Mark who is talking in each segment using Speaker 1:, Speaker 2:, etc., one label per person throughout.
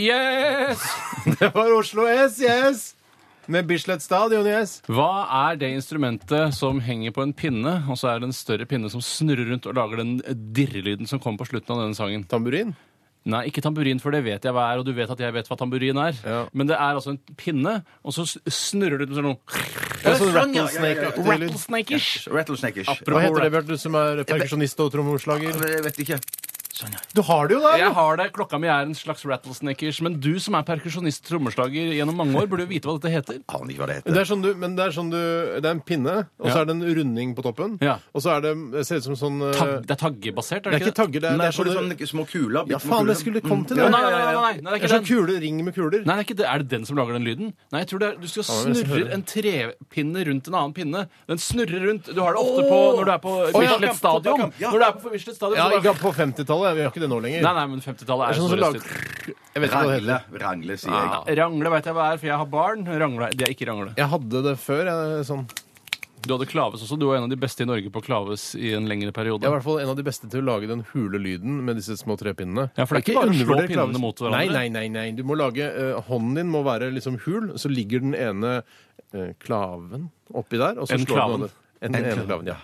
Speaker 1: Yes!
Speaker 2: Det var Oslo S, yes! Med Bislett Stadion, yes.
Speaker 1: Hva er det instrumentet som henger på en pinne, og så er det en større pinne som snurrer rundt og lager den dirrelyden som kommer på slutten av denne sangen?
Speaker 2: Tamburin.
Speaker 1: Nei, ikke tamburin, for det vet jeg hva er, og du vet at jeg vet hva tamburin er.
Speaker 2: Ja.
Speaker 1: Men det er altså en pinne, og så s- snurrer det ut sånn
Speaker 2: Det er sånn rattlesnake-aktig lyd.
Speaker 1: Rattlesnake-ish.
Speaker 3: Rattlesnake-ish.
Speaker 2: Hva
Speaker 1: Apropos
Speaker 2: heter det, Bjarte, du som er perkusjonist og trommeslager?
Speaker 3: Jeg vet ikke. Sånn, ja.
Speaker 2: Du har det jo, da!
Speaker 1: Jeg har det. Klokka mi er en slags rattlesnake-ish. Men du som er perkusjonist trommeslager gjennom mange år, burde jo vite hva dette heter.
Speaker 3: Aner ikke hva det heter.
Speaker 2: Det er, sånn du, men det er sånn du Det er en pinne, og så
Speaker 1: Ja.
Speaker 2: er det en runding på toppen.
Speaker 1: Ja.
Speaker 2: Og så er det det ser ut som sånn eh,
Speaker 1: Tag, det er taggebasert,
Speaker 2: Det er ikke tagger, det er,
Speaker 3: Nei,
Speaker 2: det er
Speaker 3: for det
Speaker 2: sånne
Speaker 3: er sånne små kuler. Mm.
Speaker 2: Ja, faen, jeg skulle komme til
Speaker 1: Nei,
Speaker 2: det!
Speaker 1: Mm. nei, nei, nei, nei, nei, det
Speaker 2: Det
Speaker 1: er
Speaker 2: er
Speaker 1: ikke
Speaker 2: sånn
Speaker 1: den.
Speaker 2: kule ring med kuler.
Speaker 1: Nei, det er, ikke det. er det den som lager den lyden? Nei, jeg tror det er, Du skal
Speaker 2: men jeg skal
Speaker 1: snurre
Speaker 2: høre.
Speaker 1: en trepinne rundt en annen pinne. Den snurrer rundt. Du har det ofte på når du er på
Speaker 2: ja.
Speaker 1: Bislett Stadion.
Speaker 3: Ja.
Speaker 1: Når du er på Bislett Stadion
Speaker 2: Ja,
Speaker 1: så bare-
Speaker 2: ikke sånn på 50-tallet. Vi har ikke det nå lenger.
Speaker 1: Nei, nei, men 50-tallet
Speaker 2: Det er
Speaker 1: er,
Speaker 2: sånn som
Speaker 1: så
Speaker 2: lager-
Speaker 1: røstet.
Speaker 2: Jeg vet ikke hva det heter.
Speaker 3: Rangle, rangle, sier jeg.
Speaker 2: Ah.
Speaker 1: Rangle veit jeg hva er, for jeg har barn. Rangle, Det er ikke rangle.
Speaker 2: Jeg hadde det før. Jeg, sånn.
Speaker 1: Du hadde klaves også. Du var en av de beste i Norge på klaves i en lengre periode.
Speaker 2: jeg var i hvert fall en av de beste til å lage den hule lyden med disse små trepinnene.
Speaker 1: Ja, for det er ikke bare å slå
Speaker 2: undervurder
Speaker 1: pinnene
Speaker 2: klaves-
Speaker 1: mot hverandre.
Speaker 2: Nei, nei, nei. nei. Du må lage, eh, hånden din må være liksom hul, så ligger den ene eh, klaven oppi der. Og så
Speaker 1: En
Speaker 2: slår
Speaker 1: klaven.
Speaker 2: Den andre. en, en, klaven, ja.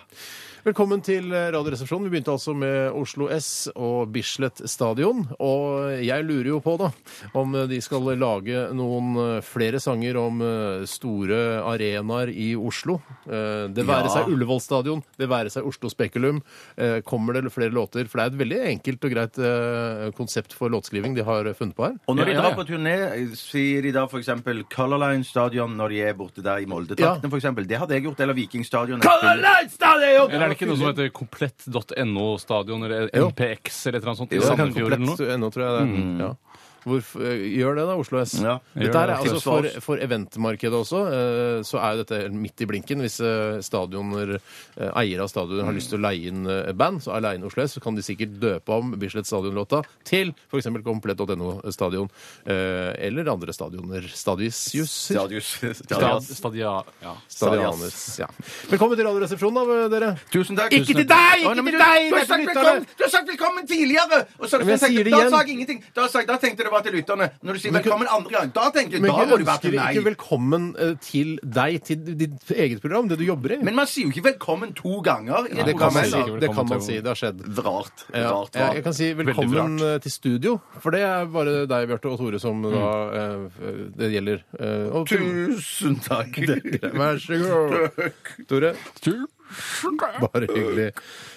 Speaker 2: Velkommen til eh, Radioresepsjonen. Vi begynte altså med Oslo S og Bislett Stadion. Og jeg lurer jo på, da, om eh, de skal lage noen eh, flere sanger om eh, store arenaer i Oslo. Eh, Det være seg Ullevål Stadion, det være seg Oslo Spekulum. Eh, Kommer det flere låter? For det er et veldig enkelt og greit eh, konsept for låtskriving de har funnet på her.
Speaker 3: Og når
Speaker 1: Ja,
Speaker 3: de
Speaker 1: ja,
Speaker 3: drar
Speaker 1: ja.
Speaker 3: på turné, sier de da f.eks. Color Line Stadion når de er borte der i Moldetrakten,
Speaker 2: Ja.
Speaker 3: for f.eks. Det hadde jeg gjort. Eller Viking Stadion.
Speaker 1: Eller er det ikke noe som heter komplett.no stadion eller
Speaker 2: Jo.
Speaker 1: MPX eller et eller annet sånt i
Speaker 2: Jo, det kan
Speaker 1: Sandefjord eller noe?
Speaker 2: komplett ennå, tror jeg det. er. Ja. Hvorf- eh, gjør det, da, Oslo S.
Speaker 3: Ja,
Speaker 2: dette
Speaker 1: gjør
Speaker 2: her
Speaker 1: det.
Speaker 2: er altså
Speaker 3: Tips for
Speaker 2: for,
Speaker 3: oss.
Speaker 2: for eventmarkedet også, eh, så er jo dette midt i blinken. Hvis eh, stadioner, eh, eiere av stadioner har lyst til å leie inn eh, band, så er leie inn Oslo S, så kan de sikkert døpe om Bislett Stadion-låta til f.eks. komplett.no stadion, eh, eller andre stadioner. Stadiusjusser.
Speaker 3: Stadius.
Speaker 1: Stad,
Speaker 3: Stadias.
Speaker 1: stadia, ja.
Speaker 2: Stadianus. Ja. Velkommen til Radioresepsjonen, da, eh, dere.
Speaker 3: Tusen takk.
Speaker 2: Ikke til deg, ikke
Speaker 3: Å, nei,
Speaker 2: til
Speaker 3: men du-
Speaker 2: deg,
Speaker 3: Du har
Speaker 2: dette
Speaker 3: sagt
Speaker 2: lytterne.
Speaker 3: velkommen, du har sagt velkommen tidligere! Og så,
Speaker 2: Men jeg
Speaker 3: så tenkte-
Speaker 2: sier det
Speaker 3: da
Speaker 2: igjen.
Speaker 3: sa jeg ingenting. Da, sa jeg, da tenkte jeg det var til lytterne. Når du sier
Speaker 2: Men ikke-
Speaker 3: velkommen andre gang, da tenker jeg
Speaker 2: Men
Speaker 3: da
Speaker 2: jeg
Speaker 3: må du være
Speaker 2: ønsker
Speaker 3: til
Speaker 2: ikke
Speaker 3: meg.
Speaker 2: velkommen eh, til deg, til ditt eget program, det du jobber i.
Speaker 3: Men man sier jo ikke velkommen to ganger. i et
Speaker 2: det kan
Speaker 3: program,
Speaker 2: man
Speaker 3: eller?
Speaker 2: si.
Speaker 1: velkommen
Speaker 2: Det kan man
Speaker 1: til-
Speaker 2: si. Det har skjedd.
Speaker 3: Rart.
Speaker 2: Ja,
Speaker 3: Rart.
Speaker 2: jeg, jeg kan si velkommen
Speaker 1: Veldig
Speaker 2: til studio, for det er bare deg, Bjarte, og Tore som da eh, det gjelder. Eh, og-
Speaker 3: Tusen takk.
Speaker 2: Vær så god. Tore, bare hyggelig.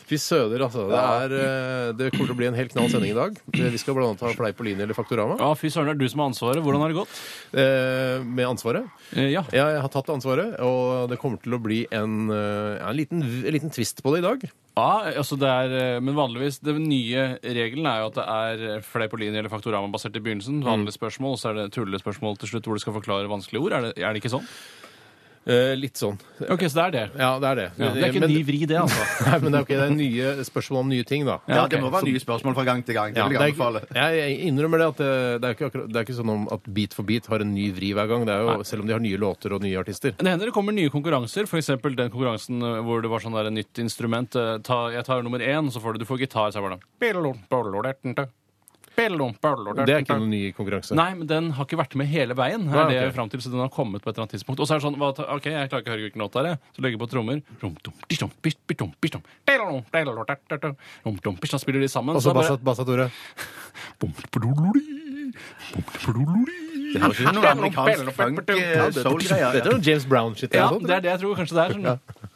Speaker 2: Fy søder, altså. Det, er, eh, det kommer til å bli en helt knall sending i dag. Eh, Vi skal bl.a. ha Fleip på linje eller Faktorama
Speaker 1: Ja, fy søren, det er du som har ansvaret. Hvordan har det gått?
Speaker 2: eh, med ansvaret.
Speaker 1: Eh, Ja.
Speaker 2: Ja, jeg har tatt ansvaret, og det kommer til å bli en, eh, ja, en, liten, en liten tvist på det i dag.
Speaker 1: Ja, altså det er, eh, men vanligvis Den nye regelen er jo at det er eh, fleipolini eller faktorama basert i begynnelsen. Vanlige spørsmål, og så er det tullespørsmål til slutt hvor du skal forklare vanskelige ord. Er det, er det ikke sånn?
Speaker 2: Eh, litt sånn.
Speaker 1: Ok, så det er det.
Speaker 2: Ja, det er det.
Speaker 1: Ja, det er ikke
Speaker 2: Men-
Speaker 1: en ny vri, det, altså.
Speaker 2: Nei, men det er, ok, det er nye spørsmål om nye ting, da.
Speaker 3: Ja,
Speaker 1: ok.
Speaker 3: det må være nye spørsmål fra gang til gang. Det
Speaker 2: Ja,
Speaker 3: vil
Speaker 2: det er
Speaker 3: jeg
Speaker 2: ikke,
Speaker 3: anbefale.
Speaker 2: jeg jeg innrømmer det at det, det, er ikke akkurat, det er ikke sånn om at Beat for beat har en ny vri hver gang. Det er jo, selv om de har nye låter og nye artister.
Speaker 1: Det hender det kommer nye konkurranser, f.eks. den konkurransen eh, hvor det var sånn der nytt instrument. eh, Ta, jeg tar nummer én, så får du, du får gitar. Så er det sånn. bare
Speaker 2: Det er ikke noen ny konkurranse.
Speaker 1: Nei, men den har ikke vært med hele veien. Er
Speaker 2: Nei,
Speaker 1: det jeg
Speaker 2: ok.
Speaker 1: vil frem til, så den har kommet på et eller annet tidspunkt. Og så er det sånn hva, ta- OK, jeg klarer ikke å høre hvilken låt det er, jeg. så legger jeg på trommer. Rom, dum, dis, dum, bis, bis, dum, bis, dum. Delolom, delolom, da, da, da. Rom, dum, bis, da spiller de sammen.
Speaker 2: Og så sånn,
Speaker 1: da bare-
Speaker 2: Bassa Bassa Tore.
Speaker 1: Bum, pudololi, bum, pudololi.
Speaker 3: Det høres ut som noe amerikansk funk eh, soul-greier.
Speaker 2: Dette er noe James Brown-shit.
Speaker 1: Ja,
Speaker 2: eller noe
Speaker 1: det er det jeg tror kanskje det er.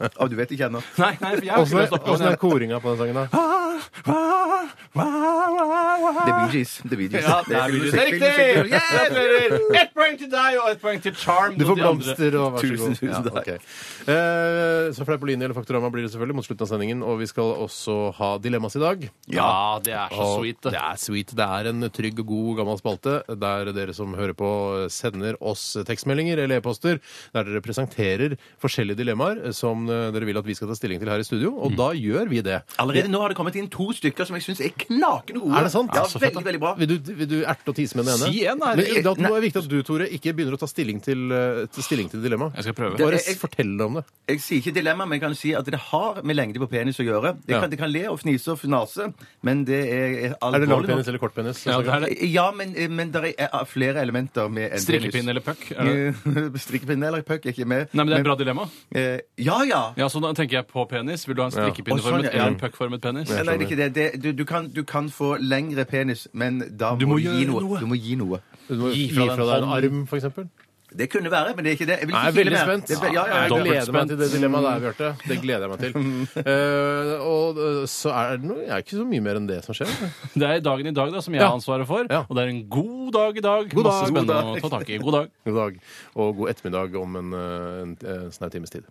Speaker 1: Sånn.
Speaker 3: Å, du vet ikke ennå.
Speaker 1: Nei, nei, for jeg har ikke lyst til å
Speaker 2: sånt.
Speaker 1: stoppe
Speaker 2: Åssen
Speaker 1: den. Ah,
Speaker 2: er koringa på den sangen, da?
Speaker 3: Det er Bee Gees. Det er Bee Gees.
Speaker 1: Ja,
Speaker 3: Det
Speaker 1: det
Speaker 3: er
Speaker 1: er
Speaker 3: musikk-
Speaker 1: det riktig!
Speaker 3: musikk- musikk-
Speaker 1: Ett poeng til deg og ett poeng til Charm.
Speaker 2: Du
Speaker 1: og
Speaker 2: får
Speaker 1: de andre.
Speaker 2: blomster og vær så god.
Speaker 3: Tusen, tusen
Speaker 2: Ja,
Speaker 3: takk.
Speaker 2: ok. Eh, så Fleipolini eller Faktorama blir det selvfølgelig mot slutten av sendingen. Og vi skal også ha Dilemmas i dag.
Speaker 1: Ja, det er så
Speaker 2: Og
Speaker 1: sweet, det.
Speaker 2: Det er sweet. Det er en trygg, god, gammel spalte der dere som hører på, sender oss tekstmeldinger eller e-poster der dere presenterer forskjellige dilemmaer som eh, dere vil at vi skal ta stilling til her i studio, og
Speaker 1: Mm.
Speaker 2: da gjør vi det.
Speaker 3: Allerede nå har det kommet inn to stykker som jeg syns er Altså, knakende gode.
Speaker 2: Er det sant?
Speaker 3: Ja,
Speaker 2: Så fett, da.
Speaker 3: veldig, veldig bra.
Speaker 2: Vil du, vil du erte og tise med den ene?
Speaker 1: Si en, da.
Speaker 2: Men da tror jeg det er viktig at du, Tore, ikke begynner å ta stilling til, eh, til, stilling til dilemma.
Speaker 1: Jeg skal prøve.
Speaker 2: Bare
Speaker 3: Det- jeg-
Speaker 2: fortell om det.
Speaker 3: Jeg sier ikke dilemma, men jeg kan si at det har med lengde på penis å gjøre. Det
Speaker 2: Ja.
Speaker 3: kan, det kan le og fnise og fnase, men det er er
Speaker 2: Er det lang
Speaker 3: alvorlig
Speaker 2: penis
Speaker 3: nok.
Speaker 2: eller kort penis? Altså,
Speaker 1: Ja, det er det.
Speaker 3: Ja, men, eh, men det er flere elementer med en
Speaker 1: Strikkepinn eller puck? er
Speaker 2: Mm.
Speaker 1: det-
Speaker 3: penis. Eh, Strikkepinne eller puck er ikke med.
Speaker 1: Nei, men Det er et bra dilemma.
Speaker 3: eh, Ja, ja.
Speaker 1: Ja, så da tenker jeg på penis. Vil du ha en
Speaker 3: Å, sånn,
Speaker 1: strikkepinneformet
Speaker 3: ja.
Speaker 2: Mm.
Speaker 1: eller en puckformet penis?
Speaker 3: Nei, det er ikke det. det du, du, kan, du kan få lengre penis, men da
Speaker 1: Du
Speaker 3: må,
Speaker 1: må
Speaker 3: du gi
Speaker 1: gjøre
Speaker 3: noe.
Speaker 1: noe.
Speaker 3: Du må gi noe.
Speaker 2: Du må
Speaker 1: Gi
Speaker 2: gi fra
Speaker 1: fra deg en
Speaker 2: deg en
Speaker 1: hånd.
Speaker 2: arm, for eksempel.
Speaker 3: Det kunne være, men det er ikke det. Jeg vil ikke
Speaker 2: Jeg er
Speaker 3: kile
Speaker 2: veldig
Speaker 3: mer.
Speaker 2: spent.
Speaker 3: Det, ja, ja,
Speaker 2: jeg
Speaker 3: ja,
Speaker 1: Dobbelt
Speaker 2: gleder meg
Speaker 1: spent.
Speaker 2: til det dilemmaet der, Bjarte. Det gleder jeg meg til. Eh, og eh, så er det noe Jeg er ikke så mye mer enn det som skjer.
Speaker 1: Det er dagen i dag da, som jeg
Speaker 2: Ja.
Speaker 1: har ansvaret for,
Speaker 2: Ja.
Speaker 1: og det er en god dag i dag.
Speaker 2: God
Speaker 1: Masse
Speaker 2: dag, god
Speaker 1: spennende
Speaker 2: dag.
Speaker 1: å ta tak i. God dag.
Speaker 2: God dag og god ettermiddag om en, eh, en, en snau times tid.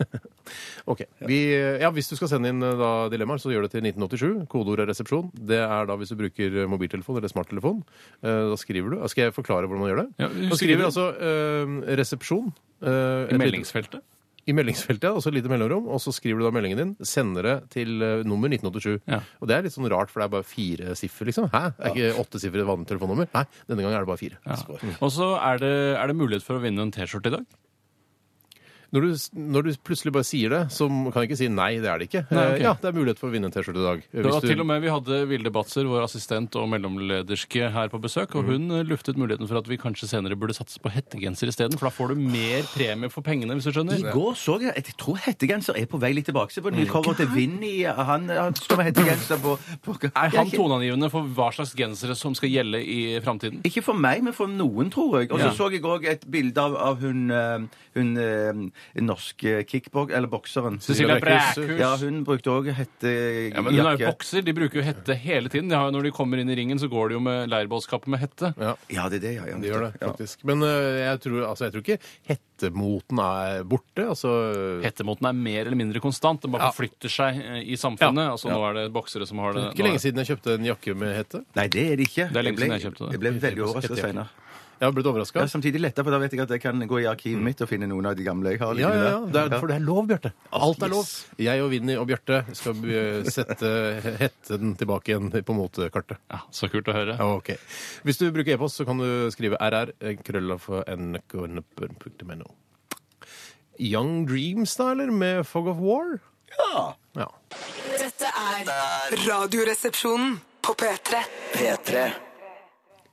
Speaker 2: OK. Vi, eh, ja, hvis du skal sende inn eh, da, dilemmaer, så gjør det til 1987. Kodeord er resepsjon. Det er da hvis du bruker eh, mobiltelefon eller smarttelefon. Eh, Da skriver du Skal jeg forklare hvordan man gjør det?
Speaker 1: Ja, du
Speaker 2: Man skriver
Speaker 1: skriver-
Speaker 2: altså eh, resepsjon. eh, et
Speaker 1: I
Speaker 2: lite-
Speaker 1: meldingsfeltet.
Speaker 2: I meldingsfeltet, ja, og så et lite mellomrom, og så skriver du da meldingen din, sender det til eh, nummer 1987.
Speaker 1: Ja.
Speaker 2: Og det er litt sånn rart, for det er bare fire siffer, liksom. Hæ? Det er ikke åtte siffer i et vanlig telefonnummer? Nei, denne gangen er det bare fire.
Speaker 1: Ja.
Speaker 2: Mm.
Speaker 1: Og så er det, er det mulighet for å vinne en T-skjorte i dag.
Speaker 2: Når du, når du plutselig bare sier det, så kan jeg ikke si nei, det er det ikke.
Speaker 1: Nei, ok.
Speaker 2: Eh, Ja, det er mulighet for å vinne en T-skjorte i dag. eh,
Speaker 1: Det var til og med Vi hadde Vilde Batzer, vår assistent og mellomlederske, her på besøk.
Speaker 2: Mm.
Speaker 1: Og hun eh, luftet muligheten for at vi kanskje senere burde satse på hettegenser isteden. For da får du mer premie for pengene, hvis du skjønner.
Speaker 3: I går så jeg Jeg tror hettegenser er på vei litt
Speaker 2: Mm.
Speaker 3: tilbake. Se på den nye cover til Vinny. Han, han står med hettegenser på, på
Speaker 1: Er han
Speaker 3: Ikke-
Speaker 1: toneangivende for hva slags gensere som skal gjelde i framtiden?
Speaker 3: Ikke for meg, men for noen, tror jeg. Og så
Speaker 1: Ja.
Speaker 3: så jeg òg et bilde av, av hun, eh, hun eh, norske kickbok... Eller bokseren.
Speaker 1: Cecilia Brækhus.
Speaker 3: Ja, hun brukte òg hettejakke.
Speaker 1: Ja, men Hun er jo bokser. De bruker jo hette hele tiden. De har jo, når de kommer inn i ringen, så går de jo med leirbålskappe med hette.
Speaker 2: Ja,
Speaker 3: Ja, det er det, ja. ja.
Speaker 2: de gjør det, faktisk. Men eh, jeg tror, altså, jeg tror ikke hettemoten er borte. Altså,
Speaker 1: Hettemoten er mer eller mindre konstant. Den bare forflytter seg eh, i samfunnet. Altså Nå er det boksere som har det.
Speaker 2: ikke lenge siden jeg kjøpte en jakke med hette.
Speaker 3: Nei, det er det ikke.
Speaker 1: Det er lenge
Speaker 3: ble-
Speaker 1: siden jeg kjøpte det.
Speaker 3: Jeg ble veldig overraska
Speaker 2: Hettejakke.
Speaker 3: senere
Speaker 2: Jeg har blitt
Speaker 3: Ja,
Speaker 2: overraska.
Speaker 3: samtidig letta, for da vet jeg at jeg kan gå i arkivet mitt og finne noen av de gamle jeg har.
Speaker 2: Ja, ja, ja.
Speaker 3: liggende
Speaker 2: Det
Speaker 3: der.
Speaker 2: er, for det er lov, Bjarte. Alt er lov.
Speaker 3: yes.
Speaker 2: Jeg og Vinni og Bjarte skal eh, sette hetten tilbake igjen på motekartet.
Speaker 1: Ja, så kult å høre.
Speaker 2: Ja, ok. Hvis du bruker e-post, så kan du skrive rr krølla for nrk.no. Young Dreams, da, eller? Med Fog of War? Ja.
Speaker 4: Dette er Radioresepsjonen på P3.
Speaker 5: P3.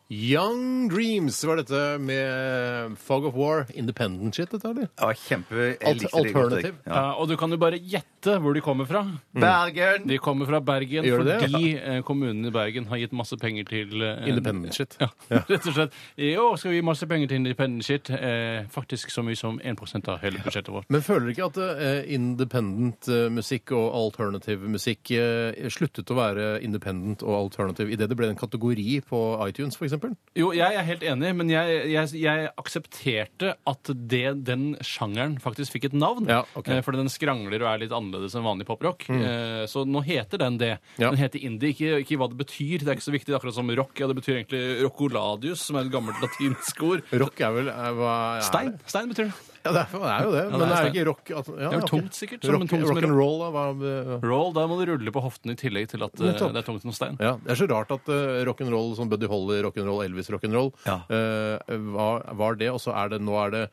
Speaker 2: Young Dreams var dette med Fog of War. Independent shit, dette, eller?
Speaker 3: Ja, kjempe... jeg
Speaker 2: Alt-
Speaker 3: likte det godt, jeg.
Speaker 2: alternativ.
Speaker 3: Ja.
Speaker 1: Ja, og du kan jo bare gjette hvor de kommer fra.
Speaker 3: Bergen!
Speaker 1: De kommer fra Bergen
Speaker 2: Gjør de det?
Speaker 1: fordi eh, kommunen i Bergen har gitt masse penger til eh,
Speaker 2: Independent shit.
Speaker 1: Ja, rett og slett. Jo, skal vi gi masse penger til independent shit? Eh, faktisk så mye som 1 av hele budsjettet vårt.
Speaker 2: Men føler du ikke at eh, independent eh, musikk og alternativ musikk eh, sluttet å være independent og alternativ idet det ble en kategori på iTunes, for eksempel?
Speaker 1: Jo, jeg er helt enig, men jeg, jeg, jeg aksepterte at det, den sjangeren faktisk fikk et navn.
Speaker 2: Ja, ok.
Speaker 1: Eh, Fordi den skrangler og er litt annerledes enn vanlig poprock. Eh, Så nå heter den det.
Speaker 2: Ja.
Speaker 1: Den heter indie, ikke, ikke hva det betyr. Det er ikke så viktig, akkurat som rock. Ja, det betyr egentlig roccoladius, som er et gammelt latinsk ord.
Speaker 2: Rock er vel eh, hva er det?
Speaker 1: Stein. Stein betyr det.
Speaker 2: Ja, det er, det er jo det.
Speaker 1: det
Speaker 2: men
Speaker 1: er
Speaker 2: det er jo
Speaker 1: stein.
Speaker 2: ikke rock at, ja,
Speaker 1: er jo
Speaker 2: ok.
Speaker 1: tungt sikkert, som
Speaker 2: rock,
Speaker 1: en tung som
Speaker 2: rock
Speaker 1: en
Speaker 2: and roll, da. Hva, eh,
Speaker 1: Roll, da må du rulle på hoftene i tillegg til at eh,
Speaker 2: Nettopp.
Speaker 1: det er tungt som stein.
Speaker 2: ja, det er så rart at uh, rock and roll som Buddy Holly, rock and roll, Elvis, rock and roll
Speaker 3: Ja.
Speaker 2: eh, var, var det, og så er det nå er det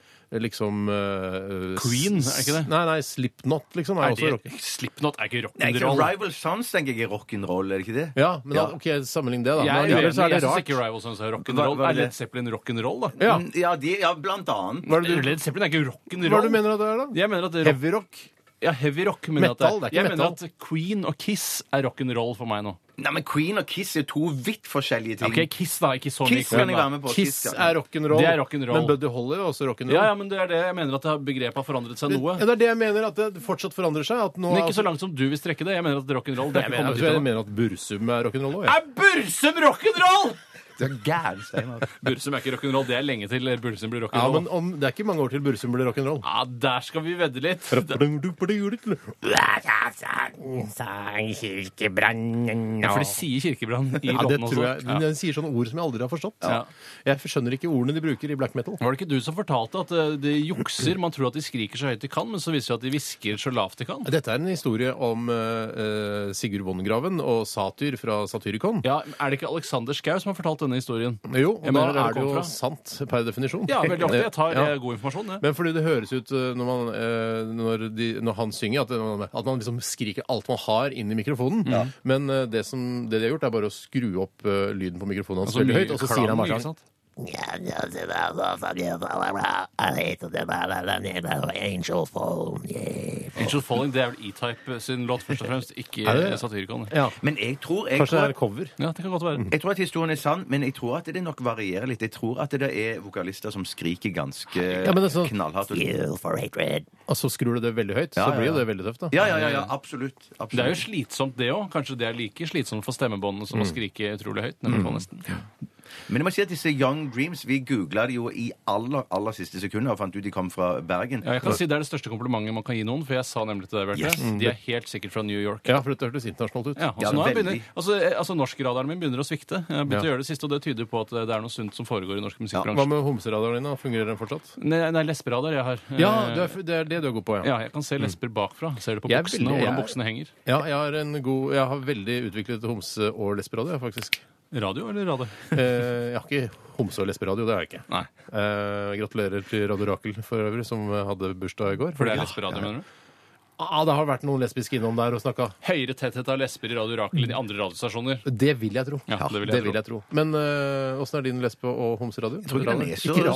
Speaker 2: liksom eh,
Speaker 1: Queen,
Speaker 2: s-
Speaker 1: er ikke det?
Speaker 2: Nei, nei, Slipknot, liksom. Er,
Speaker 1: Er
Speaker 2: også
Speaker 1: det,
Speaker 2: rock.
Speaker 1: Slipknot er ikke
Speaker 3: Nei, ikke
Speaker 1: rock'n'roll.
Speaker 3: Rival Sons tenker jeg er rock'n'roll, er det ikke det?
Speaker 2: Ja, men da,
Speaker 3: Ja.
Speaker 2: ok, sammenlign det, da.
Speaker 1: Jeg
Speaker 2: Men
Speaker 1: er
Speaker 2: allikevel
Speaker 1: uenig.
Speaker 2: så er
Speaker 1: Jeg
Speaker 2: det
Speaker 1: syns
Speaker 2: rart.
Speaker 1: ikke Rival Sons er
Speaker 3: Hva-
Speaker 1: rock'n'roll.
Speaker 3: hva er
Speaker 1: Er
Speaker 3: det?
Speaker 1: Led Zeppelin rock'n'roll, da?
Speaker 2: Ja.
Speaker 3: Mm, ja, de, ja blant annet.
Speaker 2: Hva er det du,
Speaker 1: Led Zeppelin er ikke rock'n'roll.
Speaker 2: hva er det du mener at det er, da?
Speaker 1: Jeg mener at rock,
Speaker 2: Heavy rock?
Speaker 1: Ja, heavy rock. Men
Speaker 2: Metal,
Speaker 1: at,
Speaker 2: det er ikke
Speaker 1: jeg mener
Speaker 2: metal.
Speaker 1: at Queen og Kiss er rock'n'roll for meg nå.
Speaker 3: Nei, men Queen og Kiss er to vidt forskjellige ting.
Speaker 1: Ok, Kiss da, ikke så mye
Speaker 3: Kiss kan
Speaker 1: Queen, da.
Speaker 3: jeg være med på.
Speaker 2: Kiss
Speaker 3: ja.
Speaker 2: er rock'n'roll.
Speaker 1: Det er rock'n'roll.
Speaker 2: Men Buddy Holly er også rock'n'roll.
Speaker 1: Ja, ja, men det er det jeg mener at det har- begrepet har forandret seg noe.
Speaker 2: Ja, det er det jeg mener, at det fortsatt forandrer seg. At nå altså,
Speaker 1: Men ikke så langt som du vil strekke det. Jeg mener at rock'n'roll det er
Speaker 2: Jeg
Speaker 1: ikke
Speaker 2: mener, jeg
Speaker 1: kommet
Speaker 2: tror jeg
Speaker 1: dit ennå.
Speaker 2: mener at Bursum er rock'n'roll òg.
Speaker 1: Er Bursum rock'n'roll?!
Speaker 3: Du er gæren, Steinar.
Speaker 1: Bursum er ikke rock'n'roll. Det er lenge til Bursum
Speaker 2: Ja,
Speaker 1: blir rock'n'roll.
Speaker 2: men om, det er ikke mange år til Bursum blir rock'n'roll.
Speaker 1: Ja, der skal vi vedde litt. Det-
Speaker 2: Nei,
Speaker 1: Ja, for de sier kirkebrann i
Speaker 2: det
Speaker 1: låtene også.
Speaker 2: tror jeg. Men Den sier sånne ord som jeg aldri har forstått.
Speaker 1: Ja.
Speaker 2: Jeg skjønner ikke ordene de bruker i black metal.
Speaker 1: Var det ikke du som fortalte at eh, de jukser? Man tror at de skriker så høyt de kan, men så viser det seg at de hvisker så lavt de kan.
Speaker 2: Dette er en historie om eh, eh, Sigurd Vongraven og Satyr fra Satyricon.
Speaker 1: Ja, Er det ikke Alexander Schou som har fortalt denne historien?
Speaker 2: Jo, og
Speaker 1: Jeg
Speaker 2: da
Speaker 1: mener der det
Speaker 2: er det
Speaker 1: kom
Speaker 2: jo
Speaker 1: fra.
Speaker 2: sant per definisjon.
Speaker 1: Ja, veldig ofte. Jeg tar
Speaker 2: Ja.
Speaker 1: eh, god informasjon, det.
Speaker 2: Men fordi det høres ut eh, når, man, eh, når, de, når han synger, at, det- at man liksom skriker alt man har inn i mikrofonen. Men eh, det, som, det de har gjort, er bare å skru opp eh, lyden på mikrofonen hans veldig høyt, og så sier han bare sånn.
Speaker 6: Angel phone, yeah.
Speaker 1: Angel Falling, det er vel E-Type sin låt, først og fremst, ikke
Speaker 2: Er det-
Speaker 1: eh, Satyricon.
Speaker 2: Ja. Mm.
Speaker 3: Men jeg tror, jeg,
Speaker 2: Kanskje
Speaker 3: tror
Speaker 2: det
Speaker 3: at,
Speaker 2: er cover.
Speaker 1: Ja, det kan godt være.
Speaker 3: jeg tror at historien er sann, men jeg tror at det nok varierer litt. Jeg tror at det er vokalister som skriker ganske
Speaker 2: men det er
Speaker 1: altså-
Speaker 2: sånn-
Speaker 3: knallhardt. og-
Speaker 6: You for hatred.
Speaker 2: Og så skrur du det veldig høyt,
Speaker 3: Ja,
Speaker 2: så
Speaker 3: ja,
Speaker 2: blir jo
Speaker 3: ja.
Speaker 2: det veldig tøft. da.
Speaker 3: Ja, ja, ja, ja absolutt. absolutt.
Speaker 1: Det er jo slitsomt, det òg. Kanskje det er like slitsomt for
Speaker 2: Mm.
Speaker 1: stemmebåndene som å skrike utrolig høyt. nemlig på nesten.
Speaker 3: Men jeg må si at disse Young Dreams Vi googla det jo i aller, aller siste sekundet og fant ut de kom fra Bergen.
Speaker 1: Ja, jeg kan si Det er det største komplimentet man kan gi noen, for jeg sa nemlig til deg, Bjarte. De er helt sikkert fra New York.
Speaker 2: Ja, for dette hørtes internasjonalt ut.
Speaker 1: Ja, altså,
Speaker 3: Ja,
Speaker 1: nå
Speaker 3: veldig.
Speaker 1: begynner, altså, eh, altså Norskradaren min begynner å svikte. Jeg har
Speaker 2: Ja.
Speaker 1: begynt å gjøre det siste, og det tyder på at eh, det er noe sunt som foregår i norsk
Speaker 2: Hva
Speaker 1: musikkbransje.
Speaker 2: med homseradaren din? da? Fungerer den fortsatt?
Speaker 1: Nei, nei, lesberadar jeg har. Eh,
Speaker 2: Ja, du er, det er det du er god på, ja.
Speaker 1: ja, jeg kan se lesber bakfra. Ser du på
Speaker 2: Mm. Jeg er
Speaker 1: buksene
Speaker 2: veldig-
Speaker 1: og hvordan
Speaker 2: jeg-
Speaker 1: buksene henger?
Speaker 2: ja jeg, har en god, jeg har veldig utviklet homse- og lesberadio, faktisk.
Speaker 1: Radio eller radio?
Speaker 2: Eh, jeg har ikke homse- og lesberadio, det har jeg ikke.
Speaker 1: Nei.
Speaker 2: Eh, gratulerer til Radio Rakel for øvrig, som hadde bursdag i går.
Speaker 1: For det er
Speaker 2: Ja.
Speaker 1: lesberadio, mener du?
Speaker 2: Ah, det har vært noen lesbiske innom der og snakka.
Speaker 1: Høyere tetthet av lesber i Radio Rakel enn i andre radiostasjoner.
Speaker 2: Det vil jeg tro.
Speaker 1: Ja, det vil jeg tro.
Speaker 2: tro. Men eh, åssen er din lesbe- og homseradio?
Speaker 3: tror ikke den er så
Speaker 2: Ikke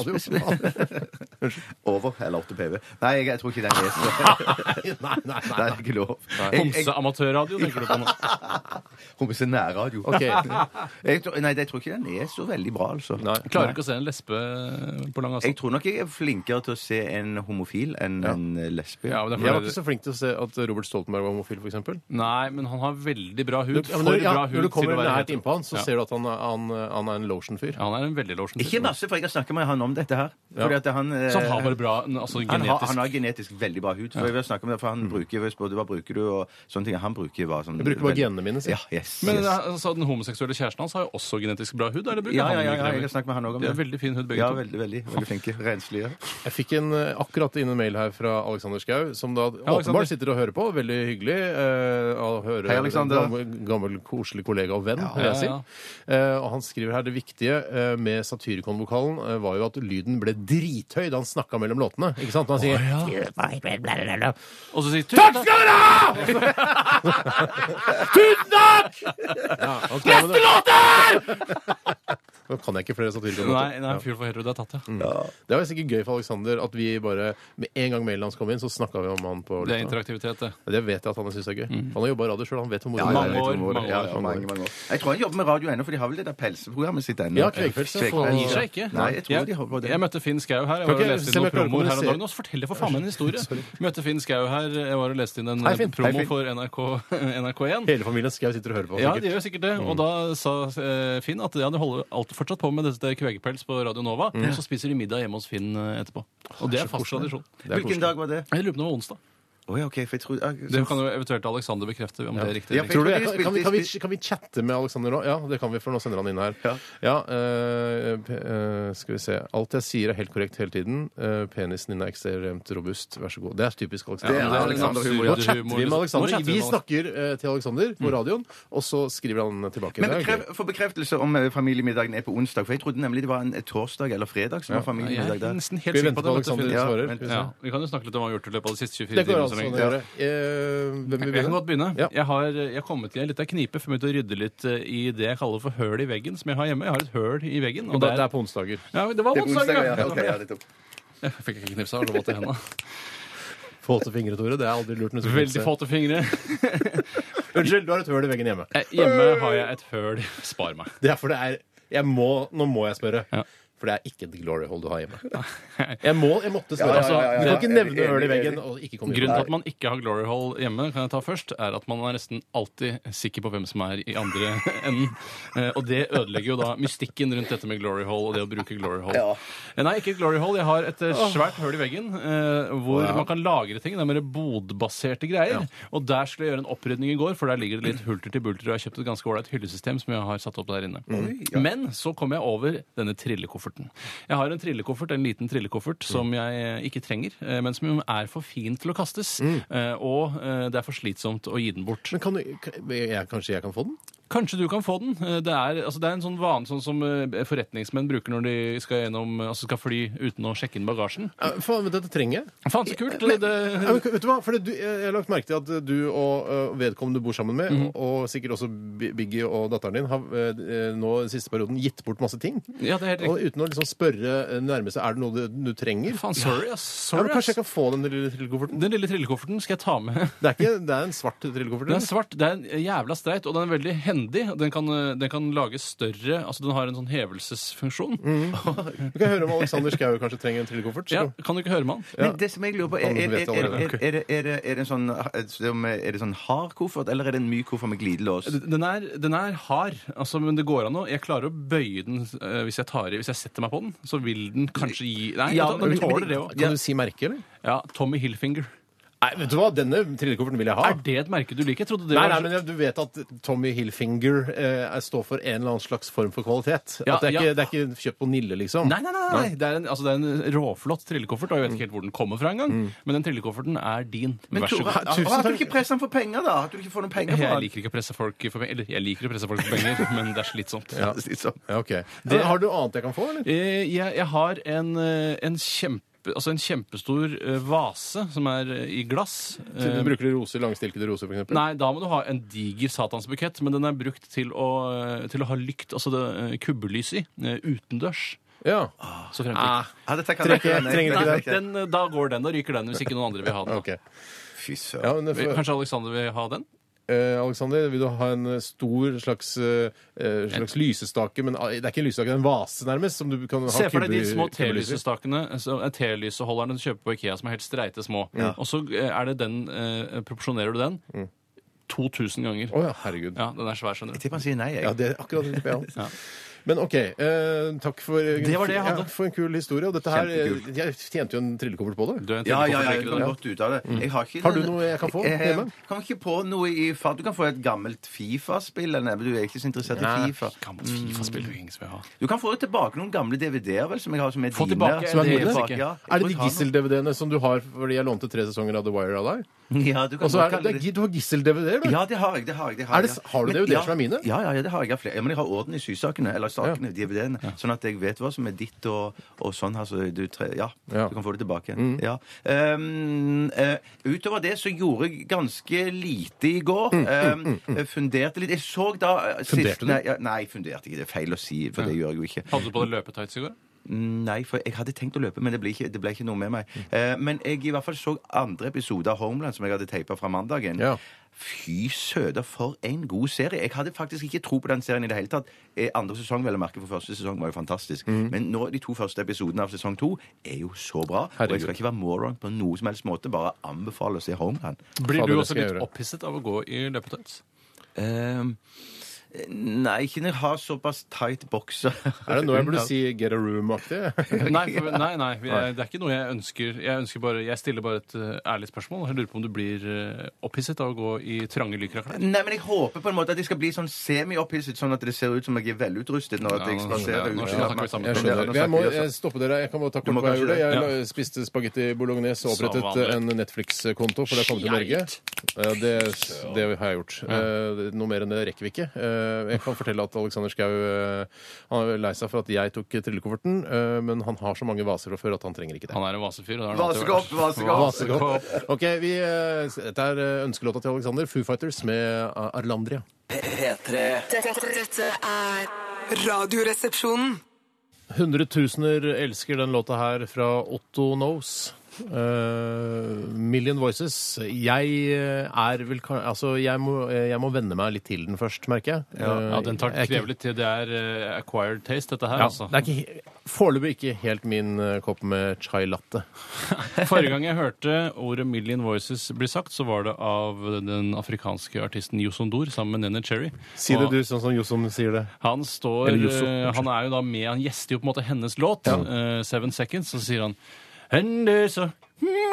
Speaker 2: radio.
Speaker 3: Over eller 8 PV. Nei, jeg, jeg tror ikke den er så
Speaker 2: nei, nei,
Speaker 3: Det
Speaker 2: nei.
Speaker 3: er ikke lov.
Speaker 1: Homseamatørradio, tenker du på nå?
Speaker 3: Homse nærradio.
Speaker 2: Ok.
Speaker 3: Jeg, tror- nei, jeg tror ikke den er så veldig bra, altså.
Speaker 2: nei.
Speaker 1: Klarer ikke å se en lesbe på lang
Speaker 3: Jeg
Speaker 1: avstand.
Speaker 3: tror nok jeg er flinkere til å se en homofil enn en eh, lesbe.
Speaker 1: Ja, men det er
Speaker 2: Jeg var
Speaker 1: fordi
Speaker 2: ikke så flink til å se at Robert Stoltenberg var homofil, f.eks.
Speaker 1: Nei, men han har veldig bra hud.
Speaker 2: Ja, men
Speaker 1: for
Speaker 2: når, ja,
Speaker 1: bra hud
Speaker 2: når du kommer
Speaker 1: til å være
Speaker 2: nært
Speaker 1: hetero.
Speaker 2: innpå han, så
Speaker 1: Ja.
Speaker 2: ser du at han, er- han, han er en lotion-fyr.
Speaker 1: Ja, han er en veldig lotion.
Speaker 3: Ikke masse, for jeg har snakket med han om dette her. Fordi at han, eh,
Speaker 1: Så han har bare bra altså,
Speaker 3: han har,
Speaker 1: genetisk
Speaker 3: han har genetisk veldig bra hud. For jeg vil snakke om det, for han bruker jeg spurte, hva bruker du, og sånne ting. Han bruker hva sånn...
Speaker 2: Jeg bruker bare
Speaker 3: vel-
Speaker 2: genene mine, sier
Speaker 3: Ja, yes,
Speaker 1: Men
Speaker 3: yes.
Speaker 1: altså, den homoseksuelle kjæresten hans har jo også genetisk bra hud. Er det bruker
Speaker 3: Ja, ja,
Speaker 1: han
Speaker 3: ja,
Speaker 1: mye
Speaker 3: ja, jeg
Speaker 1: kremer?
Speaker 3: har snakket med han også om
Speaker 1: De
Speaker 3: det.
Speaker 1: har veldig fin hud, begge
Speaker 3: Ja,
Speaker 1: to.
Speaker 3: veldig, veldig, veldig flinke. Renslige.
Speaker 2: Jeg fikk en, eh, akkurat inn en mail her fra Alexander Schou, som da
Speaker 1: Alexander.
Speaker 2: åpenbart sitter og hører på. Veldig hyggelig eh, å høre
Speaker 3: Hei, Alexander.
Speaker 2: gammel, gammel, koselig kollega og venn, vil
Speaker 1: ja,
Speaker 2: jeg si. Eh, og han skriver her det viktige eh, med Satyricon-vokalen eh, var jo at lyden ble drithøy da han snakka mellom låtene. Ikke sant? Når han sier
Speaker 6: You for hatred, blah, blah, blah.
Speaker 1: Og så sier Takk skal dere
Speaker 2: ja, Neste låt her! Nå kan jeg ikke flere
Speaker 1: Nei,
Speaker 2: Satyricon-låter.
Speaker 1: nei, fyr for hetero, det er tatt, ja.
Speaker 2: Det var sikkert gøy for Alexander at vi bare Med en gang mailen hans kom inn, så snakka vi om han på sånn.
Speaker 1: Det er
Speaker 2: lufta.
Speaker 1: interaktivitet, det.
Speaker 2: Det vet jeg at han syns er gøy. Han har jobba i radio sjøl, han vet hvor moro det
Speaker 3: Ja, ja,
Speaker 2: er.
Speaker 3: jeg vet
Speaker 1: år,
Speaker 3: om hvor det-
Speaker 1: mange
Speaker 3: ja,
Speaker 1: år,
Speaker 3: ja,
Speaker 2: mange
Speaker 3: mange, mange år. Jeg tror han jobber med radio ennå, for de har vel det der pelseprogrammet sitt ennå.
Speaker 2: Ja, Kvegfels, ja.
Speaker 3: Kvegfels,
Speaker 2: Han
Speaker 1: Gir seg ikke.
Speaker 3: Nei, jeg tror de holder på det.
Speaker 1: Jeg møtte Finn Skau her.
Speaker 2: Kan
Speaker 1: Jeg var og
Speaker 2: ikke- se
Speaker 1: leste inn
Speaker 2: om jeg
Speaker 1: noen
Speaker 2: klarer å
Speaker 1: promoer her om
Speaker 2: kommunisere.
Speaker 1: dagen. Nå fortell jeg for faen meg en historie. Møtte Finn Skau her. Jeg var og leste inn en
Speaker 2: Hei, Finn.
Speaker 1: promo
Speaker 2: Hei, Finn.
Speaker 1: for NRK, NRK1.
Speaker 2: Hele familien Skau sitter og hører på.
Speaker 1: Ja,
Speaker 2: sikkert.
Speaker 1: de gjør sikkert det. Og da sa eh, Finn at ja, de holder alt, fortsatt på med dette kvegepels på Radio Nova. Og så spiser de middag hjemme hos Finn eh, etterpå. Og det er fast tradisjon.
Speaker 2: Det er Mm.
Speaker 3: Hvilken
Speaker 2: koselig.
Speaker 3: dag var det?
Speaker 1: Jeg lurer på om det var onsdag.
Speaker 3: Å ja, OK, for jeg tror ah,
Speaker 1: Det kan jo eventuelt Alexander bekrefte om det er riktig.
Speaker 3: Ja,
Speaker 1: eller ikke.
Speaker 2: Tror du,
Speaker 3: Jeg
Speaker 2: jeg,
Speaker 3: tror de
Speaker 2: kan, kan, vi, kan, vi,
Speaker 3: spilte-
Speaker 2: kan vi chatte med Alexander nå? Ja, det kan vi, for nå sender han inn her.
Speaker 3: Ja.
Speaker 2: eh, p- eh, skal vi se. Alt jeg sier er helt korrekt hele tiden. Eh, penisen din er ekstremt robust. Vær så god. Det er typisk Alexander.
Speaker 3: Det er
Speaker 2: Nå
Speaker 3: Alexander humor, Mm.
Speaker 1: ja.
Speaker 2: chatter vi med
Speaker 1: Nå chatter
Speaker 2: Alexander.
Speaker 1: vi
Speaker 2: Vi
Speaker 1: med
Speaker 2: snakker eh, til Alexander på radioen, og så skriver han tilbake.
Speaker 3: Men
Speaker 2: Det er gøy.
Speaker 3: bekref, for bekreftelse om eh, familiemiddagen er på onsdag. For jeg trodde nemlig det var en eh, torsdag eller fredag som var familiemiddag
Speaker 1: Jeg er
Speaker 3: der.
Speaker 1: nesten
Speaker 2: Skal
Speaker 1: helt
Speaker 2: vi
Speaker 1: sikker
Speaker 2: vente på
Speaker 1: på at det
Speaker 2: Alexander
Speaker 1: møtte Finn.
Speaker 3: Ja,
Speaker 2: svarer?
Speaker 3: vent,
Speaker 2: Skal vi se.
Speaker 1: Ja, vi kan jo snakke litt om hva vi har gjort i løpet av de siste 24
Speaker 2: Det går
Speaker 1: timer. så
Speaker 2: altså an å
Speaker 1: lenge.
Speaker 2: gjøre. Eh, hvem vil
Speaker 1: Jeg kan
Speaker 2: begynne?
Speaker 1: godt begynne.
Speaker 2: Ja.
Speaker 1: Jeg, har, jeg har kommet i en liten knipe, for jeg begynte å rydde litt eh, i det jeg kaller for høl i veggen, som jeg har hjemme. Jeg har et høl i veggen. Og
Speaker 2: Det er
Speaker 1: der,
Speaker 2: på onsdager.
Speaker 1: ja, det var
Speaker 3: Det er på
Speaker 1: onsdag,
Speaker 3: onsdag, ja.
Speaker 1: ja.
Speaker 3: ok, ja, det er topp.
Speaker 1: Jeg fikk ikke knipsa, jeg lå våt i hendene.
Speaker 2: Få til fingre, Tore. Det er aldri lurt. når du skal
Speaker 1: Veldig
Speaker 2: fikse.
Speaker 1: få til fingre.
Speaker 2: Unnskyld, du har et høl i veggen hjemme.
Speaker 1: Eh, Hjemme har jeg et høl. Spar meg.
Speaker 2: Det er for det er jeg må, Nå må jeg spørre.
Speaker 1: Ja.
Speaker 2: For det er ikke et glory hole du har hjemme. Jeg må, jeg måtte spørre.
Speaker 3: Ja, ja, ja, ja, ja.
Speaker 2: altså, du kan ikke
Speaker 3: Enig,
Speaker 2: nevne høl i
Speaker 3: enig,
Speaker 2: veggen
Speaker 3: enig.
Speaker 2: og ikke komme
Speaker 1: Grunnen til at
Speaker 2: inn.
Speaker 1: man ikke har glory hole hjemme, kan jeg ta først, er at man er nesten alltid sikker på hvem som er i andre enden. Eh, Og det ødelegger jo da mystikken rundt dette med glory hole og det å bruke glory hole.
Speaker 3: Ja.
Speaker 1: Eh, Nei, ikke et glory hole. Jeg har et eh, svært høl i veggen eh, hvor man kan lagre ting. Det er mer bodbaserte greier. Og der skulle jeg gjøre en opprydning i går, for der ligger det litt hulter til bulter, og jeg har kjøpt et ganske ålreit hyllesystem som jeg har satt opp der inne. Men så kom jeg over denne trillekofferten. Jeg har en trillekoffert, en liten trillekoffert,
Speaker 2: Mm.
Speaker 1: som jeg eh, ikke trenger, eh, men som er for fin til å kastes.
Speaker 2: Mm.
Speaker 1: eh, Og eh, det er for slitsomt å gi den bort.
Speaker 2: Men kan du, kan- jeg, kanskje jeg kan få den?
Speaker 1: Kanskje du kan få den. Eh, Det er, altså, det er en sånn vane sånn som eh, forretningsmenn bruker når de skal, gjennom, eh, altså, skal fly uten å sjekke inn bagasjen.
Speaker 2: Ja, faen, men dette trenger jeg.
Speaker 1: Faen, så kult!
Speaker 2: Men-
Speaker 1: det,
Speaker 2: Ja, men, vet du hva? Fordi du, jeg har lagt merke til at du og ø, vedkommende du bor sammen med,
Speaker 1: Mhm.
Speaker 2: og, og sikkert også Bi- Biggie og datteren din, har ø, d- øh, nå den siste perioden gitt bort masse ting.
Speaker 1: ja, det er helt
Speaker 2: Og
Speaker 1: riktig.
Speaker 2: uten å liksom spørre ø, nærme seg er det noe du, du trenger.
Speaker 1: Faen, sorry, ass.
Speaker 2: Ja,
Speaker 1: Sorry,
Speaker 2: men
Speaker 1: ass.
Speaker 2: kanskje jeg kan få den lille trillekofferten?
Speaker 1: Den lille trillekofferten skal jeg ta med.
Speaker 2: Det er, ikke, det er en svart trillekoffert?
Speaker 1: Den er
Speaker 2: eller?
Speaker 1: svart, det er en jævla streit, og den er veldig hendig. og Den kan, eh, den kan lages større, altså den har en sånn hevelsesfunksjon.
Speaker 2: Du kan høre om Alexander Schou kanskje trenger en trillekoffert?
Speaker 1: Ja, kan du ikke høre med han?
Speaker 3: Men det som jeg lurer på, er, er,
Speaker 2: Han vet
Speaker 3: er, er,
Speaker 2: allerede.
Speaker 3: er, er, er, er det en sånn, som- er det sånn hard koffert, eller er det en myk koffert med glidelås?
Speaker 1: Den er, den er hard, altså, men det går an å Jeg klarer å bøye den eh, hvis jeg tar i Hvis jeg setter meg på den, så vil den kanskje gi Nei,
Speaker 3: Ja,
Speaker 1: den, den
Speaker 3: men-
Speaker 1: tåler det òg.
Speaker 2: Kan du si merke, eller?
Speaker 1: Ja, Tommy Hilfinger.
Speaker 2: Nei, vet du hva? Denne trillekofferten vil jeg ha.
Speaker 1: Er det et merke du liker? Jeg trodde det
Speaker 2: Nei,
Speaker 1: var
Speaker 2: nei, men Du vet at Tommy Hilfinger eh, er- står for en eller annen slags form for kvalitet.
Speaker 1: Ja,
Speaker 2: at det er,
Speaker 1: ja.
Speaker 2: ikke, det er ikke kjøpt på Nille, liksom.
Speaker 1: Nei, nei, nei, nei. Det, er en, altså, det er en råflott trillekoffert. og Jeg vet ikke helt hvor den kommer fra engang, men den trillekofferten er din. Vær så
Speaker 3: Tore,
Speaker 1: god.
Speaker 3: har-
Speaker 2: Tusen
Speaker 3: har du
Speaker 2: takk.
Speaker 3: ikke presset den for penger, da? At du ikke får noen penger for
Speaker 1: Jeg
Speaker 3: den?
Speaker 1: liker ikke å presse folk for penger. Eller jeg liker å presse folk for penger, men det er slitsomt.
Speaker 3: Ja, det er litt sånn.
Speaker 2: Ja, ok. Men har du annet jeg kan få, eller?
Speaker 1: Eh, Jeg, jeg har en, eh, en kjempe Altså en kjempestor eh, vase som er eh, i glass. Eh,
Speaker 2: Bruker du roser, langstilkede roser, for eksempel?
Speaker 1: Nei, da må du ha en diger satansbukett, men den er brukt til å, eh, til å ha lykt, altså det, eh, kubbelys i, eh, utendørs.
Speaker 2: Ja.
Speaker 1: Så fremfor.
Speaker 2: Ah,
Speaker 3: Ja, dette kan
Speaker 2: Trenger-
Speaker 3: jeg- nei,
Speaker 2: trenger
Speaker 3: nei,
Speaker 2: ikke
Speaker 1: Nei,
Speaker 3: nei, nei.
Speaker 1: den, eh, da går den. Da ryker den hvis ikke noen andre vil ha den.
Speaker 2: ok.
Speaker 3: Fy søren.
Speaker 2: Ja, men, for,
Speaker 1: Kanskje Alexander vil ha den?
Speaker 2: eh, Alexander, vil du ha en eh, stor slags, eh, eh, slags lysestake? Men eh, det er ikke en lysestake, det er en vase, nærmest, som du kan ha
Speaker 1: Se for deg de
Speaker 2: kubbe-
Speaker 1: små
Speaker 2: kubbelyser i.
Speaker 1: telysestakene, altså, eh, telysholderne du kjøper på Ikea som er helt streite små. Og så eh, er det den, eh, proporsjonerer du den
Speaker 2: Mm.
Speaker 1: 2000 ganger.
Speaker 2: Å ja, herregud.
Speaker 1: Ja, den er svær, skjønner
Speaker 3: Jeg
Speaker 1: du.
Speaker 3: tipper han sier nei, jeg.
Speaker 2: Ja, det er akkurat det tipper jeg også.
Speaker 1: Ja.
Speaker 2: Men OK. Eh, takk for,
Speaker 1: Det var det jeg hadde.
Speaker 2: Ja, for en kul historie. Og dette her, eh,
Speaker 3: Kjempekul.
Speaker 2: Jeg tjente jo en trillekoffert på det.
Speaker 1: Du er en
Speaker 3: Ja, ja, ja, jeg
Speaker 1: telekomplikert,
Speaker 3: kom
Speaker 1: du.
Speaker 3: godt ut av det. Jeg har, ikke
Speaker 2: Mm. Har du
Speaker 3: noen-
Speaker 2: noe jeg kan få
Speaker 3: Jeg-
Speaker 2: hjemme?
Speaker 3: Jeg kommer ikke på noe i fart. Du kan få et gammelt Fifa-spill. eller- men Du er ikke så interessert i Fifa. Mm.
Speaker 1: Gammelt Fifa-spill vil ingen som vil ha.
Speaker 3: Du kan få tilbake noen gamle DVD-er vel, som jeg har som er
Speaker 1: Få
Speaker 3: dine.
Speaker 1: tilbake
Speaker 3: Som er
Speaker 2: det,
Speaker 3: mine.
Speaker 2: jeg
Speaker 1: vet ikke.
Speaker 3: ja. Jeg
Speaker 2: Er det de
Speaker 3: tror jeg har
Speaker 2: gissel-DVD-ene som du har fordi jeg lånte tre sesonger av The Wire av deg?
Speaker 3: noen. Ja, du kan
Speaker 2: Og så
Speaker 3: godt
Speaker 2: er
Speaker 3: kalle
Speaker 2: det, det, du har gissel-DVD-er, du?
Speaker 3: Ja, det har jeg. det Har jeg, det har,
Speaker 2: Er det-
Speaker 3: jeg.
Speaker 2: har du
Speaker 3: Men-
Speaker 2: DVD-er
Speaker 3: ja,
Speaker 2: som er mine?
Speaker 3: Ja, ja, ja, det har jeg. jeg har flere. Ja, men jeg har orden i sysakene, eller sakene, DVD-ene, sånn at jeg vet hva som er ditt og, og sånn. Altså, du, tre, ja,
Speaker 2: Ja. Mm.
Speaker 3: du kan få det tilbake. Ja. Ehm, eh, utover det så gjorde jeg ganske lite i går.
Speaker 2: Mm,
Speaker 3: Ehm, eh, Funderte litt. Jeg så da eh, sist-
Speaker 2: Funderte du?
Speaker 3: Nei, ja, nei, funderte ikke. Det er feil å si, for det gjør jeg jo ikke.
Speaker 1: Hadde du på deg løpetights i går?
Speaker 3: Nei, for jeg hadde tenkt å løpe, men det ble ikke, det ble ikke noe med meg.
Speaker 2: Mm.
Speaker 3: Eh, men jeg i hvert fall så andre episode av Homeland som jeg hadde teipa fra mandagen.
Speaker 2: Ja.
Speaker 3: Fy søder, for en god serie! Jeg hadde faktisk ikke tro på den serien i det hele tatt. Eh, Andre sesong, vel å merke, for første sesong var jo fantastisk.
Speaker 2: Mm.
Speaker 3: Men nå, de to første episodene av sesong to er jo så bra. Og
Speaker 2: Herregud.
Speaker 3: jeg skal ikke være moron på noe som helst måte, bare anbefale å se Homeland.
Speaker 1: Blir
Speaker 2: Fader,
Speaker 1: du
Speaker 2: det
Speaker 1: også
Speaker 2: skal jeg
Speaker 1: litt
Speaker 2: gjøre.
Speaker 1: opphisset av å gå i løpetights?
Speaker 3: Ehm, nei, ikke når jeg har såpass tight bokser.
Speaker 2: Er det nå jeg burde si Get a Room-aktig?
Speaker 1: Nei, for, nei, nei, vi- jeg, det er ikke noe jeg ønsker. Jeg, ønsker bare, jeg stiller bare et eh, ærlig spørsmål. Jeg lurer på om du blir eh, opphisset av å gå i trange lykraklær.
Speaker 3: Nei, men jeg håper på en måte at jeg skal bli sånn semi-opphisset, sånn at det ser ut som jeg er velutrustet når at
Speaker 1: Ja,
Speaker 3: jeg
Speaker 1: nå
Speaker 3: spaserer
Speaker 1: skjønner jeg. Nå
Speaker 3: ut.
Speaker 1: skjønner jeg. Nå snakker vi sammen.
Speaker 2: Jeg
Speaker 3: Ja, nå
Speaker 2: skjønner.
Speaker 3: snakker
Speaker 2: Jeg må
Speaker 3: vi
Speaker 2: eh,
Speaker 3: sammen.
Speaker 2: stoppe dere. Jeg kan bare ta
Speaker 3: Du
Speaker 2: kort
Speaker 3: må
Speaker 2: hva jeg
Speaker 3: kanskje
Speaker 2: gjorde. Jeg
Speaker 3: det,
Speaker 2: la- spiste spagetti bolognese og
Speaker 1: Som
Speaker 2: opprettet
Speaker 1: vanlig.
Speaker 2: en Netflix-konto, for det kom til Norge. Eh, Det, det har jeg gjort. Eh, Noe mer enn det rekker vi ikke. Eh, Jeg kan fortelle at Alexander Schou eh, han er lei seg for at jeg tok trillekofferten, eh, men han har så mange vaser fra før at han trenger ikke det.
Speaker 1: Han er en vasefyr. og det har han alltid vært.
Speaker 3: Vasekopp, vasekopp!
Speaker 2: Vasekopp. Ok, vi, eh, Dette er eh, ønskelåta til Alexander. Foo Fighters med eh, Arlandria.
Speaker 5: P- P3.
Speaker 4: Dette, dette er Radioresepsjonen.
Speaker 2: Hundretusener elsker den låta her fra Otto Knows. Eh, million Voices. Jeg eh, er vel kan- Altså, jeg må, eh, jeg må venne meg litt til den først, merker jeg. Eh,
Speaker 1: Ja, den tar
Speaker 2: jeg er ikke-
Speaker 1: krever litt tid. Det er eh, acquired taste, dette her.
Speaker 2: Ja,
Speaker 1: altså.
Speaker 2: det er ikke, he- foreløpig ikke helt min eh, kopp med chai latte.
Speaker 1: Forrige gang jeg hørte ordet 'Million Voices' bli sagt, så var det av den afrikanske artisten Yosondor sammen med Nene Cherry.
Speaker 2: Si det
Speaker 1: Og
Speaker 2: du, sånn som Jossom sier det.
Speaker 1: Han står,
Speaker 2: Eller Yusso,
Speaker 1: eh, han er jo da med, han gjester jo på en måte hennes låt, eh, Seven Seconds, og så sier han And there's a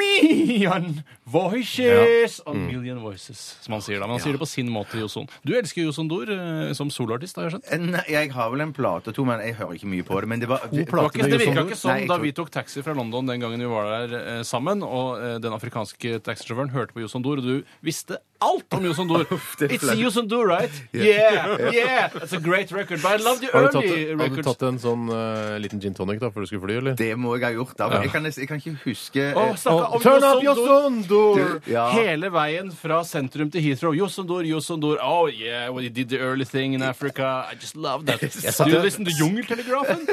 Speaker 1: million voices A
Speaker 2: Mm.
Speaker 1: million voices, som han sier da. Men han sier det på sin måte, Joson. Du elsker Joson Dor eh, som soloartist, har jeg skjønt.
Speaker 3: Nei, jeg har vel en plate to, men jeg hører ikke mye på det. Men det var
Speaker 2: To
Speaker 1: Det, var
Speaker 2: plater
Speaker 1: ikke,
Speaker 2: med
Speaker 1: det virka
Speaker 2: Joson
Speaker 1: ikke
Speaker 2: Dor?
Speaker 1: sånn
Speaker 3: Nei, jeg
Speaker 1: da
Speaker 3: tror-
Speaker 1: vi tok taxi fra London den gangen vi var der eh, sammen, og eh, den afrikanske taxisjåføren hørte på Joson Dor, og du visste alt om Joson Dor.
Speaker 3: det er
Speaker 1: It's
Speaker 3: flaut.
Speaker 1: Joson Dor, right? Yeah, yeah! It's a great record, but I love the
Speaker 2: Har du tatt,
Speaker 1: early
Speaker 2: har du
Speaker 1: records.
Speaker 2: tatt en sånn eh, liten gin tonic da, før du skulle fly, eller?
Speaker 3: Det må jeg ha gjort. Da. Jeg, kan, nesten- jeg kan ikke huske
Speaker 1: Å,
Speaker 3: eh,
Speaker 1: snakka om
Speaker 2: Turn up
Speaker 1: Joson Dor.
Speaker 2: Josondor!
Speaker 3: Ja.
Speaker 1: Hele veien fra sentrum til Heathrow. Josondor, Josondor. Oh yeah, well, you did the early thing in Africa. I just love that. Do you listen to Jungeltelegrafen?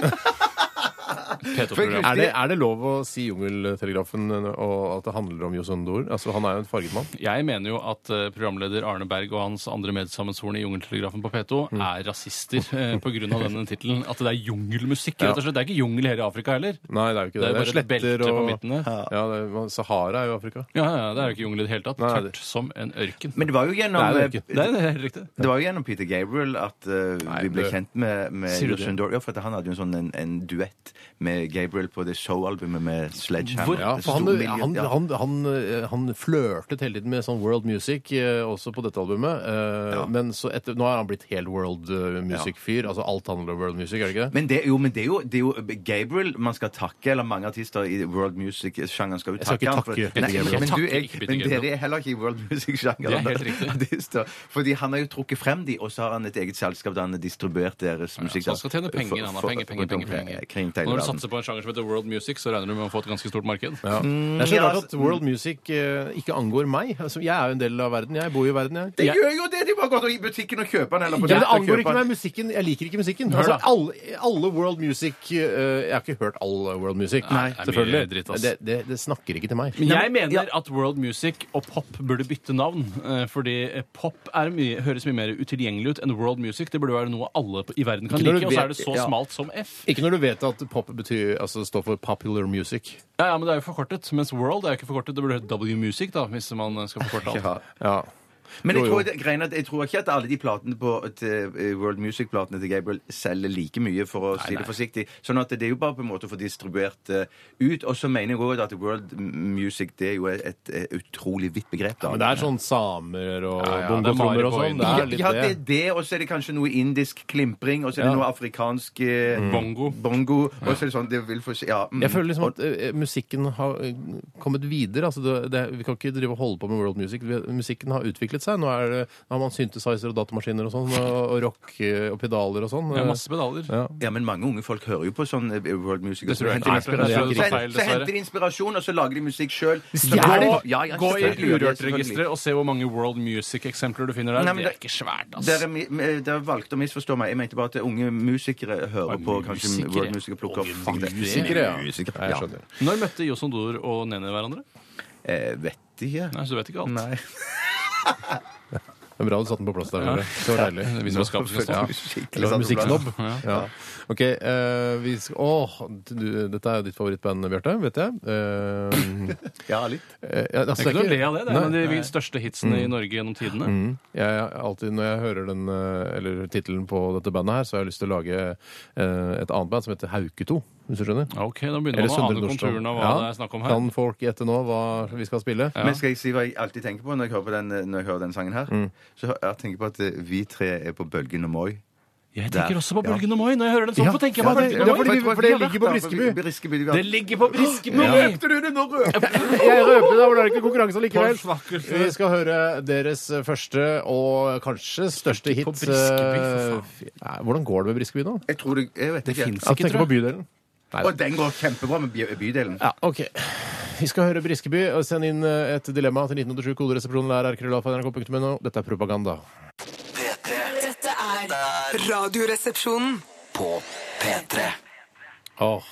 Speaker 1: P2-program.
Speaker 2: Er det, er det lov å si Jungeltelegrafen eh, og at det handler om Josondor? Altså, han er jo en farget mann.
Speaker 1: Jeg mener jo at eh, programleder Arne Berg og hans andre medsammensvorne i Jungeltelegrafen på P2
Speaker 2: Mm.
Speaker 1: er rasister eh, på grunn av denne tittelen. At det er jungelmusikk, rett og slett. Det er ikke jungel her i Afrika heller.
Speaker 2: Nei, det er jo ikke det.
Speaker 1: Det er jo bare et belte på midten der.
Speaker 2: Ja, det er, Sahara er jo Afrika.
Speaker 1: Ja, ja, det er jo ikke jungel i det hele tatt.
Speaker 2: Nei, det-
Speaker 1: Tørt som en ørken.
Speaker 3: Men det var jo gjennom eh,
Speaker 2: Nei, det er
Speaker 1: Nei, det er helt riktig.
Speaker 3: Det var jo gjennom Peter Gabriel at eh, vi ble
Speaker 2: det-
Speaker 3: kjent med, med
Speaker 1: Sier du
Speaker 3: Lucian Dor. Ja, for at han hadde jo en sånn en, en duett med Gabriel på det show-albumet med Sledgehammer.
Speaker 1: Hvor-
Speaker 2: Ja,
Speaker 3: Det
Speaker 2: for han,
Speaker 3: store miljøet,
Speaker 2: han,
Speaker 3: ja.
Speaker 2: han, han, eh, han flørtet hele tiden med sånn world music eh, også på dette albumet. eh, Men så etter, nå er han blitt helt world eh, music-fyr. Altså alt handler om world music, er det ikke det?
Speaker 3: Men det, jo, men det er jo, det er jo Gabriel man skal takke, eller mange artister i world music-sjangeren skal jo
Speaker 2: skal
Speaker 3: takke
Speaker 2: ikke
Speaker 3: han for-
Speaker 2: takke Peter
Speaker 3: Nei,
Speaker 2: Gabriel.
Speaker 3: Men,
Speaker 1: Jeg
Speaker 3: du,
Speaker 1: takker
Speaker 3: jeg,
Speaker 1: ikke Peter
Speaker 3: men
Speaker 1: Gabriel.
Speaker 3: dere er heller ikke i world music-sjangeren.
Speaker 1: Det er helt riktig.
Speaker 3: artister. Fordi han har jo trukket frem de, og så har han et eget selskap der han har distribuert deres musikk.
Speaker 1: så han skal tjene
Speaker 3: da.
Speaker 1: penger,
Speaker 3: For-
Speaker 1: han har
Speaker 3: for-
Speaker 1: penger, penger,
Speaker 3: for-
Speaker 1: penger, penger.
Speaker 3: Kring
Speaker 1: Og Når du
Speaker 3: tegneverden.
Speaker 1: satser på en sjanger som heter world music, så regner du med å få et ganske stort marked.
Speaker 2: Ja.
Speaker 1: Mm,
Speaker 2: Det er så
Speaker 3: ja,
Speaker 2: rart
Speaker 1: altså,
Speaker 2: at world music eh, ikke angår meg. Altså, jeg er jo en del av verden. Jeg bor jo i verden, jeg.
Speaker 3: Det gjør jo det! De bare går i butikken og kjøper den. Eller
Speaker 2: Ja, men
Speaker 3: på
Speaker 2: det
Speaker 3: nett og
Speaker 2: angår
Speaker 3: kjøper
Speaker 2: ikke
Speaker 3: den.
Speaker 2: meg musikken. Jeg liker ikke musikken.
Speaker 1: Hør
Speaker 2: Altså,
Speaker 1: da.
Speaker 2: alle, alle world music eh, Jeg har ikke hørt all world music.
Speaker 1: Nei, det er mye
Speaker 2: selvfølgelig.
Speaker 1: dritt, ass.
Speaker 2: det, det, det snakker ikke til meg.
Speaker 1: Men jeg mener at world music og pop burde bytte navn. eh, Fordi eh, pop er mye, høres mye mer utilgjengelig ut enn world music. Det burde være noe alle på- i verden kan
Speaker 2: Ikke når
Speaker 1: like,
Speaker 2: du
Speaker 1: og så
Speaker 2: vet-
Speaker 1: er det så
Speaker 2: ja.
Speaker 1: smalt som F.
Speaker 2: Ikke når du vet at pop betyr, altså, står for popular music.
Speaker 1: Ja, ja, men det er jo forkortet. Mens world er jo ikke forkortet. Det burde hett W-music, da, hvis man eh, skal forkorte alt.
Speaker 3: Ja.
Speaker 2: Ja.
Speaker 3: Men
Speaker 2: Jo,
Speaker 3: jeg
Speaker 2: jo.
Speaker 3: tror, det- greien er at jeg tror ikke at alle de platene på, til, eh, World Music-platene til Gabriel selger like mye, for å si det forsiktig. Sånn at det er jo bare på en måte å få distribuert eh, ut. Og så mener jeg òg at World M- Music det er jo et, eh, utrolig vidt begrep. da.
Speaker 2: Men det er sånn samer og
Speaker 1: Ja, ja, det
Speaker 2: bongotrommer
Speaker 1: er
Speaker 2: og sånn.
Speaker 1: Mariboy.
Speaker 2: Det
Speaker 3: ja,
Speaker 2: er litt
Speaker 3: ja, det er
Speaker 2: det.
Speaker 3: det, og så er det kanskje noe indisk klimpring, og så er
Speaker 2: Ja.
Speaker 3: det
Speaker 2: Mm.
Speaker 3: noe afrikansk eh,
Speaker 1: Bongo.
Speaker 3: bongo og så er det sånn, det vil for, ja, mm.
Speaker 2: Jeg føler liksom at eh, musikken har eh, kommet videre. Altså det, det, vi kan ikke drive og holde på med world music. Vi, musikken har utviklet seg. Nå, er det, nå har man synthesizer og datamaskiner og sånn, og, og rock eh, og pedaler og sånn.
Speaker 1: Det er masse pedaler.
Speaker 2: Ja.
Speaker 3: Ja, men mange unge folk hører jo på sånn eh, world music. og
Speaker 1: Det tror jeg
Speaker 3: så henter de
Speaker 1: ikke. Nei, det tror jeg du
Speaker 3: inspirasjon.
Speaker 1: tar feil,
Speaker 3: Så- Så henter
Speaker 1: dessverre.
Speaker 3: de inspirasjon, og så lager de musikk sjøl.
Speaker 1: Gå, gå i Urørt-registeret og se hvor mange World Music-eksempler du finner der.
Speaker 3: Nei, men
Speaker 1: det er
Speaker 3: det-
Speaker 1: ikke svært, ass.
Speaker 3: Dere, mi- eh, dere valgte å misforstå meg. Jeg mente bare at unge musikere hører på kanskje
Speaker 1: musikere.
Speaker 3: world music og plukker opp
Speaker 1: Unge
Speaker 3: fakta.
Speaker 2: Musikere, Eh, ja.
Speaker 3: Musikere,
Speaker 2: Nei,
Speaker 3: ja.
Speaker 2: jeg skjønner.
Speaker 1: Når møtte Josson Dor og Nene hverandre?
Speaker 3: Eh, vet ikke.
Speaker 1: Nei, så du vet ikke alt.
Speaker 3: Nei.
Speaker 2: Det er bra du satte den på plass der. Kåre. Det var deilig.
Speaker 1: Vi som har skapt oss,
Speaker 3: Ja.
Speaker 1: da.
Speaker 3: Skikkelig
Speaker 2: altså,
Speaker 3: sånn
Speaker 2: Eller
Speaker 3: sant,
Speaker 2: musikksnobb.
Speaker 3: Olav.
Speaker 2: Ja. OK. eh, vi skal, åh, du, dette er jo ditt favorittband, Bjarte, vet jeg. Eh,
Speaker 3: Ja, litt.
Speaker 2: eh, ja, altså,
Speaker 1: Det er ikke noe å le av det. Det er
Speaker 2: Nei. Mm.
Speaker 1: en av de største hitsene i Norge gjennom tidene.
Speaker 2: Jeg, jeg- alltid når jeg hører den, eh, eller tittelen på dette bandet her, så har jeg lyst til å lage eh, et annet band som heter Hauketo, hvis du skjønner?
Speaker 1: Ok, da begynner
Speaker 2: Eller
Speaker 1: man å
Speaker 2: Søndre
Speaker 1: ane
Speaker 2: Nordstrand.
Speaker 1: konturene av hva
Speaker 2: Ja.
Speaker 1: det er snakk om her.
Speaker 2: Kan folk gjette nå hva vi skal spille?
Speaker 1: Ja.
Speaker 3: Men skal jeg si hva jeg alltid tenker på når jeg hører, på den, eh, når jeg hører den sangen her? Så hø- jeg tenker på at eh, vi tre er på bølgen og Moi.
Speaker 1: Jeg
Speaker 3: Der.
Speaker 1: tenker også på
Speaker 3: Ja.
Speaker 1: Bølgen og Moi. Når jeg hører den sånn,
Speaker 2: Ja.
Speaker 1: så tenker jeg
Speaker 2: Ja,
Speaker 1: på
Speaker 2: det-
Speaker 1: Bølgen
Speaker 2: det
Speaker 1: og
Speaker 2: er fordi
Speaker 1: Moi.
Speaker 2: vi- for det ligger på Briskeby.
Speaker 3: Briskeby.
Speaker 1: Det ligger på Briskeby!
Speaker 3: du det! Nå røpte du det!
Speaker 2: Jeg røper det, for det er ikke konkurranse
Speaker 1: For
Speaker 2: likevel.
Speaker 1: svakkelse.
Speaker 2: Vi skal høre deres første og kanskje største hit.
Speaker 1: På Briskeby, for
Speaker 2: eh, Nei, Hvordan går det med Briskeby nå?
Speaker 3: Jeg tror det Jeg vet ikke.
Speaker 1: finnes
Speaker 2: Jeg
Speaker 1: ikke,
Speaker 2: tenker
Speaker 1: tror
Speaker 2: på bydelen.
Speaker 3: Og den går kjempebra med by- bydelen.
Speaker 2: Ja, ok. Vi skal høre Briskeby. og Send inn eh, et dilemma til 1987 koderesepsjonen lærer rkrøllalfa.nrk.no. Dette er propaganda.
Speaker 5: P3
Speaker 4: Dette er Radioresepsjonen.
Speaker 5: på P3.
Speaker 2: Åh,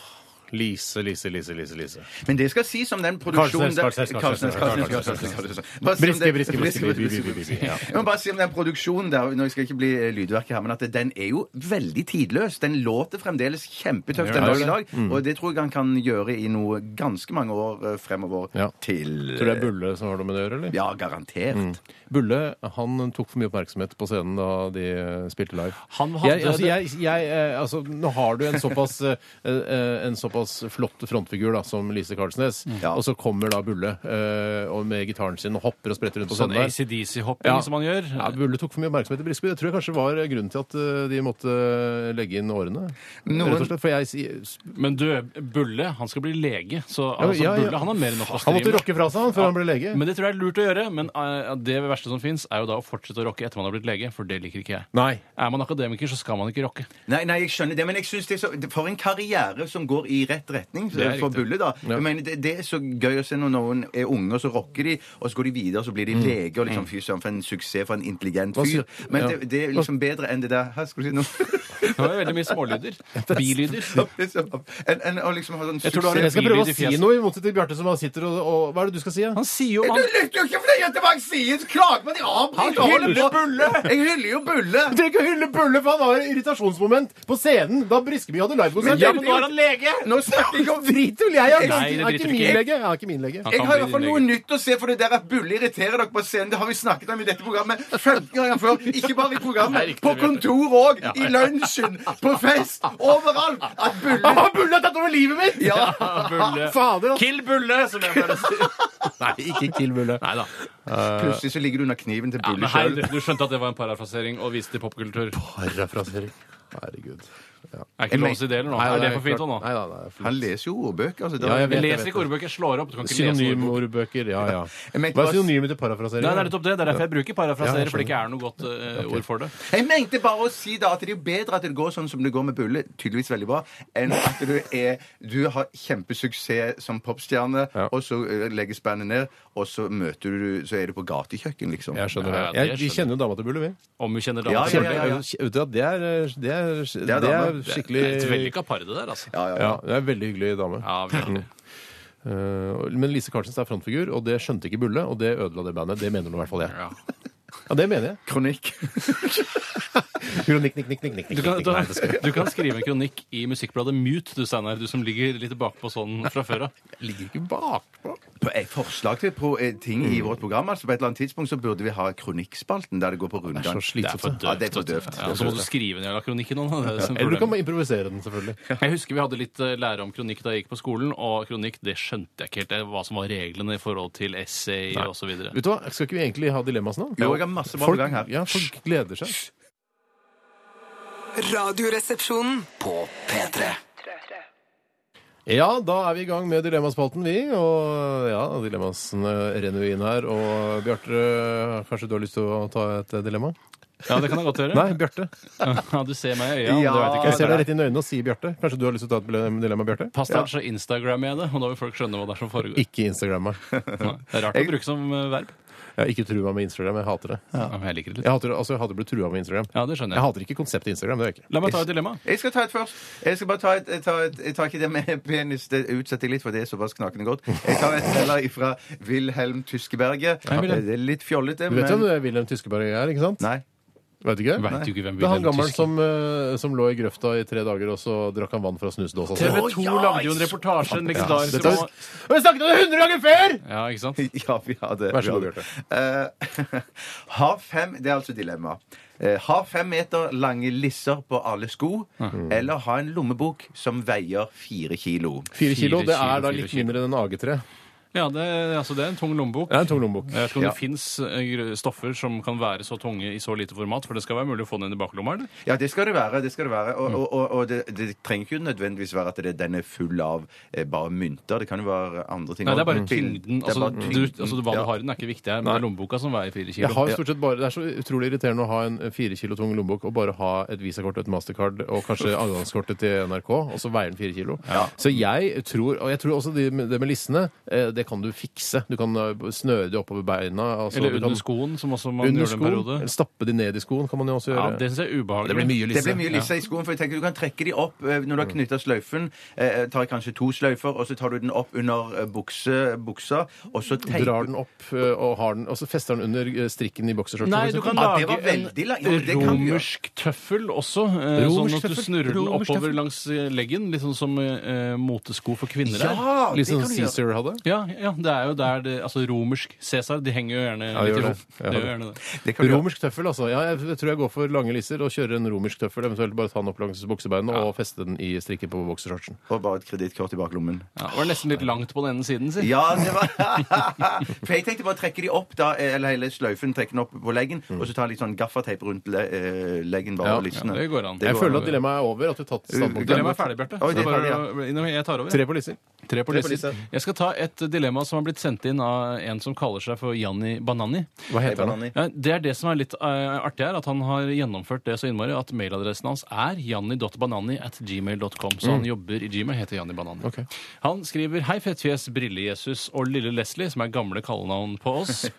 Speaker 2: Lise, Lise, Lise, Lise. Lise.
Speaker 3: Men det skal sies om den produksjonen
Speaker 2: Karlsnes, Karlsnes, Karlsnes,
Speaker 3: Karlsnes,
Speaker 2: Karlsnes,
Speaker 3: Karlsnes, Karlsnes. Bare si om
Speaker 2: Briske,
Speaker 3: det-
Speaker 2: briske, briske, briske, briske, briske, briske, ja.
Speaker 3: Jeg må bare si om den produksjonen der, nå skal jeg ikke bli eh, lydverket her, men at den er jo veldig tidløs. Den låter fremdeles kjempetøft den
Speaker 2: Ja, Mm.
Speaker 3: dag
Speaker 2: det
Speaker 3: i
Speaker 2: er
Speaker 3: dag, og det tror jeg han kan gjøre i noe ganske mange år eh, fremover
Speaker 2: Ja.
Speaker 3: til
Speaker 2: Tror du Mm. det er Bulle som har noe med det å gjøre, eller?
Speaker 3: Ja, garantert.
Speaker 2: Bulle han tok for mye oppmerksomhet på scenen da de eh, spilte live.
Speaker 1: Han hadde
Speaker 2: jeg, altså,
Speaker 1: det-
Speaker 2: jeg, jeg, eh, altså, nå har du en såpass, eh, eh, en såpass flott frontfigur da, som Lise Karlsnes,
Speaker 1: Mm.
Speaker 3: Ja.
Speaker 2: og så kommer da Bulle eh, og med gitaren sin og hopper og spretter rundt på
Speaker 1: Sånn
Speaker 2: scenen der.
Speaker 1: ACDC-hopping som han gjør.
Speaker 2: Ja, Bulle tok for mye oppmerksomhet i Briskeby. Det tror jeg kanskje var grunnen til at eh, de måtte eh, legge inn årene.
Speaker 3: Noen-
Speaker 2: Rett og slett, for jeg sier-
Speaker 1: Men du, Bulle han skal bli lege, så
Speaker 2: Ja,
Speaker 1: altså,
Speaker 2: ja, ja.
Speaker 1: Bulle han har mer enn nok å
Speaker 2: Han
Speaker 1: stri
Speaker 2: måtte
Speaker 1: med.
Speaker 2: rocke fra seg han før
Speaker 1: Ja.
Speaker 2: han ble lege.
Speaker 1: Men det tror jeg er lurt å gjøre. Men eh, det verste som fins, er jo da å fortsette å rocke etter man har blitt lege, for det liker ikke jeg.
Speaker 2: Nei.
Speaker 1: Er man akademiker, så skal man ikke rocke.
Speaker 3: Nei, nei, jeg skjønner det, men jeg synes det er så, for en karriere som går i rett retning
Speaker 1: er
Speaker 3: for
Speaker 1: riktig.
Speaker 3: Bulle, da.
Speaker 2: Ja.
Speaker 3: Jeg mener, det, det er så gøy å se når noen er unge, og så rocker de, og så går de videre, og så blir de lege, og liksom fy søren, for en suksess, for en intelligent
Speaker 2: Mm. Hva
Speaker 3: fyr.
Speaker 2: sier-
Speaker 3: Men
Speaker 2: ja.
Speaker 3: det, det er liksom bedre enn det der Her skulle du si noe.
Speaker 1: Det var jo veldig mye smålyder. Bilyder.
Speaker 3: Enn enn å liksom ha sånn
Speaker 1: Jeg tror du har en-
Speaker 2: Jeg
Speaker 3: suksess
Speaker 2: skal prøve å
Speaker 1: Bilder i
Speaker 2: si
Speaker 1: fjeset.
Speaker 2: noe i motsetning til Bjarte, som han sitter og, og Hva er det du skal si? Ja?
Speaker 1: Han sier jo
Speaker 3: Du
Speaker 1: han,
Speaker 3: lytter jo ikke fordi at det var jeg sier! Klag meg! De avbryter!
Speaker 2: Han
Speaker 3: holder
Speaker 2: hyller
Speaker 3: på. Jeg hyller jo Bulle!
Speaker 2: Du trenger ikke å hylle Bulle, for han har irritasjonsmoment på scenen da Briskeby hadde livekonsert.
Speaker 3: Ja, men nå er
Speaker 1: han lege!
Speaker 3: Nå snakker jeg om
Speaker 2: Driter vel jeg i!
Speaker 1: Nei, det
Speaker 2: Han er ikke
Speaker 1: driter du
Speaker 2: min
Speaker 1: ikke i.
Speaker 2: lege. Han er ikke min lege.
Speaker 1: Han
Speaker 3: Jeg
Speaker 1: kan
Speaker 3: har i
Speaker 1: bli
Speaker 3: hvert fall noe
Speaker 1: lege.
Speaker 3: nytt å se, for det der at Bulle irriterer dere på scenen. Det har vi snakket om i dette programmet 15 ganger før. Ikke bare i programmet. På kontor òg. I lunsjen. På fest. Overalt. At Bulle
Speaker 2: Ah, Bulle har tatt over livet mitt!
Speaker 3: Ja.
Speaker 1: Bulle.
Speaker 2: Fader, altså.
Speaker 1: Kill Bulle, som jeg pleier å si.
Speaker 2: Nei, ikke kill Bulle.
Speaker 1: Nei da.
Speaker 3: Plutselig så ligger du under kniven til
Speaker 1: Men
Speaker 3: Bulle
Speaker 1: hei,
Speaker 3: sjøl.
Speaker 1: du, du skjønte at det var en parafrasering og viste til popkultur.
Speaker 2: Parafrasering. Herregud.
Speaker 1: Er ikke lov å si det, eller noe? Er det for fint nå?
Speaker 2: Nei, nei, nei, det er
Speaker 3: Han
Speaker 2: flott.
Speaker 3: leser jo ordbøker. Altså,
Speaker 2: Ja, jeg
Speaker 1: Jeg
Speaker 2: vet,
Speaker 1: leser
Speaker 2: vet
Speaker 1: ikke ordbøker, jeg slår opp. Du kan ikke lese ordbøker.
Speaker 2: Synonymordbøker. Ja, ja.
Speaker 3: Jeg mente
Speaker 2: Hva
Speaker 3: bare-
Speaker 2: er synonymet til parafrasering?
Speaker 1: Nei, det er nettopp det. Det er derfor jeg bruker parafrasere,
Speaker 2: Ja, jeg
Speaker 1: for det ikke er noe godt eh, ord for det.
Speaker 3: Jeg mente bare å si da at det er jo bedre at det går sånn som det går med Bulle, tydeligvis veldig bra, enn at du er Du har kjempesuksess som popstjerne,
Speaker 2: Ja.
Speaker 3: og så eh, legges bandet ned, og så møter du Så er du på gatekjøkken, liksom.
Speaker 2: Jeg skjønner det.
Speaker 1: Ja, ja, det
Speaker 2: Jeg, vi
Speaker 1: skjønner
Speaker 2: kjenner jo dama til Bulle, vi.
Speaker 1: Om vi kjenner
Speaker 3: Ja,
Speaker 1: damer.
Speaker 3: ja, ja, ja.
Speaker 2: Vet du hva, Det er, det er, det
Speaker 3: er
Speaker 2: er
Speaker 3: dame.
Speaker 2: skikkelig
Speaker 1: Det er et veldig kapar, det der, altså.
Speaker 3: Ja, ja, ja.
Speaker 2: Ja, det er en veldig hyggelig dame.
Speaker 1: Ja, veldig.
Speaker 2: Eh, og- men Lise Carlsens er frontfigur, og det skjønte ikke Bulle, og det ødela det bandet. Det mener nå i hvert fall jeg.
Speaker 1: Ja.
Speaker 2: Ja, det mener jeg.
Speaker 3: Kronikk.
Speaker 2: Kronikk, nikk, nikk, nikk, nikk,
Speaker 1: Du, kan,
Speaker 2: nikk, nikk, nikk.
Speaker 1: du kan skrive en kronikk i musikkbladet Mute, du Steinar. Du som ligger litt bakpå sånn fra før av.
Speaker 2: Ligger ikke bakpå.
Speaker 3: På et forslag til pro- eh, ting i vårt program. altså På et eller annet tidspunkt så burde vi ha kronikkspalten der det går på rundgang.
Speaker 2: så
Speaker 1: Det er
Speaker 2: slitsomt.
Speaker 1: for
Speaker 2: da.
Speaker 1: døvt.
Speaker 3: Ja, det er for døvt.
Speaker 1: Ja, og så må du skrive ned kronikken nå. da. Det er som
Speaker 2: Eller du kan
Speaker 1: problemet.
Speaker 2: bare improvisere den, selvfølgelig.
Speaker 1: Jeg husker vi hadde litt eh, lære om kronikk da jeg gikk på skolen, og kronikk det skjønte jeg ikke helt eh, hva som var reglene i forhold til essay og så videre.
Speaker 2: Vet du hva, Skal ikke vi egentlig ha dilemmas nå?
Speaker 3: Jo, jeg har masse bra på
Speaker 2: folk,
Speaker 3: gang her.
Speaker 2: Ja, folk gleder seg.
Speaker 4: Radioresepsjonen.
Speaker 5: På P3.
Speaker 2: Ja, da er vi i gang med dilemmaspalten, vi. Og ja, dilemmasene renner jo inn her. Og Bjarte, kanskje du har lyst til å ta et dilemma?
Speaker 1: Ja, det kan jeg godt gjøre.
Speaker 2: Nei, Bjarte.
Speaker 1: Ja, du ser meg i øya, ja, det
Speaker 3: Ja.
Speaker 1: vet
Speaker 2: Jeg ser
Speaker 1: jeg ikke.
Speaker 2: deg rett inn i øynene og sier Bjarte. Kanskje du har lyst til å ta et dilemma, Bjarte?
Speaker 1: Pass deg, så instagrammer jeg det, og da vil folk skjønne hva det er som foregår.
Speaker 2: Ikke Instagram meg.
Speaker 1: Nei, Det er rart å bruke som eh, verb.
Speaker 2: Jeg har ikke trua med Instagram. Jeg hater det.
Speaker 1: Ja, men jeg liker det litt.
Speaker 2: Jeg hater, altså, jeg hater å bli trua med Instagram.
Speaker 1: Ja, det skjønner
Speaker 2: Jeg
Speaker 1: jeg.
Speaker 2: hater ikke konseptet Instagram. det gjør jeg ikke.
Speaker 1: La meg ta et dilemma.
Speaker 3: Jeg skal ta et først. Jeg skal bare ta et, jeg tar, et, jeg tar ikke det med penis. Det utsetter jeg litt, for det er såpass knakende godt. Jeg tar et heller ifra Wilhelm Tyskeberget.
Speaker 1: Hei, Wilhelm.
Speaker 3: Det er litt fjollete,
Speaker 2: Du vet jo hvem
Speaker 3: men
Speaker 2: det er Wilhelm Tyskeberg er, ikke sant?
Speaker 3: Nei.
Speaker 2: Vet du ikke?
Speaker 1: Veit jo ikke hvem
Speaker 2: Det er han
Speaker 1: Wilhelm
Speaker 2: gammelen
Speaker 1: Tysk-
Speaker 2: som, eh, som lå i grøfta i tre dager, og så drakk han vann fra snusdåsa si.
Speaker 1: TV 2 lagde jo en reportasje, en legendarisk
Speaker 2: Dette
Speaker 1: roman.
Speaker 2: har vi vi snakket om det 100 ganger før!
Speaker 1: Ja, ikke sant?
Speaker 3: Ja, vi har det.
Speaker 2: Vær så god,
Speaker 3: Vi har det. Eh, har fem Det er altså dilemma. Eh, har fem meter lange lisser på alle sko, eller ha en lommebok som veier fire kilo.
Speaker 2: Fire kilo, det er da
Speaker 1: fire
Speaker 2: litt
Speaker 1: kilo.
Speaker 2: mindre enn en AG3.
Speaker 1: Ja, det, altså, det er en tung lommebok.
Speaker 2: Det er en tung lommebok.
Speaker 1: Jeg vet ikke om
Speaker 3: Ja.
Speaker 1: det fins stoffer som kan være så tunge i så lite format, for det skal være mulig å få den i baklomma, eller?
Speaker 3: Ja, det skal det være. det skal det være.
Speaker 1: Mm.
Speaker 3: Og, og, og, og det, det trenger ikke nødvendigvis være at det, den er full av eh, bare mynter. Det kan jo være andre ting.
Speaker 1: Nei, det er bare
Speaker 3: Mm.
Speaker 1: tyngden.
Speaker 3: Det er
Speaker 1: Altså,
Speaker 3: bare
Speaker 1: du,
Speaker 3: tyngden.
Speaker 1: altså, hva du
Speaker 3: Ja.
Speaker 1: har i den, er ikke viktig her, men det er lommeboka som veier fire
Speaker 2: Jeg
Speaker 1: kilo.
Speaker 2: har jo stort sett bare, Det er så utrolig irriterende å ha en fire kilo tung lommebok og bare ha et visakort og et mastercard og kanskje adgangskortet til NRK, og så veier den fire kilo. Så jeg tror, og jeg tror også det med, det med lissene eh, Det det kan du fikse. Du kan eh, snøre de oppover beina. Altså,
Speaker 1: Eller
Speaker 2: du
Speaker 1: under
Speaker 2: kan-
Speaker 1: skoen, som også man
Speaker 2: Under
Speaker 1: gjør en
Speaker 2: skoen.
Speaker 1: periode.
Speaker 2: Eller stappe de ned i skoen kan man jo også
Speaker 1: Ja,
Speaker 2: gjøre.
Speaker 1: det syns jeg er ubehagelig.
Speaker 2: Det blir mye
Speaker 3: Det
Speaker 2: lisse.
Speaker 3: blir mye lisse i skoen, for jeg tenker du kan trekke de opp eh, når du har
Speaker 1: Mm.
Speaker 3: knytta sløyfen. Eh, tar kanskje to sløyfer, og så tar du den opp under eh, bukse, buksa, og så teiper
Speaker 2: Drar den opp eh, og, har den, og så fester den under eh, strikken i bokserskjorten.
Speaker 1: Nei,
Speaker 2: for
Speaker 1: du
Speaker 2: eksempel.
Speaker 1: kan
Speaker 3: Ja,
Speaker 1: lage
Speaker 3: det var veldig lang- Ja, men det
Speaker 1: en
Speaker 3: kan du gjøre.
Speaker 1: romersk tøffel også. eh,
Speaker 2: Romersk
Speaker 1: sånn at du
Speaker 2: tøffel?
Speaker 1: snurrer den
Speaker 2: Romersk
Speaker 1: oppover
Speaker 2: tøffel?
Speaker 1: langs eh, leggen, litt sånn som eh, motesko for kvinner er.
Speaker 3: Ja,
Speaker 2: Litt
Speaker 1: liksom
Speaker 3: det kan
Speaker 2: sånn
Speaker 3: du gjøre.
Speaker 2: Cæsar hadde.
Speaker 1: Ja, ja, det er jo der det Altså romersk Cæsar, de henger jo gjerne
Speaker 2: de
Speaker 1: litt i
Speaker 2: gjør
Speaker 1: ro.
Speaker 2: det. Ja,
Speaker 1: De
Speaker 2: det.
Speaker 1: gjør gjerne det.
Speaker 3: Det kan du gjøre.
Speaker 2: Romersk tøffel, altså. Ja, jeg tror jeg går for lange lisser og kjører en romersk tøffel. Eventuelt bare ta den opp langs buksebeina og feste den i strikken på boksershortsen.
Speaker 3: Og bare et kredittkort i baklommen.
Speaker 1: Ja, det var nesten litt langt på den ene siden, si.
Speaker 3: Ja, det var For jeg tenkte bare å trekke de opp, da, eh, eller hele sløyfen, trekke den opp på leggen, og så ta litt sånn gaffateip rundt le eh, leggen bare
Speaker 2: Ja,
Speaker 3: og lissene.
Speaker 1: Mm. ja, det går an.
Speaker 3: Det
Speaker 2: Jeg
Speaker 3: går
Speaker 2: føler
Speaker 3: an.
Speaker 2: at dilemmaet er over, at du har tatt standpunktet.
Speaker 1: Dilemmaet er ferdig, Bjarte.
Speaker 3: Oi,
Speaker 1: Så
Speaker 3: det er
Speaker 1: bare-
Speaker 3: ferdig,
Speaker 1: Nei, Jeg tar over.
Speaker 2: Tre på lisser.
Speaker 1: Tre på
Speaker 2: Tre på
Speaker 1: lisser.
Speaker 2: lisser.
Speaker 1: Jeg skal ta et dilemma som har blitt sendt inn av en som kaller seg for Janni Banani.
Speaker 2: Hva heter den? da?
Speaker 3: Banani.
Speaker 1: Ja, Det er det som er litt eh, artig her, at han har gjennomført det så innmari at mailadressen hans er janni.banani at gmail.com. Så han jobber i Gmail, heter Janni Banani.
Speaker 2: Ok.
Speaker 1: Han skriver Hei, Fettfjes, Brille-Jesus og Lille Leslie, som er gamle kallenavn på oss.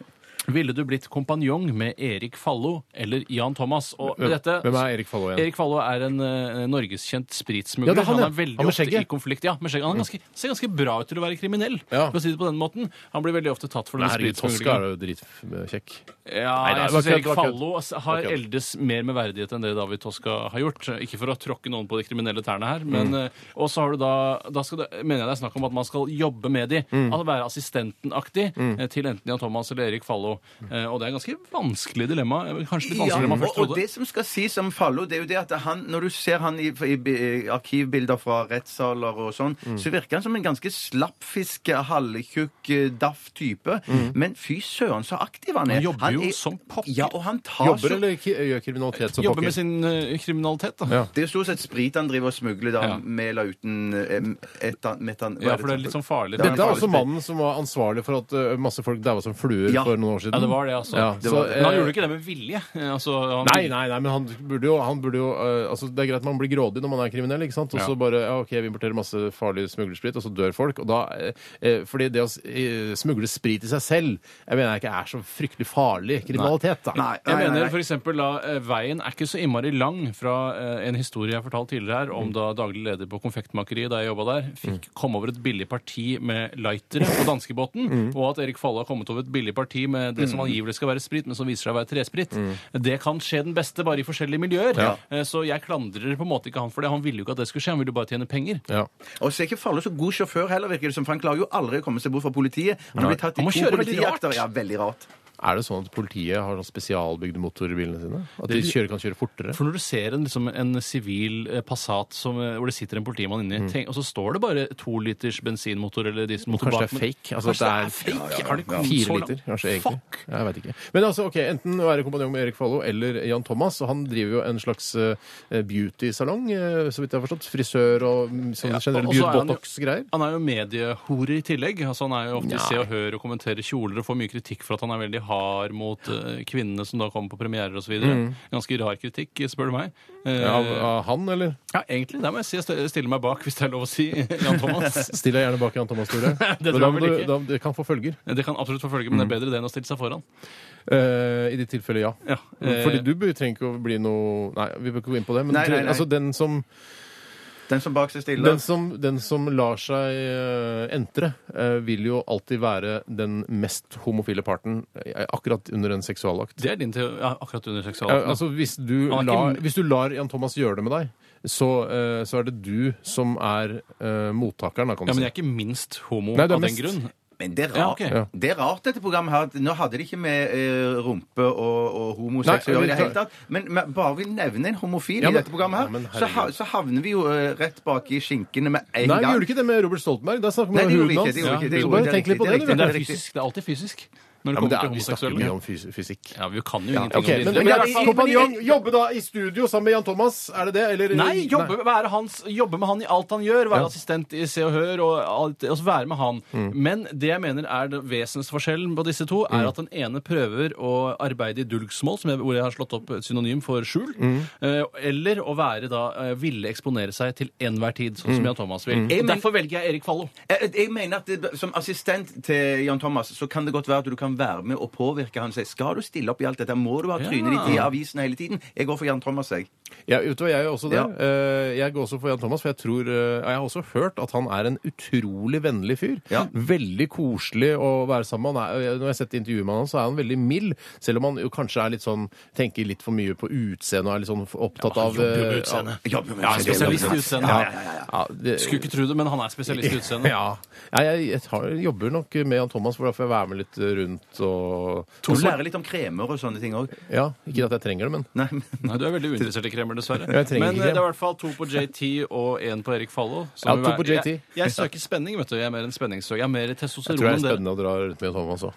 Speaker 1: Ville du blitt kompanjong med Erik Fallo eller Jan Thomas? Og
Speaker 2: Hvem-
Speaker 1: dette,
Speaker 2: Hvem er Erik Fallo igjen?
Speaker 1: Erik Fallo er en eh, norgeskjent
Speaker 2: Ja,
Speaker 1: spritsmugler.
Speaker 2: det er han,
Speaker 1: han,
Speaker 2: ja.
Speaker 1: er veldig
Speaker 2: Han med
Speaker 1: ofte
Speaker 2: skjegget. Mm.
Speaker 1: i konflikt. Ja, med skjegget. Han er ganske, ser ganske bra ut til å være kriminell.
Speaker 2: Ja.
Speaker 1: For å si det på den måten. Han blir veldig ofte tatt for
Speaker 2: Nei,
Speaker 1: denne
Speaker 2: herregud, Tosca
Speaker 1: spritsmuglingen.
Speaker 2: er jo dritkjekk.
Speaker 1: Ja,
Speaker 2: Nei, nei,
Speaker 1: jeg
Speaker 2: det var
Speaker 1: synes
Speaker 2: kødd,
Speaker 1: Erik
Speaker 2: det var kødd.
Speaker 1: Fallo har
Speaker 2: Det var kødd.
Speaker 1: eldes mer med verdighet enn det David Toska har gjort. Ikke for å tråkke noen på de kriminelle tærne her, men
Speaker 2: Mm.
Speaker 1: eh, Og så har du da Da skal det, mener jeg det er snakk om at man skal jobbe med de.
Speaker 2: Mm.
Speaker 1: Altså være assistentenaktig eh, til enten Jan Thomas eller Erik Fallo. Eh, Og det er et ganske vanskelig dilemma. eh, Kanskje litt vanskeligere enn man
Speaker 3: og,
Speaker 1: først trodde.
Speaker 3: og det som skal sies om Fallo, det er jo det at han, når du ser han i, i, i arkivbilder fra rettssaler og sånn,
Speaker 1: Mm.
Speaker 3: så virker han som en ganske slappfisk, halvtjukk, eh, daff type. Men fy søren, så aktiv han er.
Speaker 1: Mm. Han jobber jo
Speaker 3: er-
Speaker 1: som pokker.
Speaker 3: Ja, og han tar
Speaker 2: Jobber
Speaker 3: så
Speaker 2: eller ki- gjør kriminalitet som
Speaker 1: Jobbe med
Speaker 2: pokker?
Speaker 1: sin eh, kriminalitet, da.
Speaker 2: Ja.
Speaker 1: Ja.
Speaker 3: Det er jo stort sett sprit han driver og smugler, da,
Speaker 1: Ja.
Speaker 3: med eller uten eh, etan, metan... hva
Speaker 1: for det er litt sånn farlig.
Speaker 3: Det
Speaker 2: Dette er
Speaker 3: farlig
Speaker 2: også
Speaker 3: spill.
Speaker 2: mannen som var ansvarlig for at ø, masse folk daua som fluer
Speaker 3: Ja.
Speaker 2: for noen år siden.
Speaker 1: Ja, det var det, altså.
Speaker 2: Ja,
Speaker 1: Det
Speaker 2: så,
Speaker 1: var det. Men han
Speaker 2: eh,
Speaker 1: gjorde ikke det med vilje. Eh, Altså, han,
Speaker 2: Nei, nei, nei, men han burde jo, han burde jo eh, altså Det er greit man blir grådig når man er kriminell, ikke sant? Og så
Speaker 1: Ja.
Speaker 2: bare ja, OK, vi importerer masse farlig smuglersprit, og så dør folk. Og da, eh, eh, fordi det å s- eh, smugle sprit i seg selv, jeg mener jeg ikke er så fryktelig farlig kriminalitet, da.
Speaker 3: Nei,
Speaker 1: Jeg
Speaker 3: nei, nei,
Speaker 1: mener
Speaker 3: nei.
Speaker 1: for eksempel da, eh, Veien er ikke så innmari lang fra eh, en historie jeg fortalte tidligere her, om da daglig leder på Konfektmakeriet da jeg jobba der, fikk komme over et billig parti med lightere på danskebåten, og at Erik Falle har kommet over et billig parti med det som angivelig skal være sprit, men som viser seg å være tresprit. Det kan skje den beste bare i forskjellige miljøer. Eh, Så jeg klandrer på en måte ikke han for det. Han ville jo ikke at det skulle skje, han ville jo bare tjene penger.
Speaker 2: Ja.
Speaker 3: Og så er ikke Farlo så god sjåfør heller, virker det som. For han klarer jo aldri å komme seg bort fra politiet. Han blir tatt i
Speaker 1: Han må
Speaker 3: to
Speaker 1: kjøre veldig rart.
Speaker 3: politijakter. Ja, veldig rart.
Speaker 2: Er det sånn at politiet har sånn spesialbygde motorer i bilene sine? At de kjører, kan kjøre fortere?
Speaker 1: For når du ser en, liksom, en sivil eh, Passat som, eh, hvor det sitter en politimann inni,
Speaker 2: Mm.
Speaker 1: tenk, og så står det bare to liters bensinmotor eller dieselmotor
Speaker 2: Kanskje det er
Speaker 1: men-
Speaker 2: fake? Altså,
Speaker 1: kanskje det er
Speaker 2: det er-
Speaker 1: fake? Har de kommet så
Speaker 2: Fire
Speaker 1: langt?
Speaker 2: liter, kanskje egentlig.
Speaker 1: Fuck!
Speaker 2: Jeg vet ikke. Men altså, ok, enten å være kompanjong med Erik Fallo eller Jan Thomas, og han driver jo en slags eh, beauty-salong, eh, så vidt jeg har forstått. Frisør og mm, sånn
Speaker 1: Ja,
Speaker 2: generell
Speaker 1: og så er han jo-
Speaker 2: beauty-botox-greier.
Speaker 1: Han er jo mediehore i tillegg. Altså, han er jo ofte i
Speaker 2: Nei.
Speaker 1: Se og Hør og kommenterer kjoler og får mye kritikk for at han er veldig hard mot eh, kvinnene som da kommer på premierer osv. videre Ganske rar kritikk, spør du meg. Eh,
Speaker 2: Mm. Ja, av, av han, eller?
Speaker 1: ja, egentlig. Der må jeg si jeg stiller- stiller meg bak, hvis det er lov å si. Jan Thomas.
Speaker 2: Stiller jeg gjerne bak Jan Thomas, Tore.
Speaker 1: Det
Speaker 2: Men da
Speaker 1: tror jeg
Speaker 2: må
Speaker 1: vel
Speaker 2: du-
Speaker 1: ikke.
Speaker 2: Da, det kan få følger.
Speaker 1: Det kan absolutt forfølge, men det er bedre det enn å stille seg foran.
Speaker 2: Eh, I ditt tilfelle, ja.
Speaker 1: Ja. Eh,
Speaker 2: Fordi du bør- trenger ikke å bli noe Nei, vi bør ikke gå inn på det. Men
Speaker 3: Nei, nei, nei.
Speaker 2: altså, den som
Speaker 3: Den som bak seg stiller.
Speaker 2: Den som, den som lar seg eh, entre, eh, vil jo alltid være den mest homofile parten eh, akkurat under en seksualakt.
Speaker 1: Det er din teori ja, akkurat under
Speaker 2: Eh,
Speaker 1: seksualakten.
Speaker 2: altså, hvis du,
Speaker 1: Han er ikke-
Speaker 2: lar, hvis du lar Jan Thomas gjøre det med deg, så, eh, så er det du som er eh, mottakeren, da, kan du
Speaker 1: ja, men
Speaker 2: si.
Speaker 1: jeg er ikke minst homo
Speaker 2: Nei, du er
Speaker 1: av den
Speaker 2: mest-
Speaker 1: grunn.
Speaker 3: Men det er
Speaker 1: Ja,
Speaker 3: rart.
Speaker 1: ok.
Speaker 2: Ja.
Speaker 3: Det er rart dette programmet her. at Nå hadde det ikke med eh, rumpe og, og
Speaker 2: Nei,
Speaker 3: homosex å gjøre i det
Speaker 2: vi-
Speaker 3: hele tatt. Men men bare vi nevner en homofil
Speaker 2: Ja,
Speaker 3: i
Speaker 2: men-
Speaker 3: dette programmet
Speaker 2: Ja, men
Speaker 3: her, så, ha,
Speaker 2: herregud.
Speaker 3: så havner vi jo eh, rett bak i skinkene med en
Speaker 2: Nei, vi
Speaker 3: gang.
Speaker 2: gjorde ikke det med Robert Stoltenberg. Da snakker vi
Speaker 3: Nei,
Speaker 2: om
Speaker 3: det gjorde vi
Speaker 2: huden hans.
Speaker 3: ikke. Det gjorde vi ikke, det
Speaker 2: Så
Speaker 3: gjorde vi
Speaker 2: bare
Speaker 3: ikke,
Speaker 2: tenk litt på
Speaker 3: det er
Speaker 2: det,
Speaker 3: riktig,
Speaker 2: du.
Speaker 1: Men det
Speaker 3: er
Speaker 1: er
Speaker 3: riktig.
Speaker 1: fysisk. Det er alltid fysisk. når det
Speaker 2: Ja, men det
Speaker 1: kommer
Speaker 2: er,
Speaker 1: til
Speaker 2: vi snakker mye
Speaker 1: homoseksuelle.
Speaker 2: om fys fysikk.
Speaker 1: Ja, vi kan jo
Speaker 2: Ja,
Speaker 1: ingenting
Speaker 2: ok, men,
Speaker 1: om det.
Speaker 2: men,
Speaker 3: Men
Speaker 2: Lars
Speaker 3: i-
Speaker 2: Kompanjong
Speaker 3: men
Speaker 2: jobber da i studio sammen med Jan Thomas, er det det? Eller,
Speaker 1: Nei, jobbe, være hans, jobbe med han i alt han gjør.
Speaker 2: Ja.
Speaker 1: Være
Speaker 2: Mm.
Speaker 1: assistent i Se og Hør. Og alt, altså være med han. Men det jeg mener er det vesensforskjellen på disse to, er at den ene prøver å arbeide i dulgsmål, som jeg, hvor jeg har slått opp et synonym for skjul,
Speaker 2: Mm.
Speaker 1: eh, eller å være da eh, ville eksponere seg til enhver tid, sånn
Speaker 2: Mm.
Speaker 1: som Jan Thomas vil.
Speaker 3: Jeg men-
Speaker 1: Derfor velger jeg Erik Fallo.
Speaker 3: Jeg, Eh, jeg mener at det, som assistent til Jan Thomas så kan det godt være at du kan være med og påvirke han og si skal du stille opp i alt dette, må du ha trynet ditt i avisen hele tiden? Jeg går for Jan Thomas, jeg.
Speaker 2: Ja, vet du hva, jeg gjør også det.
Speaker 3: Ja.
Speaker 2: Eh, Jeg går også for Jan Thomas, for jeg tror eh, Jeg har også hørt at han er en utrolig vennlig fyr.
Speaker 3: Ja.
Speaker 2: Veldig koselig å være sammen med. Han er- Når jeg har sett intervjuet med han, så er han veldig mild. Selv om han jo kanskje er litt sånn tenker litt for mye på utseendet og er litt sånn opptatt av eh, av-
Speaker 3: Jeg jobber med
Speaker 1: Ja,
Speaker 3: det.
Speaker 1: spesialist i utseende.
Speaker 2: Ja, ja, ja, ja. det-
Speaker 1: Skulle ikke tro det, men han er spesialist i utseende.
Speaker 2: Ja. ja jeg, jeg tar, jobber nok med Jan Thomas, for da får jeg være med litt rundt og
Speaker 3: Du lærer litt om kremer og sånne ting òg.
Speaker 2: Ja, ikke at jeg trenger det, men
Speaker 3: Nei, men
Speaker 1: Nei, du er veldig uinteressert i kremer, dessverre.
Speaker 2: Jeg trenger
Speaker 1: Men
Speaker 2: ikke
Speaker 1: eh, det
Speaker 2: krem.
Speaker 1: er i hvert fall to på JT og én på Erik Fallo. som
Speaker 2: Ja,
Speaker 1: vil
Speaker 2: to
Speaker 1: være-
Speaker 2: på JT.
Speaker 1: Jeg, jeg søker spenning, vet du. Jeg er mer en spenningssøker. Jeg er mer
Speaker 2: jeg tror
Speaker 1: testosteron
Speaker 2: det
Speaker 1: enn
Speaker 2: er
Speaker 1: dere.
Speaker 2: spennende å dra rundt med Jan Thomas òg.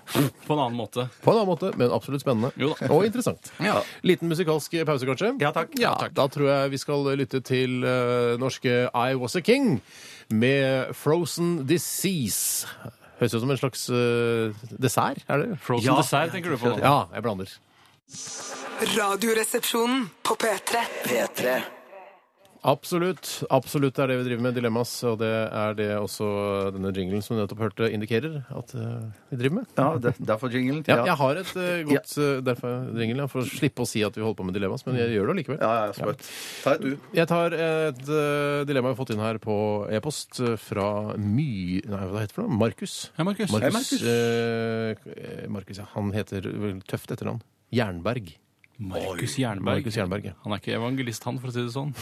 Speaker 1: På en annen måte.
Speaker 2: På en annen måte, men absolutt spennende.
Speaker 1: Jo da.
Speaker 2: Og interessant.
Speaker 1: Ja.
Speaker 2: Liten musikalsk pause, kanskje?
Speaker 3: Ja, takk.
Speaker 2: Ja,
Speaker 3: Ja, takk.
Speaker 2: Da tror jeg vi skal lytte til eh, norske I Was A King med Frozen Disease. Høres ut som en slags eh, dessert, er det?
Speaker 1: Frozen
Speaker 3: Ja.
Speaker 1: dessert tenker du på nå.
Speaker 2: Ja, jeg blander.
Speaker 4: Radioresepsjonen på P3.
Speaker 5: P3.
Speaker 2: Absolutt. Absolutt er det vi driver med, Dilemmas. Og det er det også denne jinglen som du nettopp hørte, indikerer at eh, vi driver med.
Speaker 3: ja, der- derfor jinglen.
Speaker 2: Ja, jeg har et eh, godt eh, derfor, jingel, ja, for å slippe å si at vi holder på med Dilemmas, men jeg gjør det allikevel.
Speaker 3: Ja, ja, sprøtt. Ta et du.
Speaker 2: Jeg tar et eh, dilemma jeg har fått inn her på e-post eh, fra My... Nei, hva heter det? for noe? Markus.
Speaker 1: Hei, Markus.
Speaker 2: Markus,
Speaker 3: Hei, Markus.
Speaker 2: eh, eh, Markus, ja. Han heter vel tøft etternavn. Jernberg.
Speaker 1: Markus Jernberg.
Speaker 2: Markus Jernberg, ja.
Speaker 1: Han er ikke evangelist, han, for å si det sånn.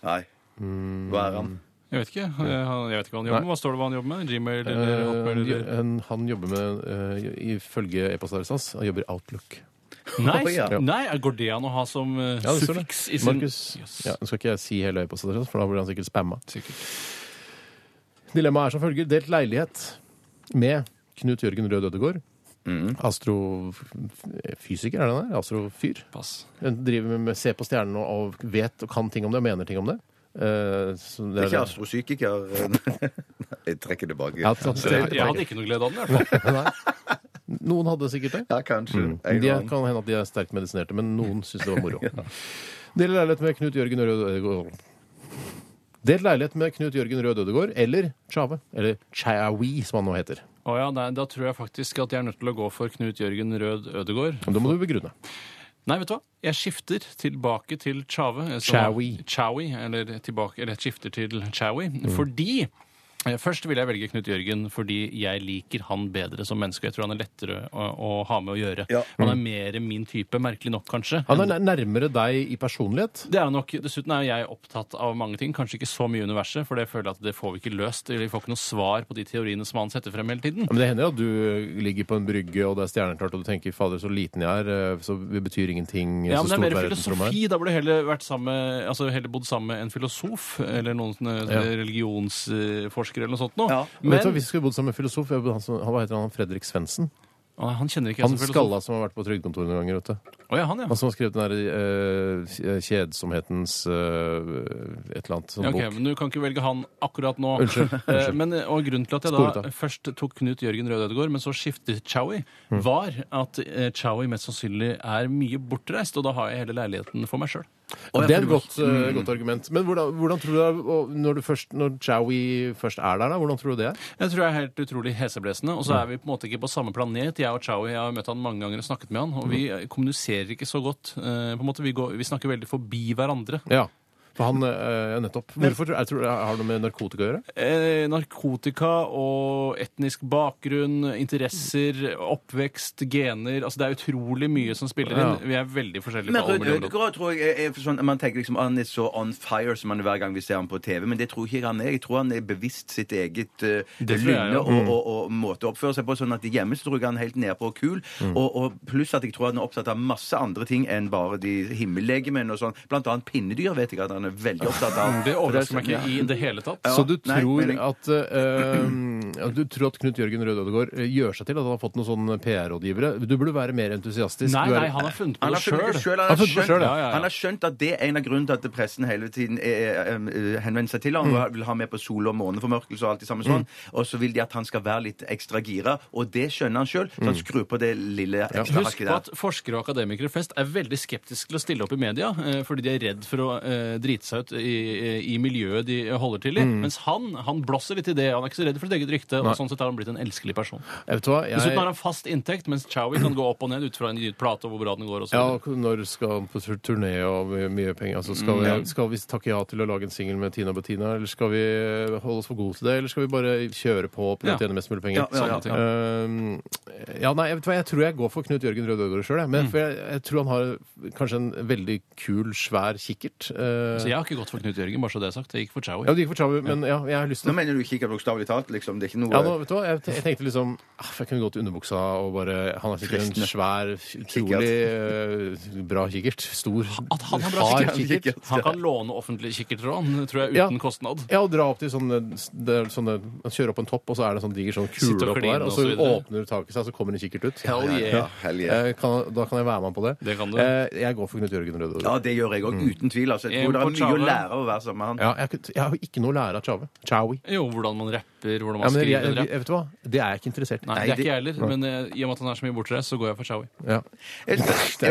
Speaker 3: Nei.
Speaker 2: Mm.
Speaker 3: Hva er han?
Speaker 1: Jeg vet ikke, Eh, han- jeg vet ikke hva han jobber med. Hva står det hva han jobber med? Gmail eller
Speaker 2: Eh,
Speaker 1: Hotmail? Eller...
Speaker 2: han, han jobber med, eh, ifølge e-postadressen hans, han jobber Outlook.
Speaker 1: Nei,
Speaker 3: Oi, ja.
Speaker 1: nei, går det an å ha som
Speaker 2: Ja,
Speaker 1: eh,
Speaker 2: det står det.
Speaker 1: suffiks i sin
Speaker 2: Markus.
Speaker 1: Yes.
Speaker 2: Ja, nå skal ikke jeg si hele e-postadressen, for da blir han sikkert spamma.
Speaker 1: Sikkert.
Speaker 2: Dilemmaet er som følger. Delt leilighet med Knut Jørgen Rød Ødegård.
Speaker 1: Mm.
Speaker 2: Astrofysiker, er det han der? Astrofyr?
Speaker 1: Pass.
Speaker 2: Hun driver med, med ser på stjernene og, og vet og kan ting om det og mener ting om det. Eh, så det er
Speaker 3: Det er ikke
Speaker 2: det.
Speaker 3: astropsykiker. Jeg trekker tilbake.
Speaker 2: Ja, ta-
Speaker 1: Så jeg, jeg hadde ikke noe glede av den. i hvert fall.
Speaker 2: Nei. Noen hadde sikkert det.
Speaker 3: Ja, kanskje. En
Speaker 2: Mm. De er,
Speaker 3: annen.
Speaker 2: kan hende at de er sterkt medisinerte, men noen syns det var moro. Delt leilighet med Knut Jørgen Rød Ødegård. Delt leilighet med Knut Jørgen Rød Ødegård eller Tjave. Eller Chawi, som han nå heter.
Speaker 1: Å ja, nei, da tror jeg faktisk at jeg er nødt til å gå for Knut Jørgen Rød Ødegård.
Speaker 2: Men Da må du begrunne.
Speaker 1: Nei, vet du hva? Jeg skifter tilbake til Chave. altså
Speaker 2: Chawi. Mm.
Speaker 1: Chawi, eller tilbake, eller jeg skifter til Chawi. Fordi eh, Først vil jeg velge Knut Jørgen fordi jeg liker han bedre som menneske. Jeg tror han er lettere å, å ha med å gjøre.
Speaker 3: Ja.
Speaker 1: Han er mer min type, merkelig nok, kanskje.
Speaker 2: Mm. Han er nær- nærmere deg i personlighet.
Speaker 1: Det er han nok. Dessuten er jeg opptatt av mange ting. Kanskje ikke så mye i universet, for det føler jeg at det får vi ikke løst. Eller vi får ikke noe svar på de teoriene som han setter frem hele tiden.
Speaker 2: Men Det hender jo at du ligger på en brygge, og det er stjerneklart, og du tenker 'fader, så liten jeg er', eh, så det betyr ingenting.
Speaker 1: Ja,
Speaker 2: så
Speaker 1: men
Speaker 2: stort
Speaker 1: det er mer
Speaker 2: verdensrommet
Speaker 1: filosofi. Da burde du heller, vært sammen med- altså heller bodd sammen med en filosof eller noen sånne religionsforskere eller noe sånt. Nå.
Speaker 3: Ja.
Speaker 2: Men,
Speaker 1: Men
Speaker 2: Vet du, hva, Hvis vi skulle bodd sammen med filosof jeg- han, som- han, Hva heter han? Fredrik Svendsen?
Speaker 1: Å, han kjenner ikke jeg
Speaker 2: Han
Speaker 1: som filosof.
Speaker 2: skalla som har vært på trygdekontoret noen ganger. vet du.
Speaker 1: Å, ja, han, ja.
Speaker 2: Han som har skrevet den der eh, kjedsomhetens eh, et eller annet sånn
Speaker 1: Ja, ok,
Speaker 2: bok.
Speaker 1: men Du kan ikke velge han akkurat nå.
Speaker 2: Unnskyld, unnskyld.
Speaker 1: Eh, Men, og Grunnen til at jeg
Speaker 2: Sporet
Speaker 1: da
Speaker 2: av.
Speaker 1: først tok Knut Jørgen Røde Ødegaard, men så skiftet Chowie,
Speaker 2: Mm.
Speaker 1: var at eh, Chowie mest sannsynlig er mye bortreist. Og da har jeg hele leiligheten for meg sjøl.
Speaker 2: Det er et godt, eh, godt argument. Men hvordan, hvordan tror du det er, og når, du først, når Chowie først er der, da, hvordan tror du det er?
Speaker 1: Jeg tror jeg er helt utrolig heseblesende. Og så er vi på en måte ikke på samme planet. Jeg og Chowie jeg har møtt han mange ganger og snakket med han, og vi eh, kommuniserer ikke så godt. Eh, på en måte, vi, går, vi snakker veldig forbi hverandre.
Speaker 2: Ja. For han eh, nettopp. Hvorfor tror jeg, tror, jeg Har det noe med narkotika å gjøre?
Speaker 1: Eh, narkotika og etnisk bakgrunn, interesser, oppvekst, gener Altså det er utrolig mye som spiller inn.
Speaker 2: Ja.
Speaker 1: Vi er veldig forskjellige.
Speaker 3: Men
Speaker 1: på alle
Speaker 3: Rød
Speaker 1: mulige områder.
Speaker 3: Ødegård tror jeg er sånn Man tenker liksom han er så on fire som han er hver gang vi ser han på TV, men det tror ikke han er. Jeg tror han er bevisst sitt eget eh,
Speaker 1: Det tror jeg,
Speaker 3: lynne
Speaker 1: ja.
Speaker 3: og, og, og måte å oppføre seg på. Sånn at hjemme så tror jeg han er helt nedpå og kul. Og, og pluss at jeg tror han er opptatt av masse andre ting enn bare de himmellegemene og sånn. Blant annet pinnedyr vet jeg at han Bjørn er veldig opptatt av.
Speaker 1: Mm, Det overrasker
Speaker 3: For
Speaker 1: meg
Speaker 3: det er
Speaker 1: ikke
Speaker 3: så-
Speaker 1: i det hele tatt.
Speaker 3: Ja,
Speaker 2: Så du
Speaker 3: nei,
Speaker 2: tror,
Speaker 3: men jeg-
Speaker 2: at, eh, at du tror at Knut Jørgen Røde Ødegaard eh, gjør seg til at han har fått noen sånne PR-rådgivere? Du burde være mer entusiastisk.
Speaker 1: Nei,
Speaker 2: Du er-
Speaker 1: nei, han har funnet på
Speaker 3: Han
Speaker 1: det
Speaker 3: har, funnet,
Speaker 1: sjøl.
Speaker 3: selv,
Speaker 2: Han
Speaker 3: han, har
Speaker 2: funnet det
Speaker 3: skjønt,
Speaker 2: selv,
Speaker 1: ja, ja, ja.
Speaker 3: han har skjønt at det er en av grunnen til at pressen hele tiden eh, eh, eh, henvender seg til ham. og Vil ha med på sol- og måneformørkelse og alt det samme sånn. Og så vil de at han skal være litt ekstra gira, og det skjønner han sjøl. Så han skrur på det lille
Speaker 2: Altså,
Speaker 3: ekstra
Speaker 1: Husk
Speaker 3: hakket
Speaker 1: på
Speaker 3: der.
Speaker 1: at forskere og akademikere flest er veldig skeptiske til å stille opp i media, eh, fordi de er redd for å eh, drite seg ut i, i miljøet de holder til i.
Speaker 2: Mm.
Speaker 1: Mens han han blåser litt i det. Han er ikke så redd for sitt eget rykte, og sånn sett har han blitt en elskelig person.
Speaker 2: Jeg vet hva,
Speaker 1: Dessuten har
Speaker 2: jeg...
Speaker 1: han fast inntekt, mens Chowie kan gå opp og ned ut fra en gitt plate og hvor bra den går. og så
Speaker 2: Ja,
Speaker 1: videre.
Speaker 2: når skal han på tur- turné og mye- mye penger? Altså,
Speaker 1: Mm,
Speaker 2: skal, vi, skal vi takke ja til å lage en singel med Tina og Bettina, eller skal vi eh, holde oss for gode til det, eller skal vi bare kjøre på og prøve
Speaker 1: Ja.
Speaker 2: å tjene mest mulig penger?
Speaker 3: Ja, ja, ja.
Speaker 1: Sånne ting.
Speaker 2: Ehm, ja, nei, jeg vet hva, jeg tror jeg går for Knut Jørgen Røde Ødegaard sjøl, jeg.
Speaker 1: Mm.
Speaker 2: Men for jeg, jeg tror han har kanskje en veldig kul, svær kikkert. Eh,
Speaker 1: Så jeg har ikke gått for Knut Jørgen, bare så det er sagt. Jeg gikk for Chowie.
Speaker 2: ja, du gikk for Chabu, men ja, jeg har lyst
Speaker 3: Nå
Speaker 2: til
Speaker 3: mener du ikke bokstavelig talt, liksom. Det er ikke noe
Speaker 2: ja, nå, vet du hva? Jeg, te- jeg tenkte liksom ah, Jeg kunne gått i underbuksa og bare Han er sikkert en
Speaker 3: Fristende.
Speaker 2: svær, utrolig eh, bra kikkert. Stor,
Speaker 1: At han har bra kikkert.
Speaker 3: kikkert.
Speaker 1: Han kan låne offentlige kikkerter òg, tror jeg,
Speaker 2: Ja.
Speaker 1: uten kostnad.
Speaker 2: Ja, og dra opp til sånne, det er sånne Man kjører opp en topp, og så er det en sånn diger sånn
Speaker 1: Sitte og
Speaker 2: kule oppå
Speaker 1: kline
Speaker 2: der. Og
Speaker 1: og
Speaker 2: så
Speaker 1: så videre.
Speaker 2: åpner taket seg, og så kommer en kikkert ut.
Speaker 1: Hell yeah.
Speaker 3: hell yeah.
Speaker 2: Eh, kan, da kan jeg være med på det.
Speaker 1: Det kan du.
Speaker 2: Eh, jeg går for Knut Jørgen Røde.
Speaker 3: Ja, det gjør jeg òg, uten tvil. Altså, jeg
Speaker 1: En
Speaker 3: tror det
Speaker 1: på
Speaker 3: er mye å
Speaker 1: Tjave.
Speaker 3: lære av å være sammen med han.
Speaker 2: Ja, jeg, kunne- jeg har jo ikke noe å lære av Chave. Chowi.
Speaker 1: Jo, hvordan man rapper, hvordan
Speaker 2: Ja,
Speaker 1: man
Speaker 2: men jeg,
Speaker 1: skriver
Speaker 2: jeg,
Speaker 1: en rapp.
Speaker 2: vet du hva? Det er jeg ikke interessert i.
Speaker 1: Nei,
Speaker 3: Nei,
Speaker 1: det er
Speaker 3: det-
Speaker 1: ikke jeg heller, men eh, i og med at han er så mye bortreist, så går jeg for Chowie.
Speaker 2: Ja.
Speaker 3: Er,
Speaker 2: Det er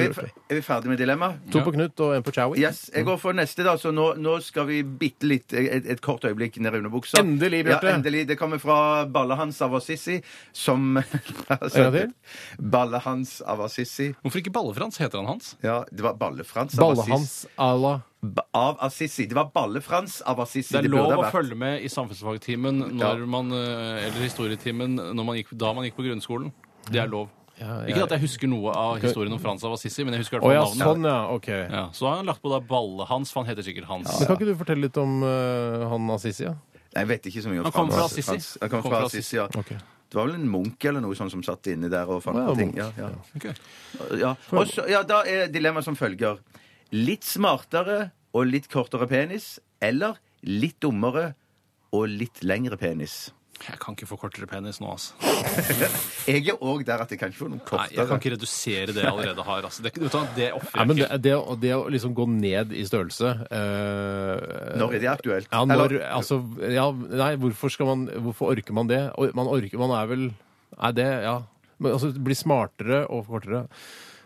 Speaker 3: er,
Speaker 2: lurt,
Speaker 3: vi, er vi ferdig med dilemmaet?
Speaker 2: To på Knut og en på Chowi.
Speaker 3: Yes, jeg går for neste, da. Så nå, nå skal vi bitte litt et, et kort øyeblikk ned i underbuksa.
Speaker 2: Endelig, Bjarte.
Speaker 3: Ja, endelig. Det kommer fra Ballehans av Assisi, som
Speaker 2: gang til.
Speaker 3: Ballehans av Assisi.
Speaker 1: Hvorfor ikke Balle-Frans? Heter han Hans?
Speaker 3: Ja, det var Balle-Frans av Assisi.
Speaker 2: Ballehans à la
Speaker 3: Ba- Av Assisi. Det var Balle-Frans av Assisi.
Speaker 1: Det er
Speaker 3: burde
Speaker 1: lov å
Speaker 3: ha vært.
Speaker 1: følge med i samfunnsfagtimen når man, eh, eller historietimen når man gikk, da man gikk på grunnskolen. Det er lov.
Speaker 2: Ja, jeg-
Speaker 1: Ikke at jeg husker noe av historien om Frans av Assisi, men jeg husker i
Speaker 2: Å ja,
Speaker 1: hvert fall navnet.
Speaker 2: sånn, ja. OK.
Speaker 1: Ja, så har han lagt på da Balle-Hans, for han heter sikkert Hans.
Speaker 2: Men kan ikke du fortelle litt om eh, han Assisi? Ja?
Speaker 3: Nei, Jeg vet ikke så mye om
Speaker 1: Han kommer fra
Speaker 3: Frans-
Speaker 1: Assisi.
Speaker 3: Frans- Han kommer fra Assisi, ja.
Speaker 2: Ok.
Speaker 3: Det var vel en munk eller noe sånt som satt inne der og fant
Speaker 2: Ja,
Speaker 3: på ting.
Speaker 2: munk.
Speaker 3: Ja, ja.
Speaker 1: Ok.
Speaker 3: Ja. Og så- ja, da er dilemmaet som følger. Litt smartere og litt kortere penis, eller litt dummere og litt lengre penis.
Speaker 1: Jeg kan ikke få kortere penis nå, altså.
Speaker 3: Jeg er òg der at jeg kan ikke få noen
Speaker 1: Nei, jeg kan
Speaker 3: kortere.
Speaker 1: ikke redusere det jeg allerede har. Altså. Det, vet du hva, det
Speaker 2: Nei,
Speaker 1: ofrer
Speaker 2: men
Speaker 1: jeg
Speaker 2: det,
Speaker 1: ikke.
Speaker 2: det, å- det å liksom gå ned i størrelse eh,
Speaker 3: Når er det aktuelt?
Speaker 2: Ja, når,
Speaker 3: Eller-
Speaker 2: altså, ja, nei, hvorfor, skal man, hvorfor orker man det? Or- Man orker, man er vel Nei, det, ja. Men altså, bli smartere og kortere.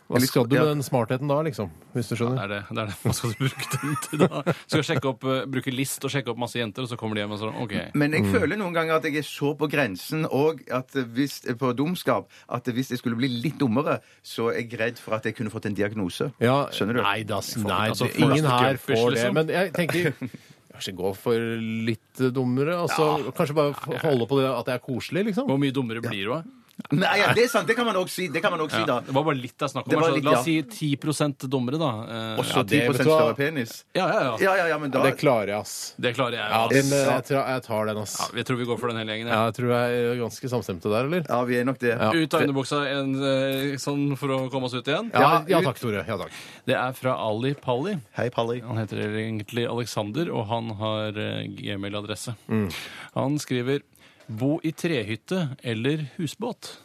Speaker 2: Hva
Speaker 3: Eller-
Speaker 2: skal du med
Speaker 3: ja.
Speaker 2: den smartheten da, liksom? Hvis du
Speaker 1: Det
Speaker 2: skjønner?
Speaker 1: er det, det er det. Hva skal du bruke den til da? Du skal sjekke opp, eh, bruke list og sjekke opp masse jenter, og så kommer de hjem og sånn OK.
Speaker 2: Mm.
Speaker 3: Men jeg føler noen ganger at jeg er så på grensen og at hvis, på dumskap at hvis jeg skulle bli litt dummere, så er jeg redd for at jeg kunne fått en diagnose.
Speaker 2: Ja,
Speaker 3: Skjønner du?
Speaker 2: Nei, da, s- nei
Speaker 1: altså,
Speaker 2: det, ingen
Speaker 1: plastic
Speaker 2: her
Speaker 1: jellyfish,
Speaker 2: får det.
Speaker 1: liksom.
Speaker 2: Men jeg tenker Kanskje gå for litt dummere? Altså, Kanskje bare f- holde på det at det er koselig, liksom?
Speaker 1: Hvor mye dummere blir du? da?
Speaker 3: Nei, ja, det er sant. Det kan man òg si. Det kan man også si da.
Speaker 1: Det var bare litt det er snakk
Speaker 3: Det
Speaker 1: om.
Speaker 3: var
Speaker 1: altså.
Speaker 3: litt,
Speaker 1: La oss si
Speaker 3: ja.
Speaker 1: 10 dummere, da. Eh,
Speaker 3: Og så
Speaker 2: det-
Speaker 3: 10
Speaker 2: vet du hva?
Speaker 3: større penis.
Speaker 1: Ja, ja, ja.
Speaker 3: Ja, ja, ja, men da
Speaker 2: Det klarer jeg, ass.
Speaker 1: Det klarer jeg.
Speaker 2: Ja,
Speaker 1: ass.
Speaker 2: den, eh, jeg, tra- jeg tar den, ass.
Speaker 1: Ja, jeg tror vi går for den hele gjengen.
Speaker 2: Ja,
Speaker 1: Ja.
Speaker 2: jeg tror jeg er ganske samstemte der, eller?
Speaker 3: Ja, vi er nok det.
Speaker 1: Ut av underbuksa en, eh, sånn for å komme oss ut igjen.
Speaker 2: Ja,
Speaker 3: ut.
Speaker 2: ja takk, Tore. Ja takk.
Speaker 1: Det er fra Ali Palli.
Speaker 3: Hei, Palli.
Speaker 1: Han heter egentlig Alexander, og han har eh, gmail-adresse.
Speaker 2: Mm.
Speaker 1: Han skriver Bo i trehytte eller husbåt?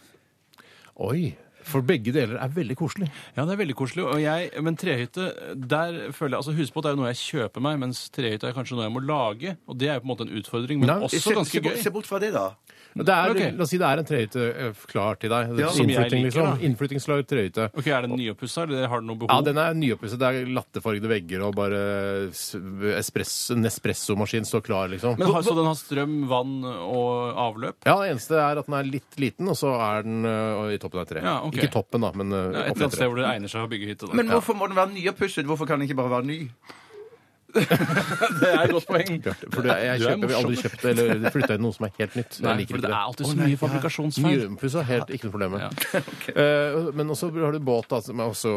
Speaker 2: Oi. For begge deler er veldig koselig.
Speaker 1: Ja, det er veldig koselig. Og jeg, men trehytte der føler jeg, altså Husbåt er jo noe jeg kjøper meg, mens trehytte er kanskje noe jeg må lage. Og det er jo på en måte en utfordring, men
Speaker 2: Nei,
Speaker 3: Se,
Speaker 1: også
Speaker 3: se,
Speaker 1: ganske
Speaker 3: bort-
Speaker 1: gøy.
Speaker 3: se bort fra det, da.
Speaker 2: Det er,
Speaker 1: Ok.
Speaker 2: La oss si det er en trehytte ø, klar til deg.
Speaker 3: Ja,
Speaker 1: som jeg
Speaker 2: Innflytting,
Speaker 1: liker,
Speaker 2: liksom.
Speaker 1: da.
Speaker 2: Innflyttingsklar trehytte.
Speaker 1: Ok, Er den nyoppussa, eller har den noe behov?
Speaker 2: Ja, den er nyoppusset. Det er latterfargede vegger og bare eh, s- espresso, Nespresso-maskin står klar, liksom.
Speaker 1: Men har, Så den har strøm, vann og avløp?
Speaker 2: ja, Det eneste er at den er litt liten, og så er den ø, i toppen av et tre.
Speaker 1: Ja, ok.
Speaker 2: Ikke toppen, da, men ø,
Speaker 1: Ja, et
Speaker 2: opp i et
Speaker 1: eller annet sted
Speaker 2: tre.
Speaker 1: hvor det egner seg å bygge hytte. Da.
Speaker 3: Men hvorfor må den være nyoppusset? Hvorfor kan den ikke bare være ny?
Speaker 1: det er et godt poeng.
Speaker 2: For jeg, jeg
Speaker 1: Du er
Speaker 2: kjøper, jeg har aldri
Speaker 1: morsom.
Speaker 2: kjøpt eller flytta inn noe som er helt nytt.
Speaker 1: Nei,
Speaker 2: jeg liker
Speaker 1: for
Speaker 2: ikke det.
Speaker 1: det er alltid så mye fabrikasjonsfeil.
Speaker 2: Nyoppussa, helt ikke noe problem med.
Speaker 1: Ja.
Speaker 2: Eh, Men også har du båt, da, som er også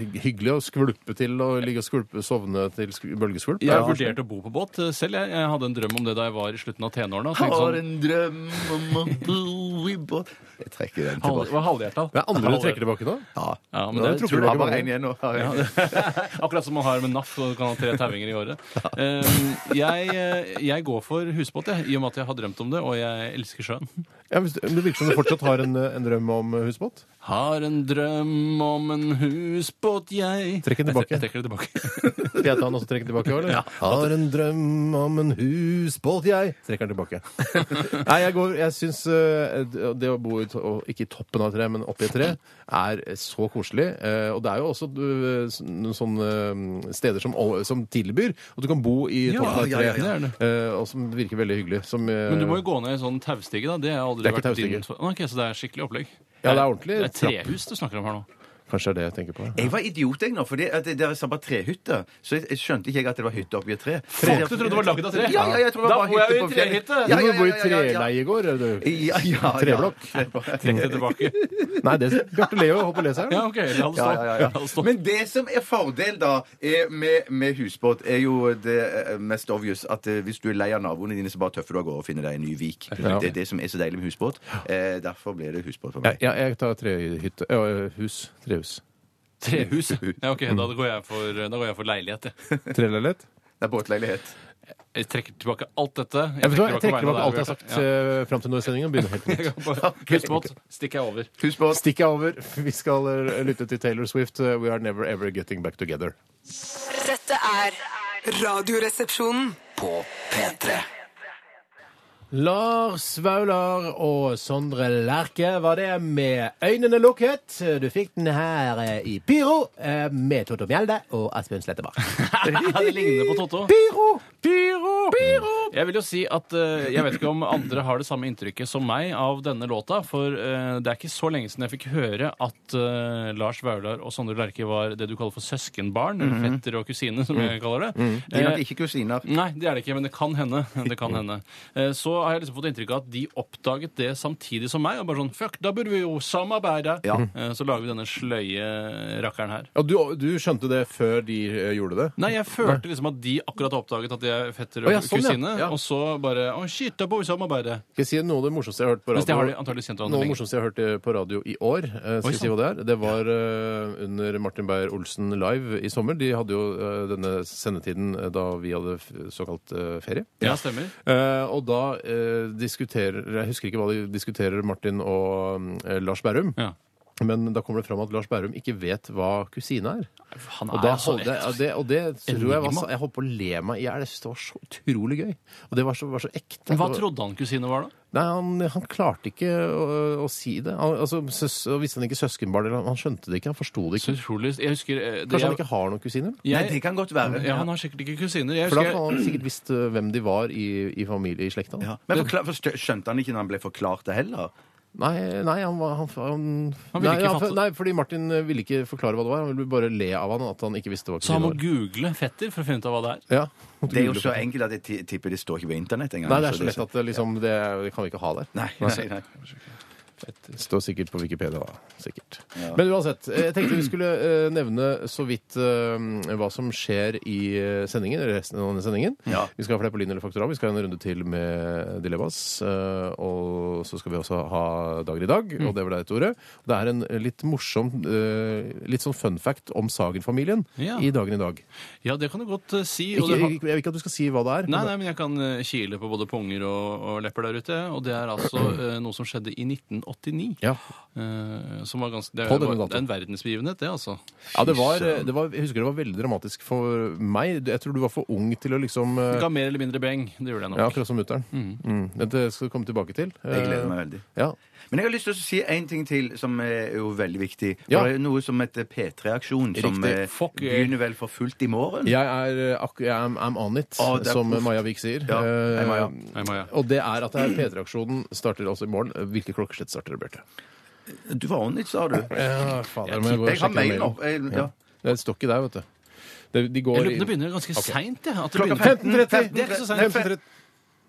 Speaker 2: hy- hyggelig å skvulpe til og ligge og skvulpe, sovne til sk- bølgeskvulp.
Speaker 1: Jeg vurderte å bo på båt eh, selv. Jeg, jeg hadde en drøm om det da jeg var i slutten av tenårene. og tenkte Sånn,
Speaker 3: Har en drøm om å bo i båt Jeg trekker den
Speaker 1: halv,
Speaker 3: tilbake.
Speaker 1: det var halvhjerta.
Speaker 2: Det er andre du trekker tilbake nå?
Speaker 3: Ja.
Speaker 1: Ja, men
Speaker 3: Nå
Speaker 1: det
Speaker 3: tror
Speaker 1: tror
Speaker 3: jeg
Speaker 1: jeg
Speaker 3: har bare en igjen nå. Har jeg.
Speaker 1: Akkurat som man har med NAF og kan ha tre tauinger i året. Eh, jeg, eh, jeg går for husbåt, jeg, i og med at jeg har drømt om det, og jeg elsker sjøen.
Speaker 2: Ja, hvis du- men det virker som du fortsatt har en, eh, en drøm om eh, husbåt.
Speaker 1: Har en drøm om en husbåt, jeg
Speaker 2: Trekk den tilbake.
Speaker 1: Jeg, trekker den tilbake.
Speaker 2: Skal jeg ta den og så trekke den tilbake? Eller? Har en drøm om en husbåt, jeg Trekker den tilbake. Nei, jeg, går- jeg syns eh, det å bo i, to- og ikke i toppen av et tre, men oppi et tre, er så koselig. Eh, Og det er jo også du, s- noen sånne eh, steder som, som tilbyr at du kan bo i
Speaker 1: Ja,
Speaker 2: toppen av et
Speaker 1: ja,
Speaker 2: tre,
Speaker 1: ja, ja. Det
Speaker 2: eh, og som virker veldig hyggelig. Som, eh,
Speaker 1: Men du må jo gå ned i sånn taustige, da. Det har jeg aldri
Speaker 2: Det er ikke
Speaker 1: vært
Speaker 2: taustige.
Speaker 1: din for- Å, ok, Så det er skikkelig opplegg?
Speaker 2: Ja, det er ordentlig
Speaker 1: Det er trehus du snakker om her nå.
Speaker 2: Kanskje det er det jeg tenker på.
Speaker 3: Jeg var idiot, jeg nå, for dere sa bare trehytte. Så jeg, jeg skjønte ikke jeg at det var hytte oppi et tre.
Speaker 1: Fuck, du trodde det var laget av tre?
Speaker 3: Ja, ja, jeg tror det
Speaker 1: Da
Speaker 3: var
Speaker 1: bor jeg
Speaker 3: hytte
Speaker 1: jo i
Speaker 3: på fjellet.
Speaker 1: trehytte.
Speaker 3: Ja,
Speaker 2: Du må
Speaker 3: ja,
Speaker 2: bo i
Speaker 3: ja, ja, ja, ja.
Speaker 2: treleie i går. er du.
Speaker 3: Ja, ja, ja.
Speaker 2: Treblokk.
Speaker 1: Trekk det tilbake.
Speaker 2: Nei, det Bjarte Leo holdt på å lese her.
Speaker 1: Ja, ok, la det stå.
Speaker 3: Ja, ja, ja.
Speaker 1: La det stå.
Speaker 3: Men det som er fordel da er med, med husbåt, er jo det eh, mest obvious at eh, hvis du er lei av naboene dine, så bare tøffer du av gårde og finner deg en ny vik. Det er det som er så deilig med husbåt. Eh, derfor blir det husbåt for
Speaker 2: Ja,
Speaker 3: meg.
Speaker 2: ja, jeg tar trehytte ja, Hus. Trehus.
Speaker 1: Trehus. Ja, ok, da går jeg for, da går jeg for leilighet. jeg.
Speaker 2: Treleilighet?
Speaker 3: Det er båtleilighet.
Speaker 1: Jeg trekker tilbake alt dette. Jeg
Speaker 2: Jeg, vet du hva, jeg trekker
Speaker 1: vegne
Speaker 2: tilbake alt jeg har
Speaker 1: av deg,
Speaker 2: sagt ja. fram til nå i sendingen. og begynner helt på nytt.
Speaker 1: Bjarte. Ja. Husbåt stikker jeg over.
Speaker 3: Husbåt.
Speaker 2: Stikk jeg over. Vi skal eh, lytte til Taylor Swift. eh, We are never ever getting back together.
Speaker 7: Dette er Radioresepsjonen.
Speaker 5: På P3.
Speaker 2: Lars Vaular og Sondre Lerche var det med 'Øynene lukket'. Du fikk den her eh, i Pyro eh, med Toto Mjelde og Asbjørn Sletteberg.
Speaker 1: Det ligner på Totto.
Speaker 2: Pyro!
Speaker 1: Pyro! Jeg vil jo si at eh, jeg vet ikke om andre har det samme inntrykket som meg av denne låta, for eh, det er ikke så lenge siden jeg fikk høre at eh, Lars Vaular og Sondre Lerche var det du kaller for søskenbarn, eller fetter og kusine, som jeg kaller det.
Speaker 3: De er
Speaker 1: Eh,
Speaker 3: nok ikke kusiner.
Speaker 1: Nei, det er det ikke, men det kan hende. Det kan hende. Eh, Så har jeg liksom fått inntrykk av at de oppdaget det samtidig som meg. Og bare sånn Fuck, da burde vi jo samarbeide!
Speaker 3: Ja.
Speaker 1: Eh, Så lager vi denne sløye rakkeren her.
Speaker 2: Ja, du, du skjønte det før de eh, gjorde det?
Speaker 1: Nei, jeg følte liksom at de akkurat har oppdaget at de er fetter
Speaker 2: Å,
Speaker 1: og
Speaker 2: ja, sånn, ja.
Speaker 1: kusine.
Speaker 2: Ja.
Speaker 1: Og så bare Å, shit, da bør vi samarbeide.
Speaker 2: Skal jeg si noe av det morsomste jeg har hørt på
Speaker 1: Mens det har de
Speaker 2: radio?
Speaker 1: antakeligvis
Speaker 2: Noe
Speaker 1: kjent
Speaker 2: av
Speaker 1: hverandre
Speaker 2: det
Speaker 1: lenge.
Speaker 2: morsomste jeg har hørt eh, på radio i år, eh, skal
Speaker 1: Oi, sånn.
Speaker 2: jeg si hva det er. Det var eh, under Martin Beyer-Olsen live i sommer. De hadde jo eh, denne sendetiden eh, da vi hadde f- såkalt eh, ferie.
Speaker 1: Ja, stemmer.
Speaker 2: Eh, og da eh, diskuterer Jeg husker ikke hva de diskuterer, Martin og eh, Lars Berrum.
Speaker 1: Ja.
Speaker 2: Men da kommer det fram at Lars Berrum ikke vet hva kusine er.
Speaker 1: Han
Speaker 2: Og,
Speaker 1: er
Speaker 2: da
Speaker 1: altså
Speaker 2: holdt, jeg- og det, og det tror jeg var
Speaker 1: Enigma.
Speaker 2: så, Jeg holdt på å le meg i hjel. Jeg synes Det var så utrolig gøy. Og det var så, var så ekte.
Speaker 1: Hva
Speaker 2: Det var-
Speaker 1: trodde han kusine var, da?
Speaker 2: Nei, han, han klarte ikke å, å si det. Han, altså, søs, og Visste han ikke søskenbarn? eller han- Han skjønte det ikke, han forsto det
Speaker 1: Så
Speaker 2: ikke.
Speaker 1: utrolig Jeg husker eh, det
Speaker 2: Kanskje han
Speaker 1: jeg-
Speaker 2: ikke har noen kusiner?
Speaker 3: Nei,
Speaker 1: jeg-
Speaker 3: det kan godt være.
Speaker 1: Ja, han har sikkert ikke kusiner. Jeg
Speaker 2: For da
Speaker 1: husker
Speaker 2: hadde han sikkert visst eh, hvem de var i, i familie, i slekta. da.
Speaker 3: Ja. Men forkla- forstø- skjønte han ikke når han ble forklart det heller?
Speaker 2: Nei, nei, han var han, han,
Speaker 1: Han ville
Speaker 2: nei,
Speaker 1: ikke
Speaker 2: han,
Speaker 1: fatte-
Speaker 2: nei, fordi Martin eh, ville ikke forklare hva det var. Han ville bare le av han at han ikke visste hva
Speaker 1: Så han må
Speaker 2: kusine var.
Speaker 1: google fetter for å finne ut av hva det er.
Speaker 2: Ja.
Speaker 3: Det er jo så enkelt at jeg ti- tipper det står ikke på internett engang.
Speaker 2: Nei, det er så
Speaker 3: det-
Speaker 2: lett at det, liksom, det, det kan vi ikke ha der.
Speaker 3: Nei, nei, nei.
Speaker 2: Det står sikkert på Wikipedia. Da. Sikkert. Men uansett, eh, jeg tenkte vi skulle eh, nevne så vidt eh, hva som skjer i eh, sendingen. eller resten av denne sendingen.
Speaker 3: Ja.
Speaker 2: Vi skal ha Fleipolin eller Faktorama. Vi skal ha en runde til med Dilemmas. eh, og så skal vi også ha Dager i dag,
Speaker 1: Mm.
Speaker 2: og det var deg, Tore. Det er en litt morsom, eh, litt sånn fun fact om Sagen-familien
Speaker 1: Ja.
Speaker 2: i Dagen i dag.
Speaker 1: Ja, det kan du godt eh, si. Og
Speaker 2: Ikke,
Speaker 1: det har...
Speaker 2: jeg vil ikke at du skal si hva det er.
Speaker 1: Nei,
Speaker 2: men
Speaker 1: nei, men jeg kan eh, kile på både punger og, og lepper der ute. Og det er altså eh, noe som skjedde i 1989.
Speaker 2: Ja.
Speaker 1: Eh, som var ganske, det,
Speaker 2: På
Speaker 1: var,
Speaker 2: denne datoen.
Speaker 1: det er en verdensbegivenhet, det, altså.
Speaker 2: Ja, det var, eh, det var, jeg husker det var veldig dramatisk for meg. Jeg tror du var for ung til å liksom eh,
Speaker 1: Ga mer eller mindre beng. Det gjorde jeg nok.
Speaker 2: Ja, akkurat som mutter'n. Mm. Dette skal vi komme tilbake til. Eh,
Speaker 3: Jeg gleder meg veldig.
Speaker 2: Ja.
Speaker 3: Men jeg har lyst til å si en ting til som eh, er jo veldig viktig. For
Speaker 2: Ja.
Speaker 3: Det er noe som heter P3-aksjon, som
Speaker 2: Riktig.
Speaker 3: eh,
Speaker 1: Fuck, eh.
Speaker 3: begynner vel for fullt i morgen.
Speaker 2: Jeg er eh, akku- jeg am, am on it,
Speaker 3: Å, det er
Speaker 2: som
Speaker 3: proft.
Speaker 2: Maja Vik sier.
Speaker 3: Ja, hei, Maja.
Speaker 2: Eh,
Speaker 1: Hei, Maja.
Speaker 2: Og det er at det er P3-aksjonen starter altså i morgen. Hvilke klokkeslett starter det, Bjarte?
Speaker 3: Du var on it, sa du.
Speaker 2: Ja, fader, jeg,
Speaker 3: Jeg har mailen opp. Jeg, ja.
Speaker 2: Det står ikke der, vet du. Det, de
Speaker 1: Jeg
Speaker 2: går
Speaker 1: lurer på om det
Speaker 2: i
Speaker 1: begynner ganske seint. Ja, at det
Speaker 3: Klokka
Speaker 1: begynner-
Speaker 2: 15.30!
Speaker 1: Det er ikke så seint.
Speaker 2: 15.30.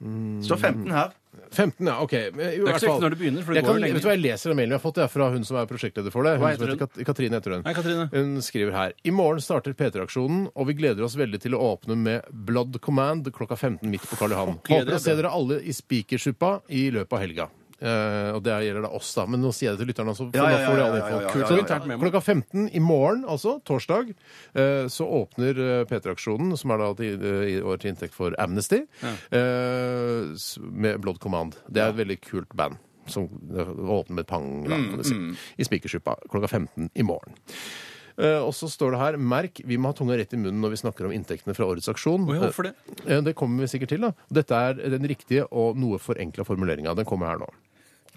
Speaker 3: Står 15 her.
Speaker 2: 15, ja, ok. Men I
Speaker 1: ikke
Speaker 2: hvert
Speaker 1: så viktig
Speaker 2: fall.
Speaker 1: når det begynner, for det
Speaker 2: jeg
Speaker 1: går
Speaker 2: kan,
Speaker 1: jo lenge.
Speaker 2: Vet du hva, jeg leser den mailen jeg har fått det er fra hun som er prosjektleder for det. Hun som
Speaker 1: Hva heter
Speaker 2: heter Kat Katrine heter hun.
Speaker 1: Hei, Katrine.
Speaker 2: Hun skriver her I morgen starter P3-aksjonen, og vi gleder oss veldig til å åpne med Blood Command klokka 15 midt på Karl Johan.
Speaker 1: gleder
Speaker 2: Håper å
Speaker 1: jeg
Speaker 2: se dere alle i Spikersuppa i løpet av helga. Eh, og det gjelder da oss, da. Men nå sier jeg det til lytterne også. for
Speaker 3: Ja, ja,
Speaker 2: da får de
Speaker 3: ja,
Speaker 2: all
Speaker 3: ja, ja,
Speaker 2: info.
Speaker 3: ja,
Speaker 2: Kult.
Speaker 3: ja, ja,
Speaker 1: ja.
Speaker 2: Internt memo. Klokka 15 i morgen, altså, torsdag, eh, så åpner eh, P3-aksjonen, som er da til, eh, i år til inntekt for Amnesty, eh, s- med Blood Command. Det er et veldig kult band. Som eh, åpner med pang, da, kan du
Speaker 3: Mm,
Speaker 2: si. I Spikersuppa klokka 15 i morgen. Eh, og så står det her Merk, vi må ha tunga rett i munnen når vi snakker om inntektene fra årets aksjon.
Speaker 1: Å ja, hvorfor det?
Speaker 2: Eh, Det kommer vi sikkert til. da. Dette er den riktige og noe forenkla formuleringa. Den kommer her nå.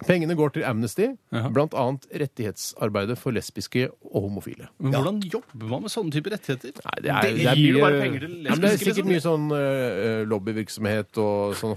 Speaker 2: Pengene går til Amnesty, blant annet rettighetsarbeidet for lesbiske og homofile.
Speaker 1: Men hvordan jobber man med sånne typer rettigheter?
Speaker 2: Nei,
Speaker 1: Det gir jo bare penger til
Speaker 2: ja, men Det er
Speaker 1: lesbiske,
Speaker 2: sikkert
Speaker 1: liksom.
Speaker 2: mye sånn eh, lobbyvirksomhet og sånn
Speaker 3: Så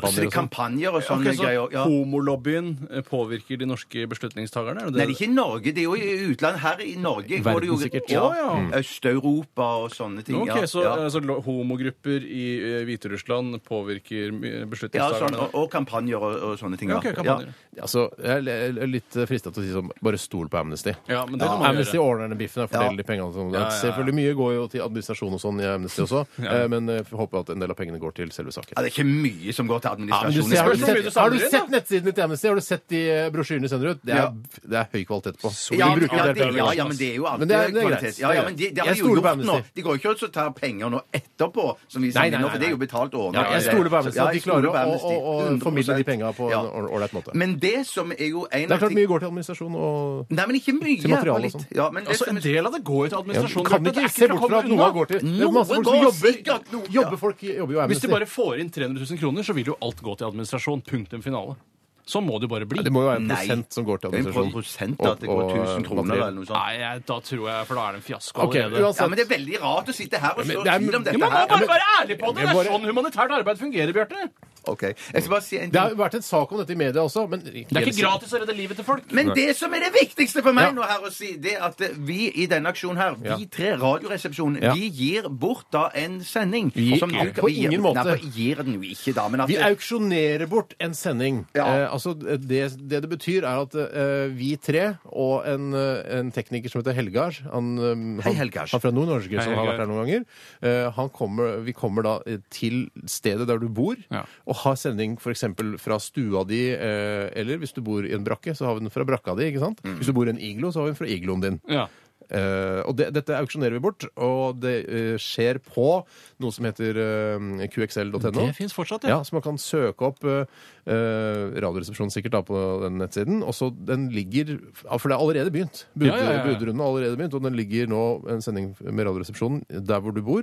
Speaker 2: holdningskampanjer.
Speaker 3: det er
Speaker 2: og sånn.
Speaker 3: kampanjer og
Speaker 1: Ok,
Speaker 3: sånne
Speaker 1: så
Speaker 3: greier. Ja.
Speaker 1: Homolobbyen eh, påvirker de norske beslutningstakerne? Er det
Speaker 3: Nei,
Speaker 1: det?
Speaker 3: det er ikke i Norge. Det er jo i utlandet. Her i Norge går det jo
Speaker 2: Verden sikkert.
Speaker 3: Ja,
Speaker 1: Å, ja. Mm.
Speaker 3: Øst-Europa og sånne ting.
Speaker 1: Ok,
Speaker 3: ja.
Speaker 1: så,
Speaker 3: ja.
Speaker 1: eh, så lo- homogrupper i eh, Hviterussland påvirker eh,
Speaker 3: ja, sånn,
Speaker 1: beslutningstakerne?
Speaker 3: og, og kampanjer og, og sånne ting.
Speaker 1: Ja,
Speaker 3: Ja.
Speaker 1: ok,
Speaker 3: ja.
Speaker 1: kampanjer.
Speaker 2: Altså, jeg er litt frista til å si sånn Bare stol på Amnesty.
Speaker 1: Ja, men det kan man
Speaker 2: Amnesty
Speaker 1: gjøre.
Speaker 2: ordner den biffen og fordeler de pengene. Som
Speaker 1: Ja, ja, ja.
Speaker 2: Selvfølgelig mye går jo til administrasjon og sånn i Amnesty også, eh, men jeg håper at en del av pengene går til selve saken.
Speaker 3: Ja, det er ikke mye som går til
Speaker 2: Men du
Speaker 3: administrasjonen.
Speaker 2: ser, har, du
Speaker 1: så mye du
Speaker 2: sett,
Speaker 1: samler
Speaker 2: har du
Speaker 1: inn,
Speaker 2: sett nettsidene til Amnesty? Har du sett de eh, brosjyrene de sender ut? Det er, det er høy kvalitet på.
Speaker 3: ja,
Speaker 2: Vi bruker
Speaker 3: ja,
Speaker 2: det
Speaker 3: det,
Speaker 2: her til
Speaker 3: ja,
Speaker 2: å-
Speaker 3: ja, men det er jo alltid
Speaker 2: Men det er- det er greit.
Speaker 3: kvalitet. Ja, ja, men de,
Speaker 2: Jeg
Speaker 3: det har de jo
Speaker 2: stoler på
Speaker 3: gjort nå.
Speaker 2: Amnesty.
Speaker 3: De går ikke ut og tar penger nå etterpå, som vi
Speaker 2: Nei,
Speaker 3: sier
Speaker 2: nei,
Speaker 3: nå,
Speaker 2: nei,
Speaker 3: for det er
Speaker 2: nei.
Speaker 3: jo betalt og ordnet.
Speaker 2: Ja, jeg stoler på Amnesty.
Speaker 3: Ja,
Speaker 2: At de
Speaker 3: jeg stoler
Speaker 2: klarer å,
Speaker 3: på
Speaker 2: å,
Speaker 3: Amnesty,
Speaker 2: å formidle de
Speaker 3: 100%.
Speaker 2: penga på
Speaker 3: Ja.
Speaker 2: en ål- ålreit måte.
Speaker 3: Men det som er jo en
Speaker 2: Det er klart mye går til administrasjon og
Speaker 3: Nei, men ikke mye.
Speaker 2: Til materiale
Speaker 3: bare
Speaker 2: og
Speaker 3: litt.
Speaker 2: sånn.
Speaker 3: Ja, men det
Speaker 1: Altså,
Speaker 3: som
Speaker 1: en del av det går jo til administrasjonen.
Speaker 2: Kan
Speaker 1: Bjarte. Det er
Speaker 2: ikke se
Speaker 1: til
Speaker 2: bort
Speaker 1: å
Speaker 2: fra
Speaker 1: komme
Speaker 2: at noe
Speaker 1: unna.
Speaker 2: går til Det er
Speaker 3: Noe
Speaker 2: masse folk som
Speaker 3: går
Speaker 2: jobber.
Speaker 3: sikkert noe- ja.
Speaker 2: jobber folk jobber jo i
Speaker 1: Hvis
Speaker 2: Amnesty.
Speaker 1: du bare får inn 300 000 kroner, så vil jo alt gå til administrasjon. Punktum finale. Sånn må det jo bare bli.
Speaker 2: Det må jo være en
Speaker 3: Nei.
Speaker 2: prosent som går til
Speaker 3: En
Speaker 2: administrasjon.
Speaker 3: prosent at det går
Speaker 2: Og- og,
Speaker 3: 1000 kroner
Speaker 2: materiell.
Speaker 3: eller noe sånt.
Speaker 1: Nei, jeg, da tror jeg, for da er det en fiasko
Speaker 2: Ok,
Speaker 1: allerede.
Speaker 2: uansett.
Speaker 3: Ja, men det er veldig rart å sitte her og
Speaker 2: men
Speaker 3: slå
Speaker 2: det er-
Speaker 3: tvil om
Speaker 2: Ja,
Speaker 3: dette
Speaker 1: Man må
Speaker 3: her.
Speaker 1: bare være ærlig på det!
Speaker 2: Jeg
Speaker 1: Det
Speaker 2: bare-
Speaker 1: er sånn humanitært arbeid fungerer, Bjarte.
Speaker 3: Ok, jeg skal bare si en
Speaker 2: Det
Speaker 3: ting.
Speaker 2: har jo vært en sak om dette i media også, men
Speaker 1: Det er ikke gratis å redde livet til folk.
Speaker 3: Men det som er det viktigste for meg
Speaker 2: Ja.
Speaker 3: nå her å si, det er at eh, vi i denne aksjonen her,
Speaker 2: Ja.
Speaker 3: vi tre Radioresepsjonen,
Speaker 2: Ja.
Speaker 3: vi gir bort da en sending.
Speaker 2: Vi-
Speaker 3: som du
Speaker 2: Nei,
Speaker 3: kan-
Speaker 2: på ingen måte.
Speaker 3: Nei, vi gir den jo ikke da, men at
Speaker 2: Vi auksjonerer bort en sending.
Speaker 3: Ja.
Speaker 2: Eh, altså, det, det det betyr, er at eh, vi tre og en, eh, en tekniker som heter Helgar Han, eh,
Speaker 3: Hei,
Speaker 2: han,
Speaker 3: Helgar.
Speaker 2: han fra Nord-Norge, som har vært
Speaker 1: Helgar.
Speaker 2: her noen ganger. eh, han kommer, vi kommer da eh, til stedet der du bor,
Speaker 1: Ja.
Speaker 2: og har sending f.eks. fra stua di, eh, eller hvis du bor i en brakke, så har vi den fra brakka di. ikke sant?
Speaker 1: Mm.
Speaker 2: Hvis du bor i en iglo, så har vi den fra igloen din.
Speaker 1: Ja.
Speaker 2: Eh, og det, dette auksjonerer vi bort, og det eh, skjer på noe som heter eh, qxl.no.
Speaker 1: Det fins fortsatt, ja.
Speaker 2: Ja, så man kan søke opp eh, eh, Radioresepsjonen sikkert da på den nettsiden. Og så den ligger ja, For det er allerede begynt. Bud,
Speaker 1: Ja, ja, ja, ja.
Speaker 2: Budrunden har allerede begynt, og den ligger nå en sending med Radioresepsjonen der hvor du bor,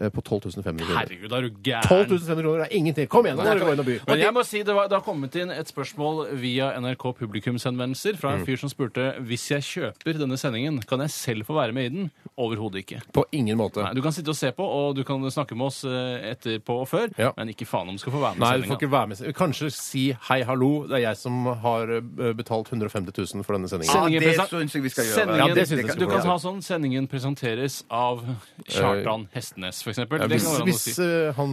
Speaker 2: eh, på 12 500 kroner.
Speaker 1: Herregud, er du
Speaker 2: 12
Speaker 1: gæren.
Speaker 2: 500 kroner er ingenting! Kom igjen, nå må dere gå inn og by!
Speaker 1: Men jeg må si, det, var, det har kommet inn et spørsmål via NRK publikumshenvendelser fra en
Speaker 2: Mm.
Speaker 1: fyr som spurte hvis jeg kjøper denne sendingen, kan jeg selv få være med i den? Overhodet ikke.
Speaker 2: På ingen måte.
Speaker 1: Nei, du kan sitte og se på, og du kan snakke med oss eh, etterpå og før,
Speaker 2: Ja.
Speaker 1: men ikke faen om du skal få være med
Speaker 2: Nei,
Speaker 1: i
Speaker 2: du får
Speaker 1: sendinga.
Speaker 2: ikke være med. Kanskje si 'hei, hallo, det er jeg som har eh, betalt 150 000 for denne sendingen'.
Speaker 3: Ja,
Speaker 1: Sendingen
Speaker 3: det
Speaker 1: presen-
Speaker 3: synes jeg vi skal gjøre.
Speaker 1: Sendingen,
Speaker 2: Ja, det synes jeg vi skal
Speaker 1: du kan
Speaker 2: gjøre.
Speaker 1: ha sånn sendingen presenteres av Kjartan Hestnes, for eksempel.
Speaker 2: Ja,
Speaker 1: Det
Speaker 2: hvis
Speaker 1: kan være noe å
Speaker 2: hvis
Speaker 1: si.
Speaker 2: eh, han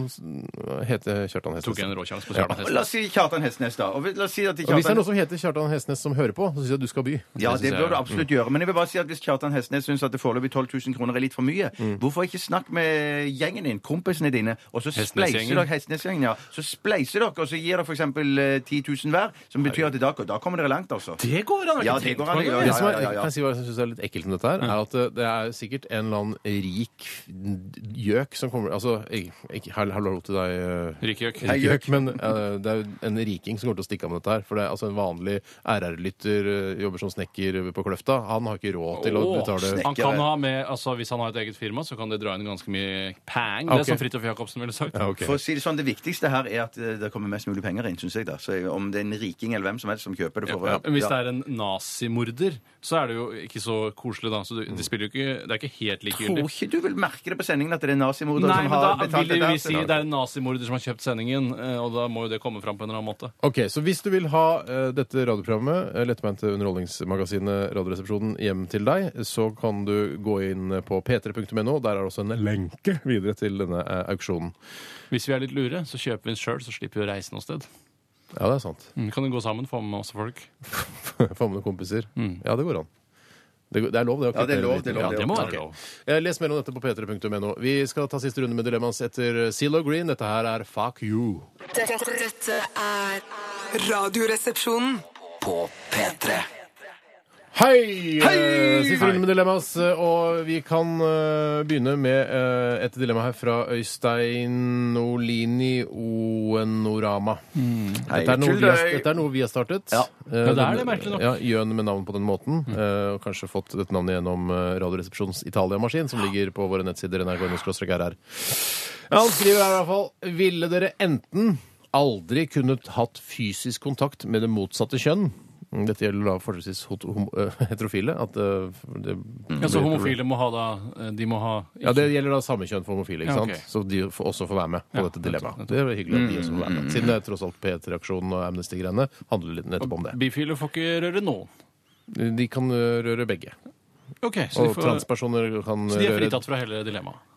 Speaker 2: heter Kjartan
Speaker 1: Tok jeg
Speaker 2: Hestnes.
Speaker 1: en råkjangs på Kjartan
Speaker 3: La
Speaker 1: Hestnes.
Speaker 3: oss si Kjartan Hestnes, da. Og vi- la oss si at
Speaker 2: Og hvis det er
Speaker 3: Kjartan...
Speaker 2: noen som heter Kjartan Hestnes som hører på, så syns jeg du skal by.
Speaker 3: Ja,
Speaker 1: Det
Speaker 3: det
Speaker 1: synes
Speaker 3: bør
Speaker 1: jeg-
Speaker 3: du absolutt gjøre. Men jeg vil bare si at hvis Kjartan Hestnes syns at det foreløpig 12 000 kroner er litt for mye,
Speaker 1: Mm.
Speaker 3: hvorfor ikke snakke med gjengen din, kompisene dine, og så
Speaker 1: Hestnes-gjengen.
Speaker 3: spleiser dere Hestnes-gjengen, ja. Så spleiser dere, og så gir dere f.eks. 10 000 hver, som betyr at i dag, da kommer dere langt, altså.
Speaker 1: Det går an!
Speaker 3: Ja, det går an å gjøre.
Speaker 2: Det
Speaker 3: Ja,
Speaker 2: som
Speaker 3: ja,
Speaker 2: er,
Speaker 3: ja, ja. Mm.
Speaker 2: kan jeg si hva jeg synes er litt ekkelt med dette her, er at eh, det er sikkert en eller annen rik gjøk som kommer Altså, jeg- ikke- hall- hallo til deg, eh,
Speaker 1: Rikjøk.
Speaker 2: rik gjøk, men eh, det er jo en riking som kommer til å stikke av med dette her. For det er altså en vanlig RR-lytter, eh, jobber som snekker på Kløfta, han har ikke råd til å
Speaker 1: Åh,
Speaker 2: betale
Speaker 1: han kan ha med, altså Hvis han har et eget firma, så kan det dra inn ganske mye pang. Det
Speaker 2: Ok.
Speaker 1: er som Fridtjof Jacobsen ville sagt.
Speaker 2: Ja, ok.
Speaker 3: For å si det sånn, Det viktigste her er at eh, det kommer mest mulig penger inn, syns jeg. da. Så Om det er en riking eller hvem som helst som kjøper det. for...
Speaker 1: Men Hvis det er en nazimorder, så er det jo ikke så koselig, da. Så du, de spiller jo ikke, det er ikke helt
Speaker 3: Jeg tror
Speaker 1: likegyldig.
Speaker 3: ikke du vil merke det på sendingen at det er nazimordere
Speaker 1: Nei,
Speaker 3: som
Speaker 1: men
Speaker 3: har
Speaker 1: da
Speaker 3: betalt
Speaker 1: vil
Speaker 3: det der.
Speaker 1: vi si det er en nazimorder som har kjøpt sendingen, eh, og da må jo det komme fram på en eller annen måte.
Speaker 2: Ok, Så hvis du vil ha eh, dette radioprogrammet, eh, lettbeinte underholdningsmagasinet Radioresepsjonen, hjem til deg, så kan du gå inn på p3.no. Der er også en lenke videre til denne eh, auksjonen.
Speaker 1: Hvis vi er litt lure, så kjøper vi den sjøl, så slipper vi å reise noe sted.
Speaker 2: Ja, det er sant.
Speaker 1: Mm, Kan jo gå sammen, få med masse folk.
Speaker 2: Få med noen kompiser. Ja, det går an. Det, går- det er lov, det. å
Speaker 3: Ja, det er
Speaker 2: kvittere
Speaker 3: lov,
Speaker 2: litt.
Speaker 3: det er lov,
Speaker 1: Ja,
Speaker 3: det
Speaker 1: det
Speaker 3: er
Speaker 1: må
Speaker 3: ok.
Speaker 1: være lov.
Speaker 2: Eh, Les mer om dette på p3.no. Vi skal ta siste runde med dilemmaet etter Zillow Green. Dette her er Fuck You.
Speaker 7: Dette, dette er Radioresepsjonen.
Speaker 5: På P3.
Speaker 2: Hei! Eh, Siste runde med dilemmas, eh, og vi kan eh, begynne med eh, et dilemma her fra Øystein Olini Oenorama. Dette, er noe vi har, dette er noe vi har startet. Eh, Ja,
Speaker 1: det er det, merkelig nok. Mm.
Speaker 2: Ja, Gjøn med navn på den måten. eh, og kanskje fått dette navnet gjennom eh, Radioresepsjonens Italia-maskin, som ligger på våre nettsider nrk.no-rr. Ja, han skriver her i hvert fall Ville dere enten aldri kunnet hatt fysisk kontakt med det motsatte kjønn Mm, Dette gjelder da forholdsvis hot- hom- øh, heterofile. At øh, det
Speaker 3: Mm.
Speaker 1: Ja, så homofile må ha da eh, De må ha
Speaker 2: Ja, det gjelder da samme kjønn for homofile, ikke
Speaker 1: Ja,
Speaker 2: sant?
Speaker 1: ok.
Speaker 2: Så de får også får være med på
Speaker 1: Ja, Mm.
Speaker 2: dette dilemmaet. Det er jo hyggelig at de også får være med. Siden det er tross alt P3-aksjonen og Amnesty-greiene handler litt nettopp om det.
Speaker 1: Bifile får ikke røre noen.
Speaker 2: De kan øh, røre begge.
Speaker 1: Ok, Så de,
Speaker 2: Og
Speaker 1: får,
Speaker 2: transpersoner kan
Speaker 1: så de er
Speaker 2: røre
Speaker 1: fritatt fra hele dilemmaet.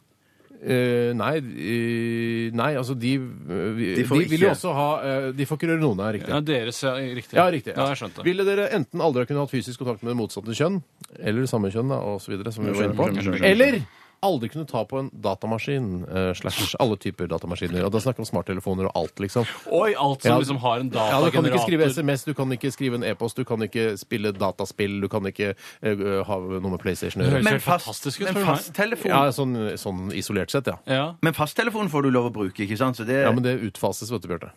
Speaker 2: Eh, nei, eh, nei, altså de eh, vi-
Speaker 3: De
Speaker 2: De,
Speaker 3: får
Speaker 2: vil jo
Speaker 3: ikke-
Speaker 2: også ha eh, De får ikke røre noen her, riktig.
Speaker 1: Ja, deres, ja, riktig.
Speaker 2: Ja, riktig.
Speaker 1: Ja, jeg skjønte.
Speaker 2: Ville dere enten aldri ha kunnet hatt fysisk kontakt med det motsatte kjønn, eller det samme kjønn, da, og så videre, som vi var inne
Speaker 3: skjønner,
Speaker 2: på,
Speaker 3: skjønner, skjønner.
Speaker 2: eller aldri kunne ta på en datamaskin eh, slash alle typer datamaskiner. Og da snakker vi om smarttelefoner og alt, liksom.
Speaker 1: Oi, alt som
Speaker 2: Ja.
Speaker 1: liksom har en
Speaker 2: Ja, Du kan ikke
Speaker 1: datagenerator.
Speaker 2: skrive SMS, du kan ikke skrive en e-post, du kan ikke spille dataspill, du kan ikke eh, ha noe med PlayStation å
Speaker 1: Det
Speaker 2: gjøre.
Speaker 1: høres
Speaker 3: Men
Speaker 1: helt
Speaker 3: fast,
Speaker 1: fantastisk ut.
Speaker 3: men
Speaker 1: spør du meg.
Speaker 3: fasttelefon
Speaker 2: Ja, sånn, sånn isolert sett, ja.
Speaker 1: Ja.
Speaker 3: Men fasttelefonen får du lov å bruke, ikke sant? Så det,
Speaker 1: Eh,
Speaker 2: Ja, Men det utfases, vet du, Bjarte.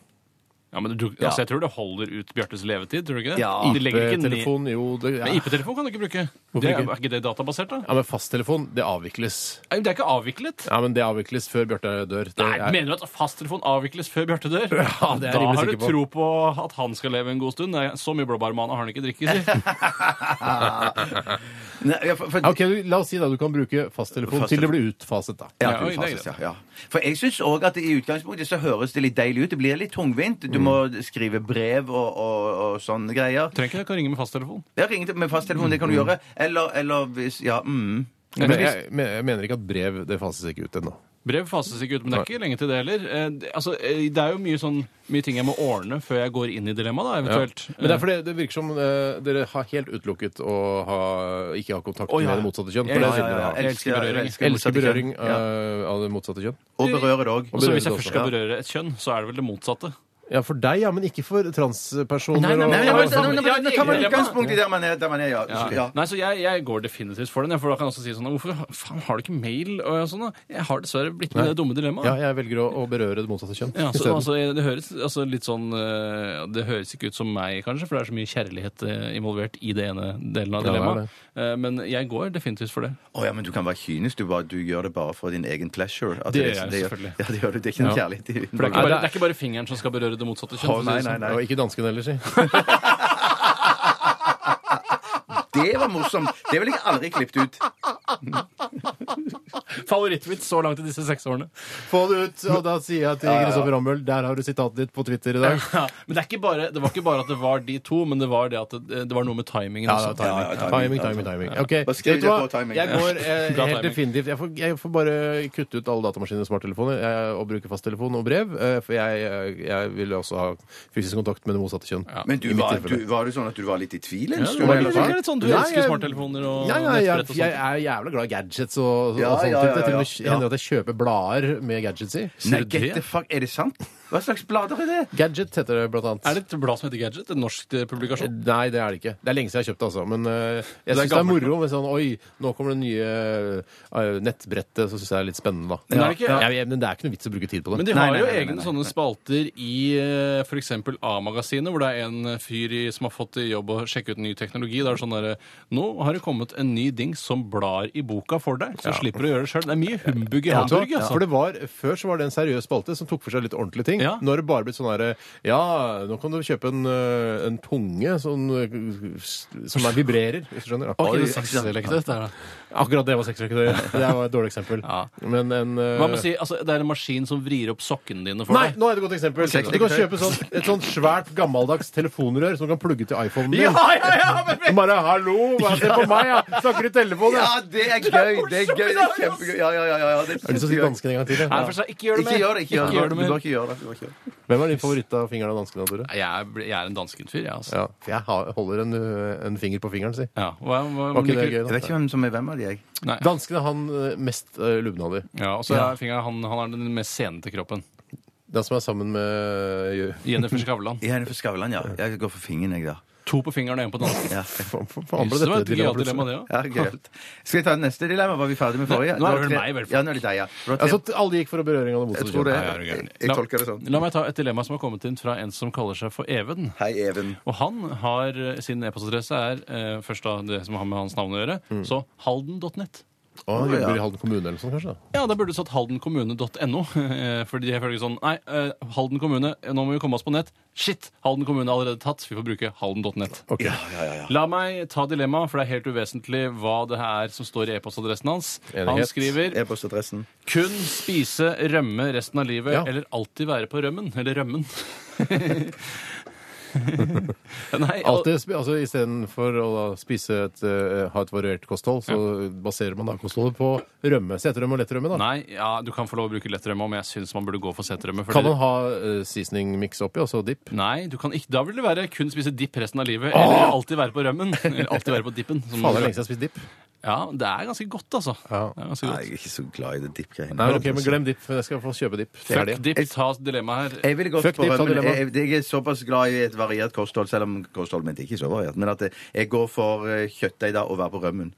Speaker 1: ja, men du, altså, Jeg tror det holder ut Bjartes levetid, tror du ikke det?
Speaker 3: Ja.
Speaker 1: De legger ikke ned
Speaker 2: IP-telefon, jo det, ja.
Speaker 1: Men IP-telefon kan du ikke bruke.
Speaker 2: Hvorfor
Speaker 1: Det er,
Speaker 2: ikke?
Speaker 1: er ikke det databasert, da?
Speaker 2: ja, men fasttelefon, det avvikles.
Speaker 1: Nei, Det er ikke avviklet.
Speaker 2: Ja, men det avvikles før Bjarte dør. Det
Speaker 1: Nei,
Speaker 2: er-
Speaker 1: Mener du at fasttelefon avvikles før Bjarte dør?
Speaker 2: det er jeg
Speaker 1: da
Speaker 2: rimelig
Speaker 1: har du
Speaker 2: sikker på.
Speaker 1: tro på at han skal leve en god stund. Nei, så mye blåbærmane har han ikke drikke, si.
Speaker 3: Nei, ja, for, for,
Speaker 2: Ja, Ok, du- La oss si da du kan bruke fasttelefon til det blir utfaset. da.
Speaker 3: Ja,
Speaker 1: Ja,
Speaker 3: til
Speaker 1: oi, det er
Speaker 3: fases, ja, ja. For jeg syns òg at i utgangspunktet så høres det litt deilig ut. Det blir litt tungvint.
Speaker 1: Mm.
Speaker 3: Du må skrive brev og, og, og sånne greier.
Speaker 1: Trenger ikke dere å ringe med fasttelefon.
Speaker 3: Ja, ring til- med fasttelefon, det kan du
Speaker 1: Mm.
Speaker 3: gjøre. Eller, eller hvis Ja, mm.
Speaker 2: Men jeg, men jeg mener ikke at brev det fases ikke ut ennå.
Speaker 1: Brev fases ikke ut, men det er ikke lenge til det heller. Eh, det- Altså, eh, det er jo mye, sånn, mye ting jeg må ordne før jeg går inn i dilemmaet, da, eventuelt.
Speaker 2: Men det er fordi det virker som eh, dere har helt utelukket å ha, ikke ha kontakt
Speaker 1: Å, ja.
Speaker 2: med det motsatte kjønn.
Speaker 1: Ja,
Speaker 2: For det
Speaker 1: ja,
Speaker 2: er synd dere
Speaker 1: ja,
Speaker 2: har.
Speaker 1: ja. elsker berøring.
Speaker 2: Elsker
Speaker 3: motsatte
Speaker 2: berøring
Speaker 3: kjønn. Ja.
Speaker 2: eh, av det motsatte kjønn.
Speaker 3: Og berøre det òg.
Speaker 2: Og
Speaker 1: Eh, Så
Speaker 2: berøre
Speaker 1: hvis jeg
Speaker 2: det
Speaker 1: først
Speaker 2: også.
Speaker 1: skal berøre et kjønn, så er det vel det motsatte.
Speaker 2: Ja, for deg, ja, men ikke for transpersoner.
Speaker 1: Nei, nei,
Speaker 2: og- sånn.
Speaker 3: Nei, men,
Speaker 1: Ja,
Speaker 3: men, men, men, men, ta
Speaker 1: ja,
Speaker 3: meg
Speaker 1: ja.
Speaker 3: utgangspunkt i der man er, der man er ja. Så- ja.
Speaker 1: Nei, så jeg, jeg går definitivt for den. Jeg, for da kan jeg også si sånn Hvorfor faen har du ikke mail? Og sånn, da? Jeg har dessverre blitt med i det dumme dilemmaet.
Speaker 2: Ja, jeg velger å, å berøre det motsatte kjønn.
Speaker 1: Ja, så,
Speaker 2: isteden.
Speaker 1: altså, det, høres, altså, litt sånn, eh, det høres ikke ut som meg, kanskje, for det er så mye kjærlighet eh, involvert i det ene delen av
Speaker 2: Ja, det er
Speaker 1: dilemmaet. Eh, Men jeg går definitivt for det.
Speaker 3: Å ja, men du kan være kynisk. Du, bare, du gjør det bare for din egen pleasure. At
Speaker 1: Det gjør jeg selvfølgelig.
Speaker 3: Ja, det gjør du. Det er ikke noe
Speaker 1: Ja.
Speaker 3: kjærlighet i
Speaker 1: For det er ikke
Speaker 2: Nei,
Speaker 1: bare,
Speaker 2: det er-
Speaker 1: det er ikke bare fingeren som skal berøre det motsatte kjønn. for
Speaker 3: Å,
Speaker 1: å si
Speaker 3: nei,
Speaker 1: det
Speaker 3: nei,
Speaker 1: sånn.
Speaker 3: nei.
Speaker 2: Og ikke dansken heller, si.
Speaker 3: Det var morsomt. Det ville jeg aldri klippet ut.
Speaker 1: Favorittvits sånn. så langt i disse seks årene.
Speaker 2: Få det ut! Og da sier jeg til Kristoffer Rambøll, der har du sitatet ditt på Twitter i dag.
Speaker 1: Ja, men det, er ikke bare, det var ikke bare at det var de to, men det var det at det, det var noe med timingen
Speaker 2: Ja,
Speaker 1: også.
Speaker 2: det var
Speaker 3: Ja, ja,
Speaker 2: timing,
Speaker 3: timing,
Speaker 2: timing, timing. timing. Ok,
Speaker 3: Bare skriv
Speaker 2: vet du
Speaker 3: det
Speaker 2: hva?
Speaker 3: på timing.
Speaker 2: Jeg går eh,
Speaker 1: Bra
Speaker 2: helt
Speaker 1: timing.
Speaker 2: definitivt. Jeg får, jeg får bare kutte ut alle datamaskiner og smarttelefoner eh, og bruke fasttelefon og brev, eh, for jeg, eh, jeg vil også ha fysisk kontakt med det motsatte kjønn.
Speaker 3: Men du
Speaker 2: I mitt
Speaker 3: var,
Speaker 2: tilfelle.
Speaker 3: du, var det sånn at du var litt i tvil en
Speaker 1: Du
Speaker 3: stund?
Speaker 2: var
Speaker 1: er
Speaker 3: eller?
Speaker 2: det
Speaker 1: sikkert litt sånn, du
Speaker 2: Nei,
Speaker 1: elsker
Speaker 2: jeg-
Speaker 1: smarttelefoner og
Speaker 2: Ja, ja, jeg,
Speaker 1: nettbrett og
Speaker 2: jeg
Speaker 1: sånt.
Speaker 2: er jævla glad i gadgets og, og
Speaker 3: Ja,
Speaker 2: sånt.
Speaker 3: ja, ja,
Speaker 2: Det til og med
Speaker 3: ja, ja.
Speaker 2: hender at jeg kjøper blader med gadgets i.
Speaker 3: liksom-
Speaker 1: Sier
Speaker 3: Nei,
Speaker 1: du
Speaker 3: get
Speaker 1: det?
Speaker 3: the fuck, er det sant? Hva slags blader er det?
Speaker 2: Gadget heter det blant annet.
Speaker 1: Er det et blad som heter Gadget? En norsk eh, publikasjon?
Speaker 2: Nei, det er det ikke. Det er lenge siden jeg har kjøpt det, altså. Men eh, jeg syns det er
Speaker 1: gammelt,
Speaker 2: moro med sånn Oi, nå kommer det nye eh, nettbrettet. Så syns jeg det er litt spennende, da.
Speaker 1: Men er det ikke-
Speaker 2: Jeg- jeg- men det er ikke noe vits å bruke tid på det.
Speaker 1: Men de
Speaker 3: Nei,
Speaker 1: har
Speaker 3: nei,
Speaker 1: jo
Speaker 3: nei, nei,
Speaker 1: egne
Speaker 3: nei,
Speaker 1: sånne spalter i eh, for eksempel A-magasinet, hvor det er en eh, fyr i, som har fått i jobb å sjekke ut ny teknologi. Det er sånn derre Nå har det kommet en ny ding som blar i boka for deg, så slipper du å gjøre det sjøl. Det er mye humbug i
Speaker 2: Ja, vet du hva?
Speaker 1: Hamburg, altså.
Speaker 2: For det var, Før så var det en seriøs spalte som tok for seg litt ordentlige ting.
Speaker 1: Ja.
Speaker 2: Nå har det bare blitt sånn herre Ja, nå kan du kjøpe en, eh, en tunge sånn, eh, som er vibrerer, hvis du skjønner. da.
Speaker 1: Oi,
Speaker 2: Oi,
Speaker 1: det er sexleketøy, dette her, da.
Speaker 2: Akkurat det var sexleketøy. Det var et dårlig eksempel.
Speaker 1: Ja.
Speaker 2: Men en eh,
Speaker 1: Hva med å si altså, det er en maskin som vrir opp sokkene dine for
Speaker 2: Nei,
Speaker 1: deg?
Speaker 2: nå er det et godt eksempel. Du kan kjøpe sånn, et sånt svært gammeldags telefonrør som du kan plugge til iPhonen din.
Speaker 3: ja, ja, men,
Speaker 2: Men Bare 'hallo, hva se på meg', ja. snakker i telefonen.
Speaker 3: ja,
Speaker 2: Ja.
Speaker 3: det er gøy! Det er gøy, det er kjempegøy. Ja, ja, ja, ja, ja, det er
Speaker 2: Har du lyst til å si
Speaker 3: kjempegøy.
Speaker 2: dansken en gang til? ja?
Speaker 1: Nei, for seg, ikke gjør det
Speaker 3: Ikke
Speaker 1: mer.
Speaker 3: gjør det, ikke gjør det. Du
Speaker 1: mer.
Speaker 3: bør ikke gjøre det. Du bør ikke gjøre det.
Speaker 2: Hvem er din favoritt av fingeren av danskene, Tore?
Speaker 1: Nei, Jeg er, bl- jeg er en danskenfyr, jeg, altså.
Speaker 2: Ja, for jeg har- holder en, ø, en finger på fingeren, si.
Speaker 1: Ja. Hva, hva,
Speaker 2: Var ikke det gøy,
Speaker 1: liker-
Speaker 3: Jeg vet
Speaker 2: da?
Speaker 3: ikke hvem som er hvem av de, jeg.
Speaker 1: Nei.
Speaker 2: Danskene er han ø, eh, mest ø, lubna di.
Speaker 1: Ja, og så er fingeren han, han er den mest senete kroppen.
Speaker 2: Den som er sammen med eh,
Speaker 1: Jennifer Skavlan.
Speaker 3: Jeg er for Skavlan, ja. Jeg går for fingeren, jeg, da.
Speaker 1: To på fingeren og én på den andre.
Speaker 3: Ja.
Speaker 2: Faen, for faen ble
Speaker 1: Det var
Speaker 2: dette
Speaker 1: et gøyalt dilemma, det
Speaker 2: plutselig?
Speaker 1: òg.
Speaker 3: Ja, gøyalt. Skal vi ta det neste dilemma? Var vi ferdig med forrige?
Speaker 1: Nei, nå er
Speaker 3: var
Speaker 1: det
Speaker 3: tre-
Speaker 1: meg, i hvert fall.
Speaker 3: Ja, nå er det deg, ja. Det var tre-
Speaker 2: Altså, t- alle gikk for å berøring av det
Speaker 3: jeg
Speaker 2: motsatte
Speaker 3: tror det.
Speaker 2: kjønn.
Speaker 1: det er
Speaker 3: Jeg,
Speaker 1: gøy.
Speaker 3: jeg tolker det sånn.
Speaker 1: La meg ta et dilemma som har kommet inn fra en som kaller seg for Even.
Speaker 3: Hei, Even.
Speaker 1: Og han har, eh, sin e-postadresse er eh, først da det som har med hans navn å gjøre,
Speaker 3: Mm.
Speaker 1: så halden.net.
Speaker 2: Å, han jobber i Halden kommune eller noe sånt, kanskje? da?
Speaker 1: Ja, da burde det stått haldenkommune.no. eh, Fordi jeg føler ikke sånn Nei, eh, Halden kommune, eh, nå må vi komme oss på nett. Shit! Halden kommune er allerede tatt. Vi får bruke halden.net. La meg ta dilemmaet, for det er helt uvesentlig hva det er som står i e-postadressen hans. Han
Speaker 2: Enighet.
Speaker 1: skriver
Speaker 3: E-postadressen.
Speaker 1: kun spise rømme resten av livet,
Speaker 2: Ja.
Speaker 1: eller alltid være på rømmen. Eller rømmen. Nei, al-
Speaker 2: Alltid, spi- altså Istedenfor å da spise et, eh, ha et variert kosthold, så baserer man da kostholdet på rømme. Seterømme og lettrømme, da.
Speaker 1: Nei, ja, du kan få lov å bruke lettrømme, men jeg syns man burde gå for setrømme. fordi-
Speaker 2: Kan man ha uh, seasoning-mix oppi, altså dipp?
Speaker 1: Nei, du kan ikke, da vil det være kun spise dipp resten av livet. Eller alltid være på rømmen. Eller alltid være på dippen. som-
Speaker 2: Faen, det er lenge siden jeg har spist dipp.
Speaker 1: ja, det er ganske godt, altså.
Speaker 2: Ja.
Speaker 1: Det er ganske
Speaker 3: Nei,
Speaker 1: godt.
Speaker 3: jeg er ikke så glad i det dipp-greiene.
Speaker 2: Nei, men ok, men Glem dipp. Jeg skal få kjøpe dipp. til
Speaker 1: Fuck
Speaker 2: helgen.
Speaker 1: dipp, ta dilemmaet her.
Speaker 3: Jeg ville gått
Speaker 2: Fuck
Speaker 3: for
Speaker 2: dipp, sa
Speaker 3: rømmen.
Speaker 2: dilemma.
Speaker 3: Jeg, jeg er såpass glad i et variert kosthold, selv om kostholdet mitt ikke er så variert. Men at jeg går for eh, kjøttdeig da og være på rømmen.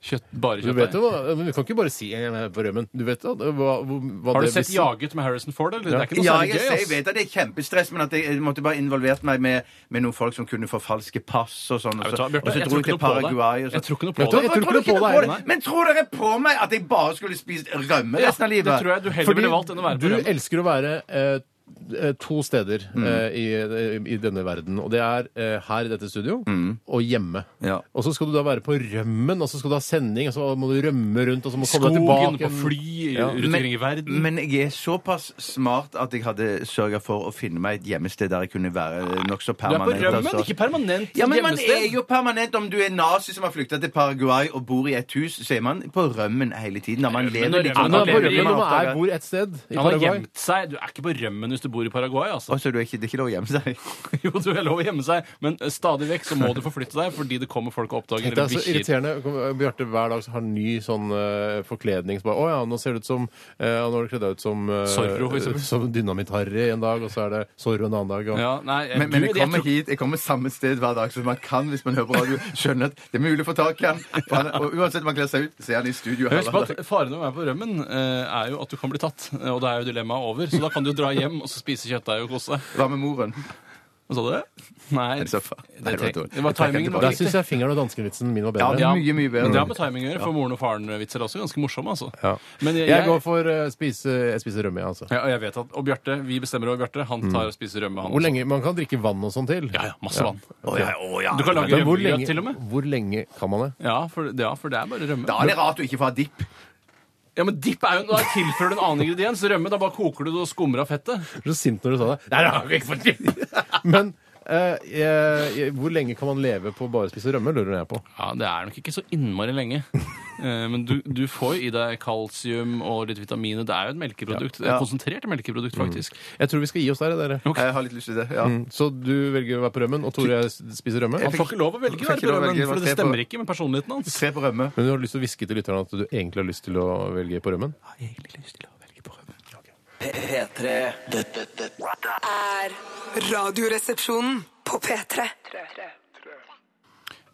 Speaker 1: Kjøtt, bare
Speaker 2: Du vet
Speaker 1: kjøttdeig.
Speaker 2: jo hva, men du kan ikke bare si eh, på rømmen. Du vet da, hva, hvor- hva
Speaker 1: Har du
Speaker 2: det vil
Speaker 1: sett
Speaker 2: si.
Speaker 1: Jaget med Harrison Ford? Eller? Det er ikke noe
Speaker 3: Ja,
Speaker 1: særlig
Speaker 3: jeg,
Speaker 1: gøy.
Speaker 3: jeg
Speaker 1: ass.
Speaker 3: vet at det er kjempestress, men at jeg, jeg måtte bare involvert meg med, med noen folk som kunne forfalske pass og sånn.
Speaker 1: Nei, vet
Speaker 3: Og
Speaker 1: du
Speaker 3: så,
Speaker 1: hva, Bjarte,
Speaker 3: og så
Speaker 1: jeg tror
Speaker 3: dro jeg til
Speaker 1: ikke noe på deg.
Speaker 3: Paraguay og
Speaker 1: Jeg tror ikke
Speaker 3: sånn.
Speaker 1: noe på
Speaker 2: Vet du hva,
Speaker 1: deg.
Speaker 2: jeg tror ikke noe på deg, nei.
Speaker 3: Men tror dere på meg at jeg bare skulle spist rømme resten av livet?
Speaker 1: det tror jeg du heller ville valgt enn å være på
Speaker 2: du
Speaker 1: rømmen.
Speaker 2: elsker å være eh, eh, to steder eh, i, i denne verden. Og det er eh, her i dette studio og hjemme.
Speaker 3: Ja.
Speaker 2: Og så skal du da være på rømmen, og så skal du ha sending, og så må du rømme rundt, og så må du komme deg
Speaker 1: Skogen,
Speaker 2: tilbake.
Speaker 1: på fly, rundt omkring i verden.
Speaker 3: men jeg er såpass smart at jeg hadde sørga for å finne meg et hjemmested der jeg kunne være
Speaker 1: Du
Speaker 3: nokså
Speaker 1: er på
Speaker 3: permanent.
Speaker 1: rømmen,
Speaker 3: altså.
Speaker 1: ikke permanent
Speaker 3: Ja, men man er
Speaker 1: hjemmested.
Speaker 3: jo permanent. Om du er nazi som har flykta til Paraguay og bor i et hus, så er man på rømmen hele tiden. Da man lever
Speaker 1: når
Speaker 3: litt
Speaker 1: rømmen-
Speaker 3: sånn-
Speaker 2: Men da, på
Speaker 1: Han lever i-
Speaker 2: rømmen når man
Speaker 3: man
Speaker 2: er, bor et sted i
Speaker 1: Han har
Speaker 2: Paraguay.
Speaker 1: gjemt seg. Du er ikke på rømmen hvis du bor i Paraguay. altså.
Speaker 3: Og så er det ikke, det er ikke lov å gjemme seg.
Speaker 1: Jo, du er lov å gjemme seg, men eh, stadig vekk så må du forflytte deg fordi det kommer folk og oppdager
Speaker 2: Det er så
Speaker 1: bikkjer.
Speaker 2: irriterende. eh, Bjarte hver dag så har han ny sånn eh, forkledning. Så bare, å ja, nå ser det ut som eh, Nå har du kledd deg ut som, uh,
Speaker 1: Zorro, for eksempel.
Speaker 2: som Dynamitt-Harry en dag, og så er det Zorro en annen dag. Og...
Speaker 1: Ja, nei, jeg,
Speaker 3: Men, men
Speaker 1: du,
Speaker 3: jeg
Speaker 1: jeg
Speaker 3: kommer
Speaker 1: tror-
Speaker 3: hit, jeg kommer samme sted hver dag, så man kan, hvis man hører på radio, skjønne at det er mulig å få tak i han. For han- Og uansett om han kler seg ut, så er han i studio
Speaker 1: Husk
Speaker 3: hver
Speaker 1: på
Speaker 3: dag.
Speaker 1: at Faren med å være på rømmen eh, er jo at du kan bli tatt, eh, og da er jo dilemmaet over. Så da kan du jo dra hjem og så spise kjøttdeig og kose deg.
Speaker 3: Hva med moren?
Speaker 1: Hva sa du? Nei,
Speaker 3: En sofa. Nei,
Speaker 1: det,
Speaker 3: det var
Speaker 1: tenk,
Speaker 3: dårlig.
Speaker 1: det var
Speaker 3: Jeg trekker
Speaker 1: timingen.
Speaker 3: tilbake.
Speaker 1: var
Speaker 2: Der
Speaker 1: riktig.
Speaker 2: syns jeg fingeren og danskevitsen min var bedre.
Speaker 3: Ja, mye, mye bedre.
Speaker 1: Men det har med timing å gjøre, for moren og faren-vitser er også ganske morsomme. altså.
Speaker 2: Ja.
Speaker 1: Men jeg,
Speaker 2: jeg, går for uh, spise, jeg spiser rømme, jeg, altså.
Speaker 1: ja, og jeg vet at, og Bjarte, vi bestemmer over Bjarte. Han tar og spiser rømme, han
Speaker 2: Hvor
Speaker 1: også.
Speaker 2: lenge, Man kan drikke vann og sånn til.
Speaker 1: Ja, ja, masse vann.
Speaker 3: Å, Mm. ja, å, ja.
Speaker 1: Du kan lage
Speaker 2: Men hvor
Speaker 1: rømmegrøt
Speaker 2: lenge,
Speaker 1: til og med.
Speaker 2: hvor lenge kan man det?
Speaker 1: Ja for, ja, for det er bare rømme.
Speaker 3: Da er det rart å ikke få ha dipp.
Speaker 1: Ja, men dipp er jo Da tilfører du en annen ingrediens. Rømme, da bare koker du det og skummer av fettet.
Speaker 2: Jeg ble så sint når du sa det. Der har vi ikke fått drikke! Men eh, jeg, jeg, hvor lenge kan man leve på å bare spise rømme, lurer jeg på.
Speaker 1: Ja, Det er nok ikke så innmari lenge. Eh, Men du, du får jo i deg kalsium og litt vitaminer. Det er jo et melkeprodukt. Det er et konsentrert melkeprodukt, faktisk.
Speaker 3: Mm.
Speaker 2: Jeg tror vi skal gi oss der, dere.
Speaker 3: Jeg har litt lyst til det. ja.
Speaker 1: Mm.
Speaker 2: Så du velger å være på rømmen, og Tore jeg spiser rømme?
Speaker 1: Han får ikke lov å velge, der,
Speaker 3: Får ikke lov å
Speaker 1: men,
Speaker 3: velge,
Speaker 1: for
Speaker 3: hva
Speaker 1: det
Speaker 3: ser på-
Speaker 1: stemmer ikke med personligheten hans.
Speaker 3: Tre på rømme.
Speaker 2: Men du har lyst til å hviske til lytterne at du egentlig har lyst til å velge på rømmen?
Speaker 5: P3. Dette, dette
Speaker 7: Er radioresepsjonen på P3.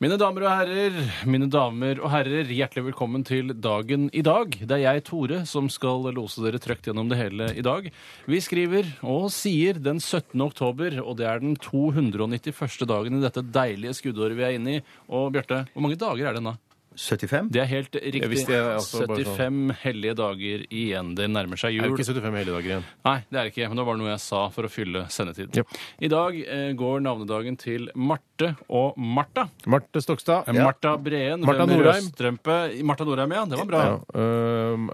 Speaker 1: Mine damer og herrer, mine damer og herrer, hjertelig velkommen til dagen i dag. Det er jeg, Tore, som skal lose dere trøkt gjennom det hele i dag. Vi skriver og sier den 17. oktober, og det er den 291. dagen i dette deilige skuddåret vi er inne i. Og Bjarte, hvor mange dager er det nå?
Speaker 3: 75?
Speaker 1: Det er helt riktig.
Speaker 2: visste jeg også, bare sånn.
Speaker 1: 75 hellige dager igjen. Det nærmer seg
Speaker 2: Er det
Speaker 1: jul.
Speaker 2: ikke 75 helligdager igjen?
Speaker 1: Nei, det er det ikke. Men det var noe jeg sa for å fylle sendetid.
Speaker 2: Yep.
Speaker 1: I dag eh, går navnedagen til Marte og Martha.
Speaker 2: Marte Stokstad.
Speaker 1: Eh, Martha Breen.
Speaker 2: Martha
Speaker 1: hvem med
Speaker 2: Norheim.
Speaker 1: rødstrømpe. Martha Norheim, ja. Det var bra.
Speaker 2: Ja.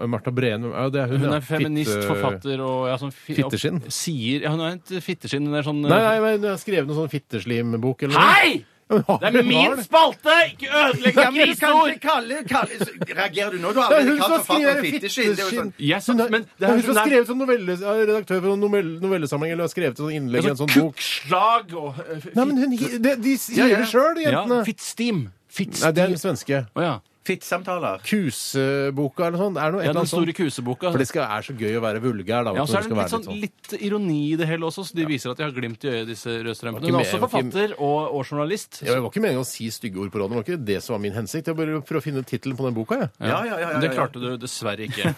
Speaker 2: øh, Martha Breen ja, det er hun,
Speaker 1: Hun
Speaker 2: ja.
Speaker 1: er feminist,
Speaker 2: Fitte-
Speaker 1: forfatter og ja, sånn fi-
Speaker 2: Fitteskinn?
Speaker 1: og Sier, ja, hun er et fitteskinn. Hun er sånn
Speaker 2: Nei, nei, men hun har skrevet noen sånn fitteslimbok eller noe.
Speaker 1: Hei! Det er min spalte! Ikke ødelegg
Speaker 3: Ja, men
Speaker 1: griseord!
Speaker 3: kanskje kalle, kalle Reagerer du nå? Du har
Speaker 2: Det er
Speaker 3: allerede
Speaker 2: hun som
Speaker 3: kalt
Speaker 2: har skrevet
Speaker 3: forfatteren fitteskinn. Det er jo
Speaker 2: fitteskinn!
Speaker 3: sånn-
Speaker 1: Jeg sa-
Speaker 2: Hun er-
Speaker 1: men det
Speaker 2: det
Speaker 1: er
Speaker 2: er hun
Speaker 1: hun
Speaker 2: som har
Speaker 1: som er-
Speaker 2: skrevet sånn novelle, er redaktør for noen novelle, novellesamling eller har skrevet sånn innlegg i
Speaker 1: Altså,
Speaker 2: en sånn bok.
Speaker 1: Kukkslag og eh,
Speaker 2: Nei, men hun, de, de sier
Speaker 3: ja.
Speaker 2: det sjøl,
Speaker 1: Ja,
Speaker 2: jentene!
Speaker 1: Fittstim. Fittstim.
Speaker 2: Nei, det er den svenske.
Speaker 1: Å ja.
Speaker 3: Fittsamtaler.
Speaker 2: Kuseboka eller noe sånt? Er det noe, et eller
Speaker 1: Ja, den
Speaker 2: annet
Speaker 1: store
Speaker 2: sånt?
Speaker 1: kuseboka.
Speaker 2: For det skal, er så gøy å være vulgær, da.
Speaker 1: Ja, og så
Speaker 2: når du
Speaker 1: er det litt,
Speaker 2: skal
Speaker 1: sånn,
Speaker 2: være
Speaker 1: litt ironi i det hele også, så de viser at de har glimt i øyet, disse rødstrømpene.
Speaker 2: Ikke
Speaker 1: Hun er
Speaker 2: mer,
Speaker 1: også
Speaker 2: ikke-
Speaker 1: forfatter og, og journalist.
Speaker 2: Ja, det var ikke meningen å si stygge ord på radioen. Det var ikke det som var min hensikt. Jeg bare prøver å finne tittelen på den boka, jeg.
Speaker 3: Ja, ja, ja, ja, ja.
Speaker 1: Det klarte du dessverre ikke.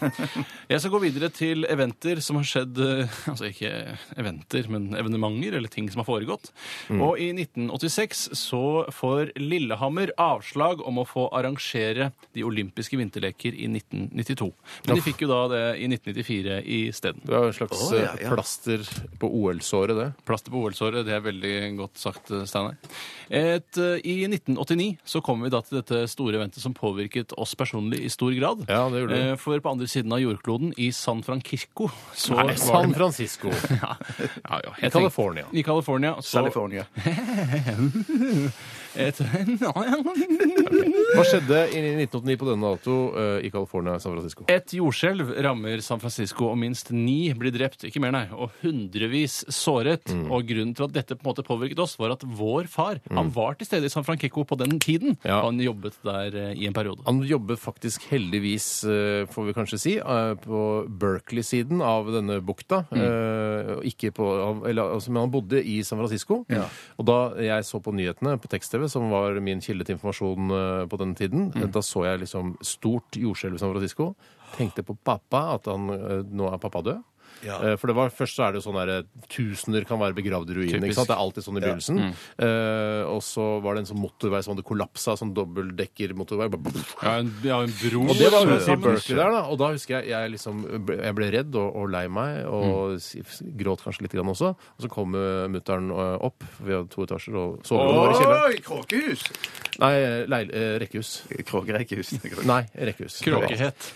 Speaker 1: Jeg skal gå videre til eventer som har skjedd eh, Altså ikke eventer, men evenementer eller ting som har foregått. Og i 1986 så får Lillehammer avslag om å få arrangere de olympiske vinterleker i 1992. Men de fikk jo da det i 1994 isteden.
Speaker 2: Det var en slags
Speaker 3: Å, ja,
Speaker 2: eh,
Speaker 3: ja.
Speaker 2: plaster på OL-såret, det.
Speaker 1: Plaster på OL-såret, det er veldig godt sagt, eh, Steinar. Et, eh, I 1989 så kommer vi da til dette store eventet som påvirket oss personlig i stor grad.
Speaker 2: Ja, det gjorde det.
Speaker 1: Eh, For på andre siden av jordkloden, i San Francisco, så var det-
Speaker 2: San Francisco.
Speaker 1: Ja, ja, ja.
Speaker 2: I
Speaker 1: Jeg
Speaker 2: California.
Speaker 1: tenker- I California. Så
Speaker 3: California.
Speaker 1: Et,
Speaker 2: Hva skjedde i 1989 på denne dato eh, i California, San Francisco?
Speaker 1: et jordskjelv rammer San Francisco, og minst ni blir drept, ikke mer nei, og hundrevis såret.
Speaker 2: Mm.
Speaker 1: Og grunnen til at dette på en måte påvirket oss, var at vår far han var til stede i San Francisco på den tiden.
Speaker 2: Mm. Ja.
Speaker 1: og Han jobbet der eh, i en periode.
Speaker 2: Han jobber faktisk heldigvis, eh, får vi kanskje si, eh, på Berkeley-siden av denne bukta. Eh, og Ikke på, av- eller, altså, men han bodde i San Francisco. Og da jeg så på nyhetene på tekst-TV, som var min kilde til informasjon eh, på den tiden, eh, da så jeg liksom stort jordskjelv i San Francisco. Tenkte på pappa, at han, eh, nå er pappa død. Eh, For det var, Først så er det jo sånn der, eh, tusener kan være begravd i ruinene. ikke sant? Det er alltid sånn i begynnelsen. Eh, og så var det en sånn motorvei som hadde kollapsa, sånn dobbeltdekkermotorvei.
Speaker 1: Ja, en, ja, en bro.
Speaker 2: Og det var
Speaker 1: som
Speaker 2: ute
Speaker 1: er
Speaker 2: i
Speaker 1: sammen.
Speaker 2: Berkeley der, da. Og da husker jeg jeg, liksom, ble- jeg ble redd og, og lei meg, og s- gråt kanskje litt grann også. Og så kom uh, mutter'n opp, for vi hadde to etasjer, og soverommet var i kjelleren.
Speaker 3: Oi, kråkehus!
Speaker 2: Nei, leil, eh, rekkehus.
Speaker 3: Kråkerekkehus.
Speaker 2: Nei, rekkehus.
Speaker 1: Kråkehet.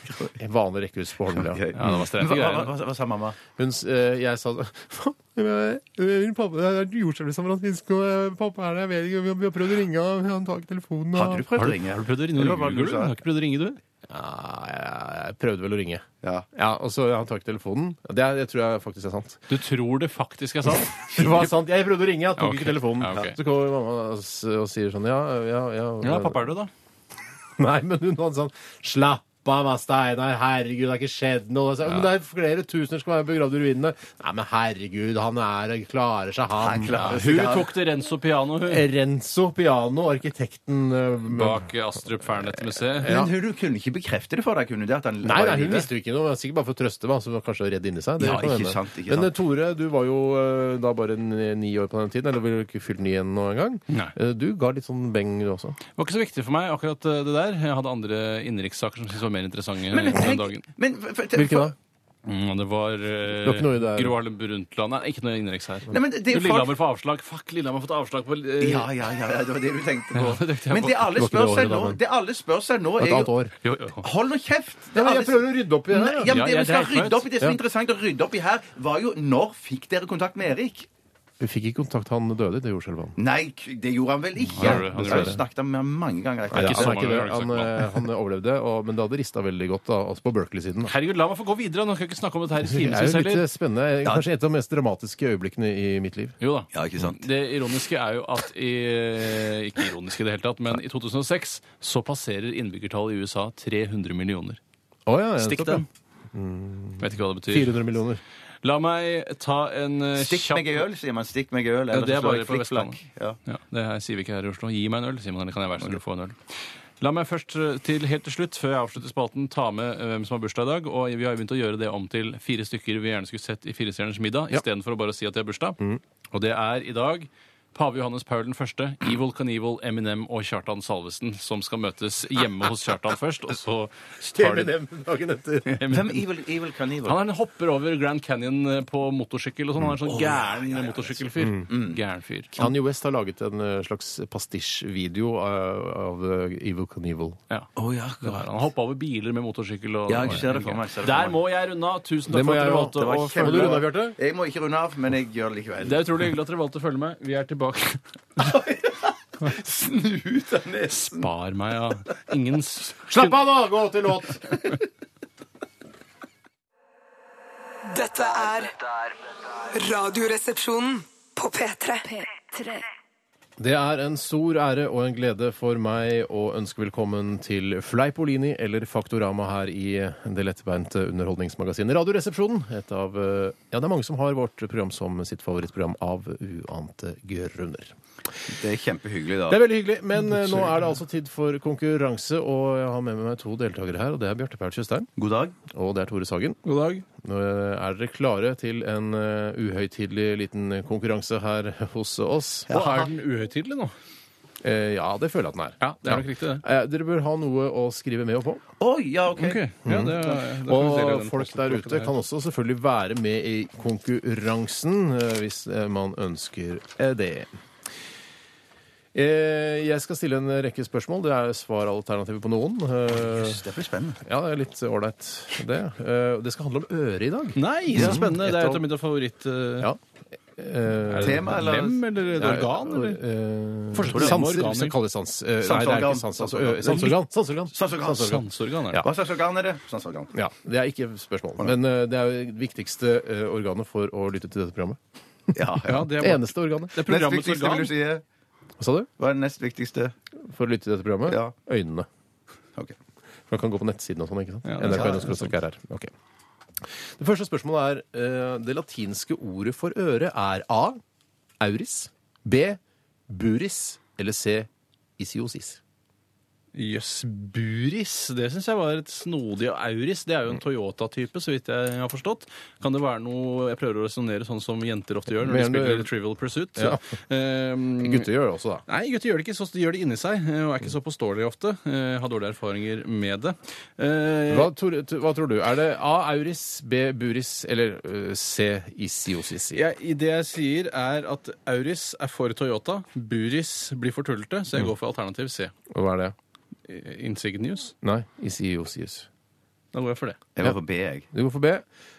Speaker 2: Vanlig rekkehus på Holmlia.
Speaker 3: Ok.
Speaker 1: Ja, det var
Speaker 3: Men
Speaker 1: streite
Speaker 3: Hva,
Speaker 1: greier.
Speaker 3: hva, hva, hva sa mamma?
Speaker 2: Hun, s- eh, jeg sa Faen, jeg- jeg- pappa, det er jordskjelv i San Francisco. eh, Pappa er der, jeg vet ikke. Vi har- vi har prøvd å ringe, han- han tar ikke telefonen. og-
Speaker 3: Hadde du prøvd
Speaker 1: Har
Speaker 3: å
Speaker 1: du,
Speaker 3: ringe?
Speaker 1: har du prøvd å ringe?
Speaker 3: Eller hva var det
Speaker 1: Du
Speaker 3: du sa?
Speaker 1: har ikke prøvd å ringe, du?
Speaker 2: Ja, jeg, jeg prøvde vel å ringe.
Speaker 3: Ja.
Speaker 2: Ja, Og så han tar ikke telefonen. Det, er- det tror jeg faktisk er sant.
Speaker 1: Du tror det faktisk er sant?
Speaker 2: Det var sant. Jeg prøvde å ringe, jeg tok
Speaker 1: Ja, ok.
Speaker 2: ikke telefonen.
Speaker 1: Ja, ok.
Speaker 2: Så kommer mamma og s- og sier sånn Ja, ja, ja.
Speaker 1: Ja, pappa er død, da.
Speaker 2: Nei, men hun hadde sånn Slapp av, da, Steinar. Herregud, det har ikke skjedd noe. Så, Men det er flere tusener som er begravd i ruinene. Nei, men herregud, han er klarer seg, han.
Speaker 3: klarer
Speaker 1: Hun tok til Renzo Piano, hun.
Speaker 2: Renzo Piano, arkitekten eh,
Speaker 1: Bak Astrup Fearnett-museet.
Speaker 3: Men hun, du kunne ikke bekrefte det for deg, kunne du? det, At han
Speaker 2: Nei,
Speaker 3: var i
Speaker 2: nei, hun
Speaker 3: live?
Speaker 2: visste jo ikke noe. Sikkert bare for å trøste, da, som var kanskje redd inni seg. Det
Speaker 3: Ja,
Speaker 2: kan
Speaker 3: ikke
Speaker 2: hende.
Speaker 3: sant, ikke
Speaker 2: Men
Speaker 3: sant.
Speaker 2: eh, Tore, du var jo eh, da bare ni ni år på den tiden. Eller ville du ikke fylt ni igjen nå engang?
Speaker 1: Nei.
Speaker 2: Eh, Du ga litt sånn beng, du også.
Speaker 1: Det var ikke så viktig for meg, akkurat eh, det der. Jeg hadde andre innenrikssaker som jeg syntes var mer interessante
Speaker 3: Men
Speaker 1: den dagen.
Speaker 3: tenk men, for, for,
Speaker 2: Hvilke da?
Speaker 3: for-
Speaker 1: Mm, det
Speaker 2: var
Speaker 1: var
Speaker 2: ikke noe i det
Speaker 1: eh,
Speaker 2: her.
Speaker 1: Gro Harlem Brundtland Nei, ikke noe innenriks her.
Speaker 3: Nei, men det- det er jo
Speaker 1: Lillehammer får avslag. Fuck, Lillehammer har fått avslag på eh,
Speaker 3: Ja, ja, ja, ja, det var det du tenkte på.
Speaker 1: Ja, det tenkte jeg
Speaker 3: Men
Speaker 1: på.
Speaker 3: det alle
Speaker 2: Det var ikke
Speaker 3: spør
Speaker 2: det
Speaker 3: seg
Speaker 2: året da,
Speaker 3: nå,
Speaker 2: men-
Speaker 3: det alle spør seg nå,
Speaker 2: Et
Speaker 3: er
Speaker 2: annet
Speaker 3: jo
Speaker 2: år.
Speaker 1: jo, jo.
Speaker 3: Hold nå kjeft! Det
Speaker 2: Ja, men
Speaker 3: alle-
Speaker 2: jeg prøver å rydde opp i det
Speaker 3: Nei,
Speaker 2: her.
Speaker 3: ja,
Speaker 2: ja.
Speaker 3: men
Speaker 1: Ja,
Speaker 3: det
Speaker 1: ja,
Speaker 3: vi
Speaker 1: det
Speaker 3: skal
Speaker 1: er flaut.
Speaker 3: rydde opp i, det som
Speaker 2: Ja.
Speaker 3: er interessant å rydde opp i her, var jo når fikk dere kontakt med Erik?
Speaker 2: Vi fikk ikke kontakt, han døde i det jordskjelvet. han.
Speaker 3: Nei, k- det gjorde han vel ikke?
Speaker 1: Han gjorde det, han
Speaker 3: Det
Speaker 1: gjorde
Speaker 3: har vi snakket om mange ganger. Altså, etter
Speaker 1: Nei,
Speaker 3: det.
Speaker 1: ikke så
Speaker 2: Han, er ikke
Speaker 1: mange,
Speaker 2: det.
Speaker 1: har
Speaker 2: han,
Speaker 1: du sagt,
Speaker 2: eh, han overlevde, og, men det hadde rista veldig godt, da, også på Berkeley-siden. da.
Speaker 1: Herregud, la meg få gå videre. Nå skal jeg ikke snakke om dette her i
Speaker 2: Det er
Speaker 1: timevis
Speaker 2: jo litt
Speaker 1: heller.
Speaker 2: eh, spennende. Kanskje et av de mest dramatiske øyeblikkene i mitt liv.
Speaker 1: Jo da.
Speaker 3: Ja, ikke sant?
Speaker 1: Det ironiske er jo at i eh, Ikke ironisk i det hele tatt, men i 2006 så passerer innbyggertallet i USA 300 millioner.
Speaker 2: Å, ja, ja,
Speaker 1: Stikk
Speaker 2: nettopp, ja.
Speaker 1: den. Vet ikke hva det betyr.
Speaker 2: 400 millioner.
Speaker 1: La meg ta en eh,
Speaker 3: Stikk
Speaker 1: kjapp
Speaker 3: meg i øl, sier man. Stikk meg i øl.
Speaker 1: det er
Speaker 3: så slår
Speaker 1: bare
Speaker 3: jeg
Speaker 1: på
Speaker 3: flikk flakk.
Speaker 1: Vestlandet.
Speaker 3: Ja.
Speaker 1: Ja, det her sier vi ikke her i Oslo. Gi meg en øl, sier man. Eller kan jeg være så snill å få en øl? La meg først eh, til helt til slutt, før jeg avslutter spalten, ta med eh, hvem som har bursdag i dag. Og vi har jo begynt å gjøre det om til fire stykker vi gjerne skulle sett i Firestjerners middag, istedenfor å bare si at de har bursdag. Og det er i dag Pave Johannes Paul den første, Evil Knievel, Eminem og Kjartan Salvesen, som skal møtes hjemme hos Kjartan først, og så tar de
Speaker 2: dagen etter.
Speaker 3: Hvem er Evil, evil Carnival?
Speaker 1: han er en hopper over Grand Canyon eh, på motorsykkel og sånn. Han er en sånn gæren motorsykkelfyr. Mm, Gæren fyr.
Speaker 2: Kanye West har laget en eh, slags pastisjvideo av, av eh, Evil Knievel.
Speaker 1: Ja.
Speaker 3: Å, ja,
Speaker 1: Det var han. Han hoppa over biler med motorsykkel. Og,
Speaker 3: Ja, jeg ser det for meg, jeg ser det for
Speaker 1: Der
Speaker 3: meg.
Speaker 1: må jeg runde av. Tusen takk
Speaker 2: Det må
Speaker 1: for at
Speaker 2: jeg
Speaker 1: dere
Speaker 2: jo.
Speaker 1: valgte
Speaker 2: Det
Speaker 3: var
Speaker 1: å
Speaker 3: kjempe-
Speaker 2: Må
Speaker 1: følge
Speaker 2: du runde
Speaker 1: med.
Speaker 2: av, Bjarte?
Speaker 3: Jeg må ikke runde av, men jeg gjør det likevel.
Speaker 1: Det er utrolig hyggelig at dere valgte å følge med. Vi er tilbake.
Speaker 3: Snu ut av nesen!
Speaker 1: Bar meg av ingen s-
Speaker 2: Slapp av, da! Gå til låt!
Speaker 7: Dette er Radioresepsjonen på P3.
Speaker 2: Det er en stor ære og en glede for meg å ønske velkommen til Fleipolini eller Faktorama her i det lettbeinte underholdningsmagasinet Radioresepsjonen. Et av eh, Ja, det er mange som har vårt program som sitt favorittprogram av uante grunner.
Speaker 3: Det er kjempehyggelig, da.
Speaker 2: Det er veldig hyggelig, men eh, nå er det altså tid for konkurranse, og jeg har med meg to deltakere her, og det er Bjarte Paul Tjøstheim,
Speaker 3: God dag.
Speaker 2: og det er Tore Sagen.
Speaker 1: God dag.
Speaker 2: Nå eh, er dere klare til en eh, uhøytidelig liten konkurranse her hos oss.
Speaker 1: Og er den uhøytidelig nå?
Speaker 2: Eh, ja, det føler jeg at den er.
Speaker 1: Ja, det er nok riktig, det.
Speaker 2: Eh, dere bør ha noe å skrive med og på.
Speaker 3: Oi, ja, OK.
Speaker 1: Ja, det, er- da kan vi dele
Speaker 2: Og
Speaker 1: den
Speaker 2: folk der ute
Speaker 1: postblokken
Speaker 2: kan også selvfølgelig være med i konkurransen eh, hvis eh, man ønsker eh, det. Eh, Jeg skal stille en rekke spørsmål. Det er svaralternativer på noen. Eh,
Speaker 3: Det blir spennende.
Speaker 2: Ja, det er litt ålreit, det. Eh, Det skal handle om øret i dag.
Speaker 1: Nei, det er spennende. Det er
Speaker 2: Et
Speaker 1: et av mine favoritt... eh,
Speaker 2: Ja. Eh,
Speaker 1: er det
Speaker 3: Tema, eller?
Speaker 1: Lem, eller et organ, eller?
Speaker 2: Eh,
Speaker 1: Forskjell på lem og
Speaker 2: Sanser,
Speaker 1: organer.
Speaker 2: hvis man kaller det sans. Eh, Nei, det er
Speaker 3: Sanseorgan.
Speaker 2: ikke sans. Altså, ø- sanseorgan. Sanseorgan.
Speaker 1: Sånn
Speaker 3: Sanseorgan.
Speaker 2: Sanseorgan.
Speaker 1: Sanseorgan,
Speaker 2: Ja.
Speaker 1: er det.
Speaker 3: Sånn Hva slags organ er det? Sanseorgan.
Speaker 2: Ja, Det er ikke spørsmål. Men eh, det er jo det viktigste eh, organet for å lytte til dette programmet.
Speaker 3: Ja,
Speaker 1: Ja, det
Speaker 2: Det
Speaker 1: er,
Speaker 2: eneste organet.
Speaker 1: det er
Speaker 3: Nest
Speaker 1: programmets
Speaker 3: viktigste, vil
Speaker 1: organ.
Speaker 3: du si? eh?
Speaker 2: Hva sa du?
Speaker 3: Hva er det nest viktigste?
Speaker 2: For å lytte til dette programmet?
Speaker 3: Ja.
Speaker 2: Øynene.
Speaker 3: Ok.
Speaker 2: For Man kan gå på nettsiden og sånn, ikke sant?
Speaker 1: Ja, det-
Speaker 2: NRK
Speaker 1: ja,
Speaker 2: NRK.no-RR. Ok. Det første spørsmålet er eh, Det latinske ordet for øre er A. Auris. B. Buris. Eller C. Isiosis.
Speaker 1: Jøss, Buris. Det syns jeg var et snodig. Og Auris det er jo en Toyota-type, så vidt jeg har forstått. Kan det være noe Jeg prøver å resonnere sånn som jenter ofte gjør når de
Speaker 2: Mener du-
Speaker 1: spiller Trivial Pursuit.
Speaker 2: Ja.
Speaker 1: Ehm,
Speaker 2: Gutter gjør det også, da.
Speaker 1: Nei, gutter gjør det ikke. Så de gjør det inni seg eh, og er ikke så påståelige ofte. Eh, Har dårlige erfaringer med det. Eh,
Speaker 2: Hva tror, t- hva tror du? Er det A. Auris, B. Buris eller eh, C. Isiosis?
Speaker 1: jeg, i det jeg sier, er at Auris er for Toyota. Buris blir for tullete, så jeg
Speaker 2: Mm.
Speaker 1: går for alternativ C.
Speaker 2: Hva er det?
Speaker 1: Eh, Insignius.
Speaker 2: Nei, Isiosius.
Speaker 1: Da går jeg for det.
Speaker 3: Jeg var på B, jeg.
Speaker 2: Du går for B.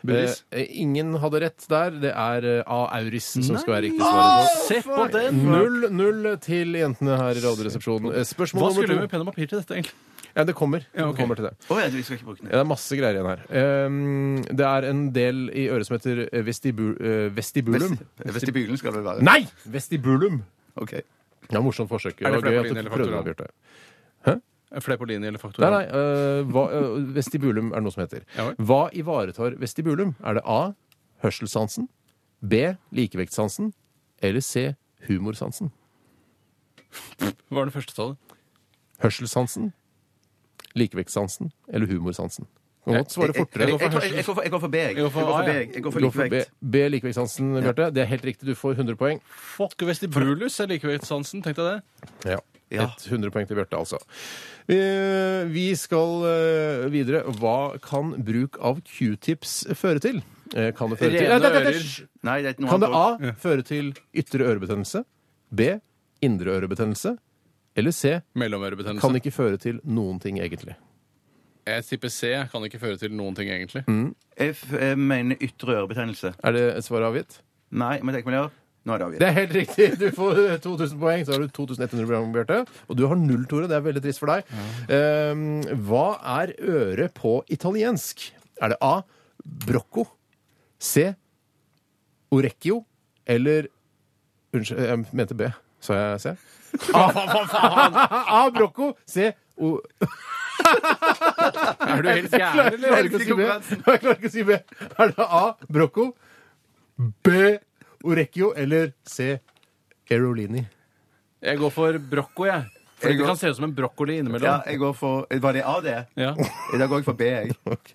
Speaker 1: Buris.
Speaker 2: Eh, ingen hadde rett der. Det er eh, A. Auris som skal være riktig svar.
Speaker 1: Åh, Se på den!
Speaker 2: 0-0 til jentene her i Radioresepsjonen. Eh,
Speaker 1: Hva
Speaker 2: Spørsmål
Speaker 1: skulle du
Speaker 2: nummer
Speaker 1: med
Speaker 2: to.
Speaker 1: penn og papir til dette, egentlig?
Speaker 2: Ja, det kommer.
Speaker 1: Ja, ok.
Speaker 2: det kommer til det.
Speaker 3: Å ja, vi skal ikke bruke den.
Speaker 2: Ja, Det er masse greier igjen her. Um, det er en del i øret som heter eh, vestibu eh, vestibulum.
Speaker 3: Vesti- Vestibylen skal det være.
Speaker 2: Nei! Vestibulum.
Speaker 3: Ok.
Speaker 2: Det var morsomt forsøk.
Speaker 1: Er det
Speaker 2: var gøy at
Speaker 1: Fleipolini
Speaker 2: du
Speaker 1: eller
Speaker 2: prøvde
Speaker 1: Faktorama?
Speaker 2: det, Bjarte.
Speaker 1: Fleipolini eller
Speaker 2: Nei,
Speaker 1: Faktoral?
Speaker 2: nei. eh, hva, eh, vestibulum er det noe som heter.
Speaker 1: Ja vel.
Speaker 2: Hva ivaretar vestibulum? Er det A. Hørselssansen. B. Likevektsansen. Eller C. Humorsansen.
Speaker 1: Hva var det første tallet?
Speaker 2: Hørselssansen, likevektsansen eller humorsansen? Du kan godt svare fortere.
Speaker 3: Jeg, jeg, jeg, jeg, går for- jeg går for B, jeg. Jeg går for
Speaker 1: A,
Speaker 3: B,
Speaker 1: ja.
Speaker 3: jeg. Jeg går for
Speaker 2: Du går for B,
Speaker 3: likevekt.
Speaker 2: B likevektsansen, Bjarte. Det er helt riktig. Du får 100 poeng.
Speaker 1: Fuck, vestibulus er likevektsansen, tenkte jeg det.
Speaker 2: Ja.
Speaker 3: Ja.
Speaker 2: Et 100 poeng til Bjarte, altså. Eh, Vi skal eh, videre. Hva kan bruk av q-tips føre til? Eh, Kan det føre til Nei, nei,
Speaker 1: Rene
Speaker 2: nei, nei,
Speaker 1: ører.
Speaker 2: hysj!
Speaker 3: Nei, det er noe
Speaker 2: Kan det
Speaker 3: annet.
Speaker 2: A føre til ytre ørebetennelse? B indre ørebetennelse? Eller C
Speaker 1: Mellomørebetennelse.
Speaker 2: kan ikke føre til noen ting, egentlig?
Speaker 1: Jeg tipper C kan ikke føre til noen ting, egentlig.
Speaker 2: Mm.
Speaker 3: Jeg f- jeg mener ytre ørebetennelse.
Speaker 2: Er det et svar avgitt?
Speaker 3: Nei, men tenk meg det. Nå er det avgitt.
Speaker 2: Det er helt riktig. Du får eh, 2000 poeng, så har du 2100 poeng, Bjarte. Og du har null, Tore. Det er veldig trist for deg. Ehm, hva er øre på italiensk? Er det A. Brocco. C. Orecchio. Eller Unnskyld, jeg mente B. Sa jeg C? A. A brocco. C. O...
Speaker 1: Er du helt gæren,
Speaker 2: Jeg klarer
Speaker 1: eller?
Speaker 2: ikke å si B. Jeg klarer ikke å si B. Er det A. Brocco. B. Orecchio. Eller C. Aerolini.
Speaker 1: Jeg går for brokko, jeg. For
Speaker 3: Jeg
Speaker 1: det
Speaker 3: går-
Speaker 1: kan se ut som en brokkoli
Speaker 3: Ja,
Speaker 1: innimellom.
Speaker 3: jeg går for Var det A, det?
Speaker 1: Ja.
Speaker 3: Da går jeg for B, jeg.
Speaker 2: Ok.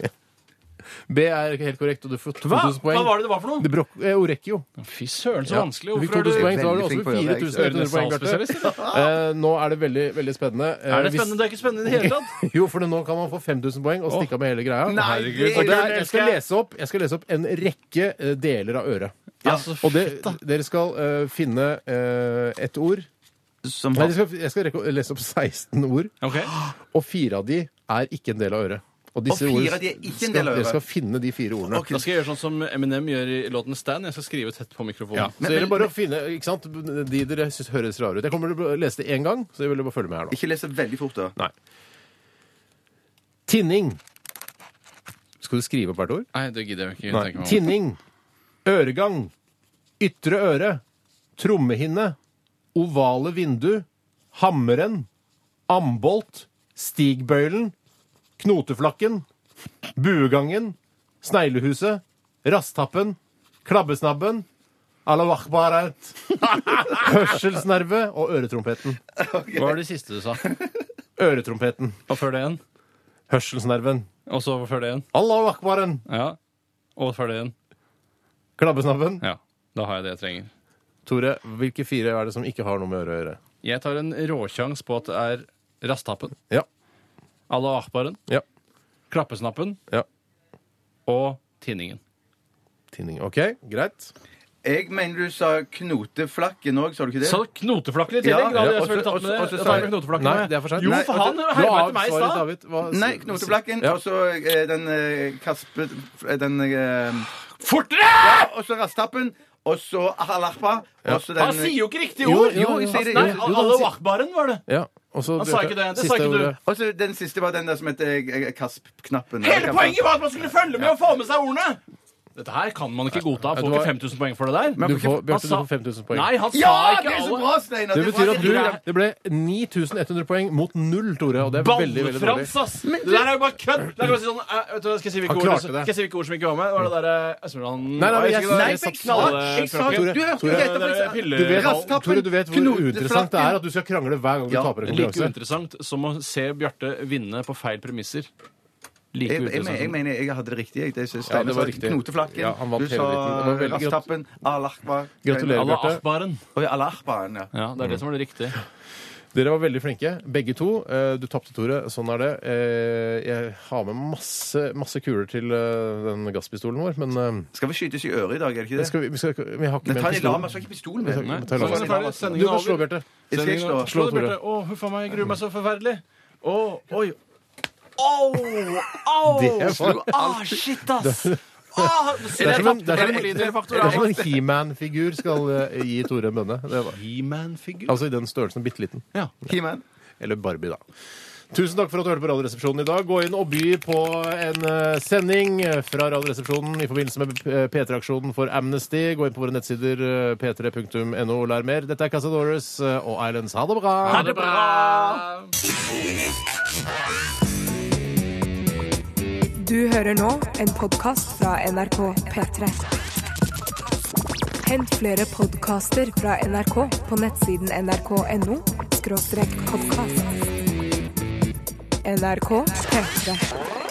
Speaker 2: B er helt korrekt, og du får 2000
Speaker 1: Hva?
Speaker 2: poeng.
Speaker 1: Hva var det det var for
Speaker 2: Det
Speaker 1: noe?
Speaker 2: brok eh, Orecchio.
Speaker 1: Fy søren, så
Speaker 2: Ja.
Speaker 1: vanskelig.
Speaker 2: Du fikk
Speaker 1: Hvorfor
Speaker 2: 2000
Speaker 1: er du
Speaker 2: poeng, så har du
Speaker 3: Veldig
Speaker 2: også
Speaker 3: flink på det, jeg.
Speaker 2: 4100 poeng, Bjarte. Eh, nå er det veldig, veldig spennende. Eh,
Speaker 1: Er det
Speaker 2: hvis-
Speaker 1: spennende? Det er ikke spennende i det hele tatt.
Speaker 2: Jo, for nå kan man få 5000 poeng og stikke av med hele greia.
Speaker 3: Nei,
Speaker 1: herregud.
Speaker 2: Og det er,
Speaker 3: det
Speaker 2: jeg, skal lese opp, jeg skal lese opp en rekke eh, deler av øret.
Speaker 1: Ja, så
Speaker 2: Og det, dere skal eh, finne eh, et ord.
Speaker 3: Som
Speaker 2: Nei, dere skal, jeg skal rekke å lese opp 16 ord,
Speaker 1: Ok.
Speaker 2: og fire av de er ikke en del av øret. Og, disse
Speaker 3: Og fire
Speaker 2: ord
Speaker 3: av de er ikke en
Speaker 2: skal,
Speaker 3: del av øret.
Speaker 2: Dere skal finne de fire ordene.
Speaker 1: Da skal jeg gjøre sånn som Eminem gjør i låten Stan. Jeg skal skrive tett på mikrofonen.
Speaker 2: Ja. Så det gjelder bare å finne ikke sant? de dere syns høres rare ut. Jeg kommer til å lese det én gang, så jeg vil bare følge med her nå.
Speaker 3: Ikke les det veldig fort, da.
Speaker 2: Nei. Tinning. Skal du skrive opp hvert ord?
Speaker 1: Nei, det gidder jeg ikke tenke meg om.
Speaker 2: Tinning. Øregang. Ytre øre. Trommehinne. Ovale vindu, Hammeren, Ambolt, Stigbøylen, Knoteflakken, Buegangen, Sneglehuset, Rastappen, Klabbesnabben, Alawakbarat, Hørselsnerve og Øretrompeten.
Speaker 1: Hva var det siste du sa?
Speaker 2: Øretrompeten.
Speaker 1: Og før det igjen?
Speaker 2: Hørselsnerven.
Speaker 1: Og så før det igjen?
Speaker 2: Allahu akbaren!
Speaker 1: Ja. Og før det igjen?
Speaker 2: Klabbesnabben.
Speaker 1: Ja. Da har jeg det jeg trenger.
Speaker 2: Tore, hvilke fire er det som ikke har noe med øret å gjøre?
Speaker 1: Jeg tar en råsjans på at det er Rastappen,
Speaker 2: Ja.
Speaker 1: Allah Akbaren,
Speaker 2: Ja.
Speaker 1: Klappesnappen
Speaker 2: ja.
Speaker 1: og Tinningen.
Speaker 2: Tinning. OK, greit.
Speaker 3: Jeg mener du sa knoteflakken òg, sa du ikke det?
Speaker 1: Sa du knoteflakken i
Speaker 3: Ja,
Speaker 1: tillegg? Da hadde
Speaker 3: ja,
Speaker 1: jeg selvfølgelig
Speaker 3: og så-
Speaker 1: tatt med
Speaker 3: og så- og så
Speaker 1: det. Da
Speaker 3: sa
Speaker 1: tar jeg
Speaker 3: jeg-
Speaker 1: med knoteflakken
Speaker 2: Nei,
Speaker 1: med.
Speaker 2: det er for sent.
Speaker 1: Jo,
Speaker 2: Nei,
Speaker 1: for han
Speaker 3: og
Speaker 1: herma
Speaker 2: av
Speaker 1: etter meg i
Speaker 2: svaret,
Speaker 1: stad!
Speaker 2: David. Hva-
Speaker 3: Nei, knoteflakken.
Speaker 2: Ja.
Speaker 3: Og så eh, den eh, kaspe... Den eh,
Speaker 1: Fortere!
Speaker 3: Og så rastappen. Og så halakpa. Og så den
Speaker 1: Han sier jo ikke riktige
Speaker 2: Jo,
Speaker 1: ord!
Speaker 2: jo, jo,
Speaker 3: jeg sier det.
Speaker 1: Nei,
Speaker 3: Jo, jo,
Speaker 1: Allah Akbaren var det.
Speaker 2: Ja, og så
Speaker 1: Han sa ikke det. Det sa
Speaker 2: Siste
Speaker 1: ikke du.
Speaker 2: ordet.
Speaker 3: Og så den siste var den der som heter eh, kasp-knappen.
Speaker 1: Hele poenget var at man skulle følge med og få med seg ordene! Dette her kan man ikke godta. Får
Speaker 2: du
Speaker 1: ikke
Speaker 2: har-
Speaker 1: 5000 poeng for det der.
Speaker 2: Du får,
Speaker 1: Han
Speaker 2: Bjarte, du
Speaker 1: sa-
Speaker 2: får 5000 poeng.
Speaker 1: Nei, han sa
Speaker 3: Ja,
Speaker 1: ikke
Speaker 3: det er så
Speaker 1: Allah.
Speaker 3: bra,
Speaker 2: Det
Speaker 3: Steinar! er
Speaker 2: betyr
Speaker 3: bra.
Speaker 2: at du Det ble 9100 poeng mot null, Tore. Og det er veldig, veldig dårlig.
Speaker 1: Ballefrans, ass! Det der er jo bare kødd! Det er bare å si sånn, eh, vet du, hva, skal jeg si hvilke
Speaker 2: Han
Speaker 1: ord,
Speaker 2: klarte
Speaker 1: skal
Speaker 2: det.
Speaker 1: jeg si hvilke ord som ikke var med? Det var det der, eh, Østmøland...
Speaker 2: Nei, nei, men jeg-
Speaker 1: Hva
Speaker 3: Nei,
Speaker 1: er det ikke
Speaker 3: for jeg
Speaker 1: det?
Speaker 3: sa jeg sa-
Speaker 1: Knallfrøken.
Speaker 3: Du hørte jo
Speaker 2: Tore,
Speaker 1: Det
Speaker 3: helt
Speaker 1: der
Speaker 3: opp-
Speaker 1: pille-
Speaker 2: Du vet,
Speaker 3: Rastappen,
Speaker 2: Tore, du vet hvor
Speaker 3: knoteflakken.
Speaker 2: uinteressant det er at du skal krangle hver gang du
Speaker 3: Ja,
Speaker 2: taper en
Speaker 1: Like
Speaker 2: konkurranse.
Speaker 1: uinteressant som å se Bjarte vinne på feil premisser. Like
Speaker 3: Jeg, jeg, jeg,
Speaker 1: uinteressant.
Speaker 3: mener jeg hadde det riktig. Jeg, det
Speaker 2: sånn.
Speaker 3: synes
Speaker 2: Ja,
Speaker 3: Steinar
Speaker 2: det var
Speaker 3: sa.
Speaker 2: riktig.
Speaker 3: Knoteflakken.
Speaker 2: Ja, han vant
Speaker 3: du
Speaker 2: hele dritten. Det var
Speaker 3: sa
Speaker 2: veldig grat-
Speaker 3: rastappen. Alakpa.
Speaker 2: Gratulerer,
Speaker 1: Allah
Speaker 2: Bjarte. Mm.
Speaker 1: Akbaren.
Speaker 3: Oi, alakpaen, ja.
Speaker 1: Ja, det er det som var det riktige.
Speaker 2: Dere var veldig flinke, begge to. Eh, Du tapte, Tore. Sånn er det. Eh, Jeg har med masse, masse kuler til eh, den gasspistolen vår, men eh,
Speaker 3: Skal vi skytes i øret i dag, er det ikke det?
Speaker 2: skal vi, vi, skal, ikke- vi har ikke
Speaker 3: Nei,
Speaker 2: med
Speaker 3: ta en lama,
Speaker 2: pistolen.
Speaker 3: så har jeg ikke pistolen med.
Speaker 2: Nei,
Speaker 3: Nei,
Speaker 2: ta en lama.
Speaker 3: så er det ferdig.
Speaker 1: Sendingen
Speaker 2: Du
Speaker 1: er
Speaker 2: kan slå,
Speaker 1: over.
Speaker 2: Bjarte.
Speaker 3: Jeg skal ikke slå.
Speaker 1: Slå, det, Bjarte. Å, huff a meg, jeg gruer meg så forferdelig. Å, oi.
Speaker 2: Det var-
Speaker 1: Ah, shit, ass! Ah,
Speaker 2: Det er som en, det er som en,
Speaker 1: Moliner i
Speaker 2: det er som
Speaker 1: Faktorama.
Speaker 2: en He-Man-figur skal eh, gi Tore en bønne. Det var,
Speaker 1: He-Man-figur?
Speaker 2: altså i den størrelsen. Bitte liten.
Speaker 1: Ja.
Speaker 3: He-Man.
Speaker 2: Eller Barbie, da. Tusen takk for at du hørte på Radioresepsjonen i dag. Gå inn og by på en eh, sending fra Radioresepsjonen i forbindelse med eh, P3-aksjonen for Amnesty. Gå inn på våre nettsider eh, p3.no og lær mer. Dette er Casadores eh, og Islands. Ha det bra!
Speaker 1: Ha det bra!
Speaker 4: Du hører nå en podkast fra NRK P3. Hent flere podkaster fra NRK på nettsiden nrk.no podkast. NRK P3.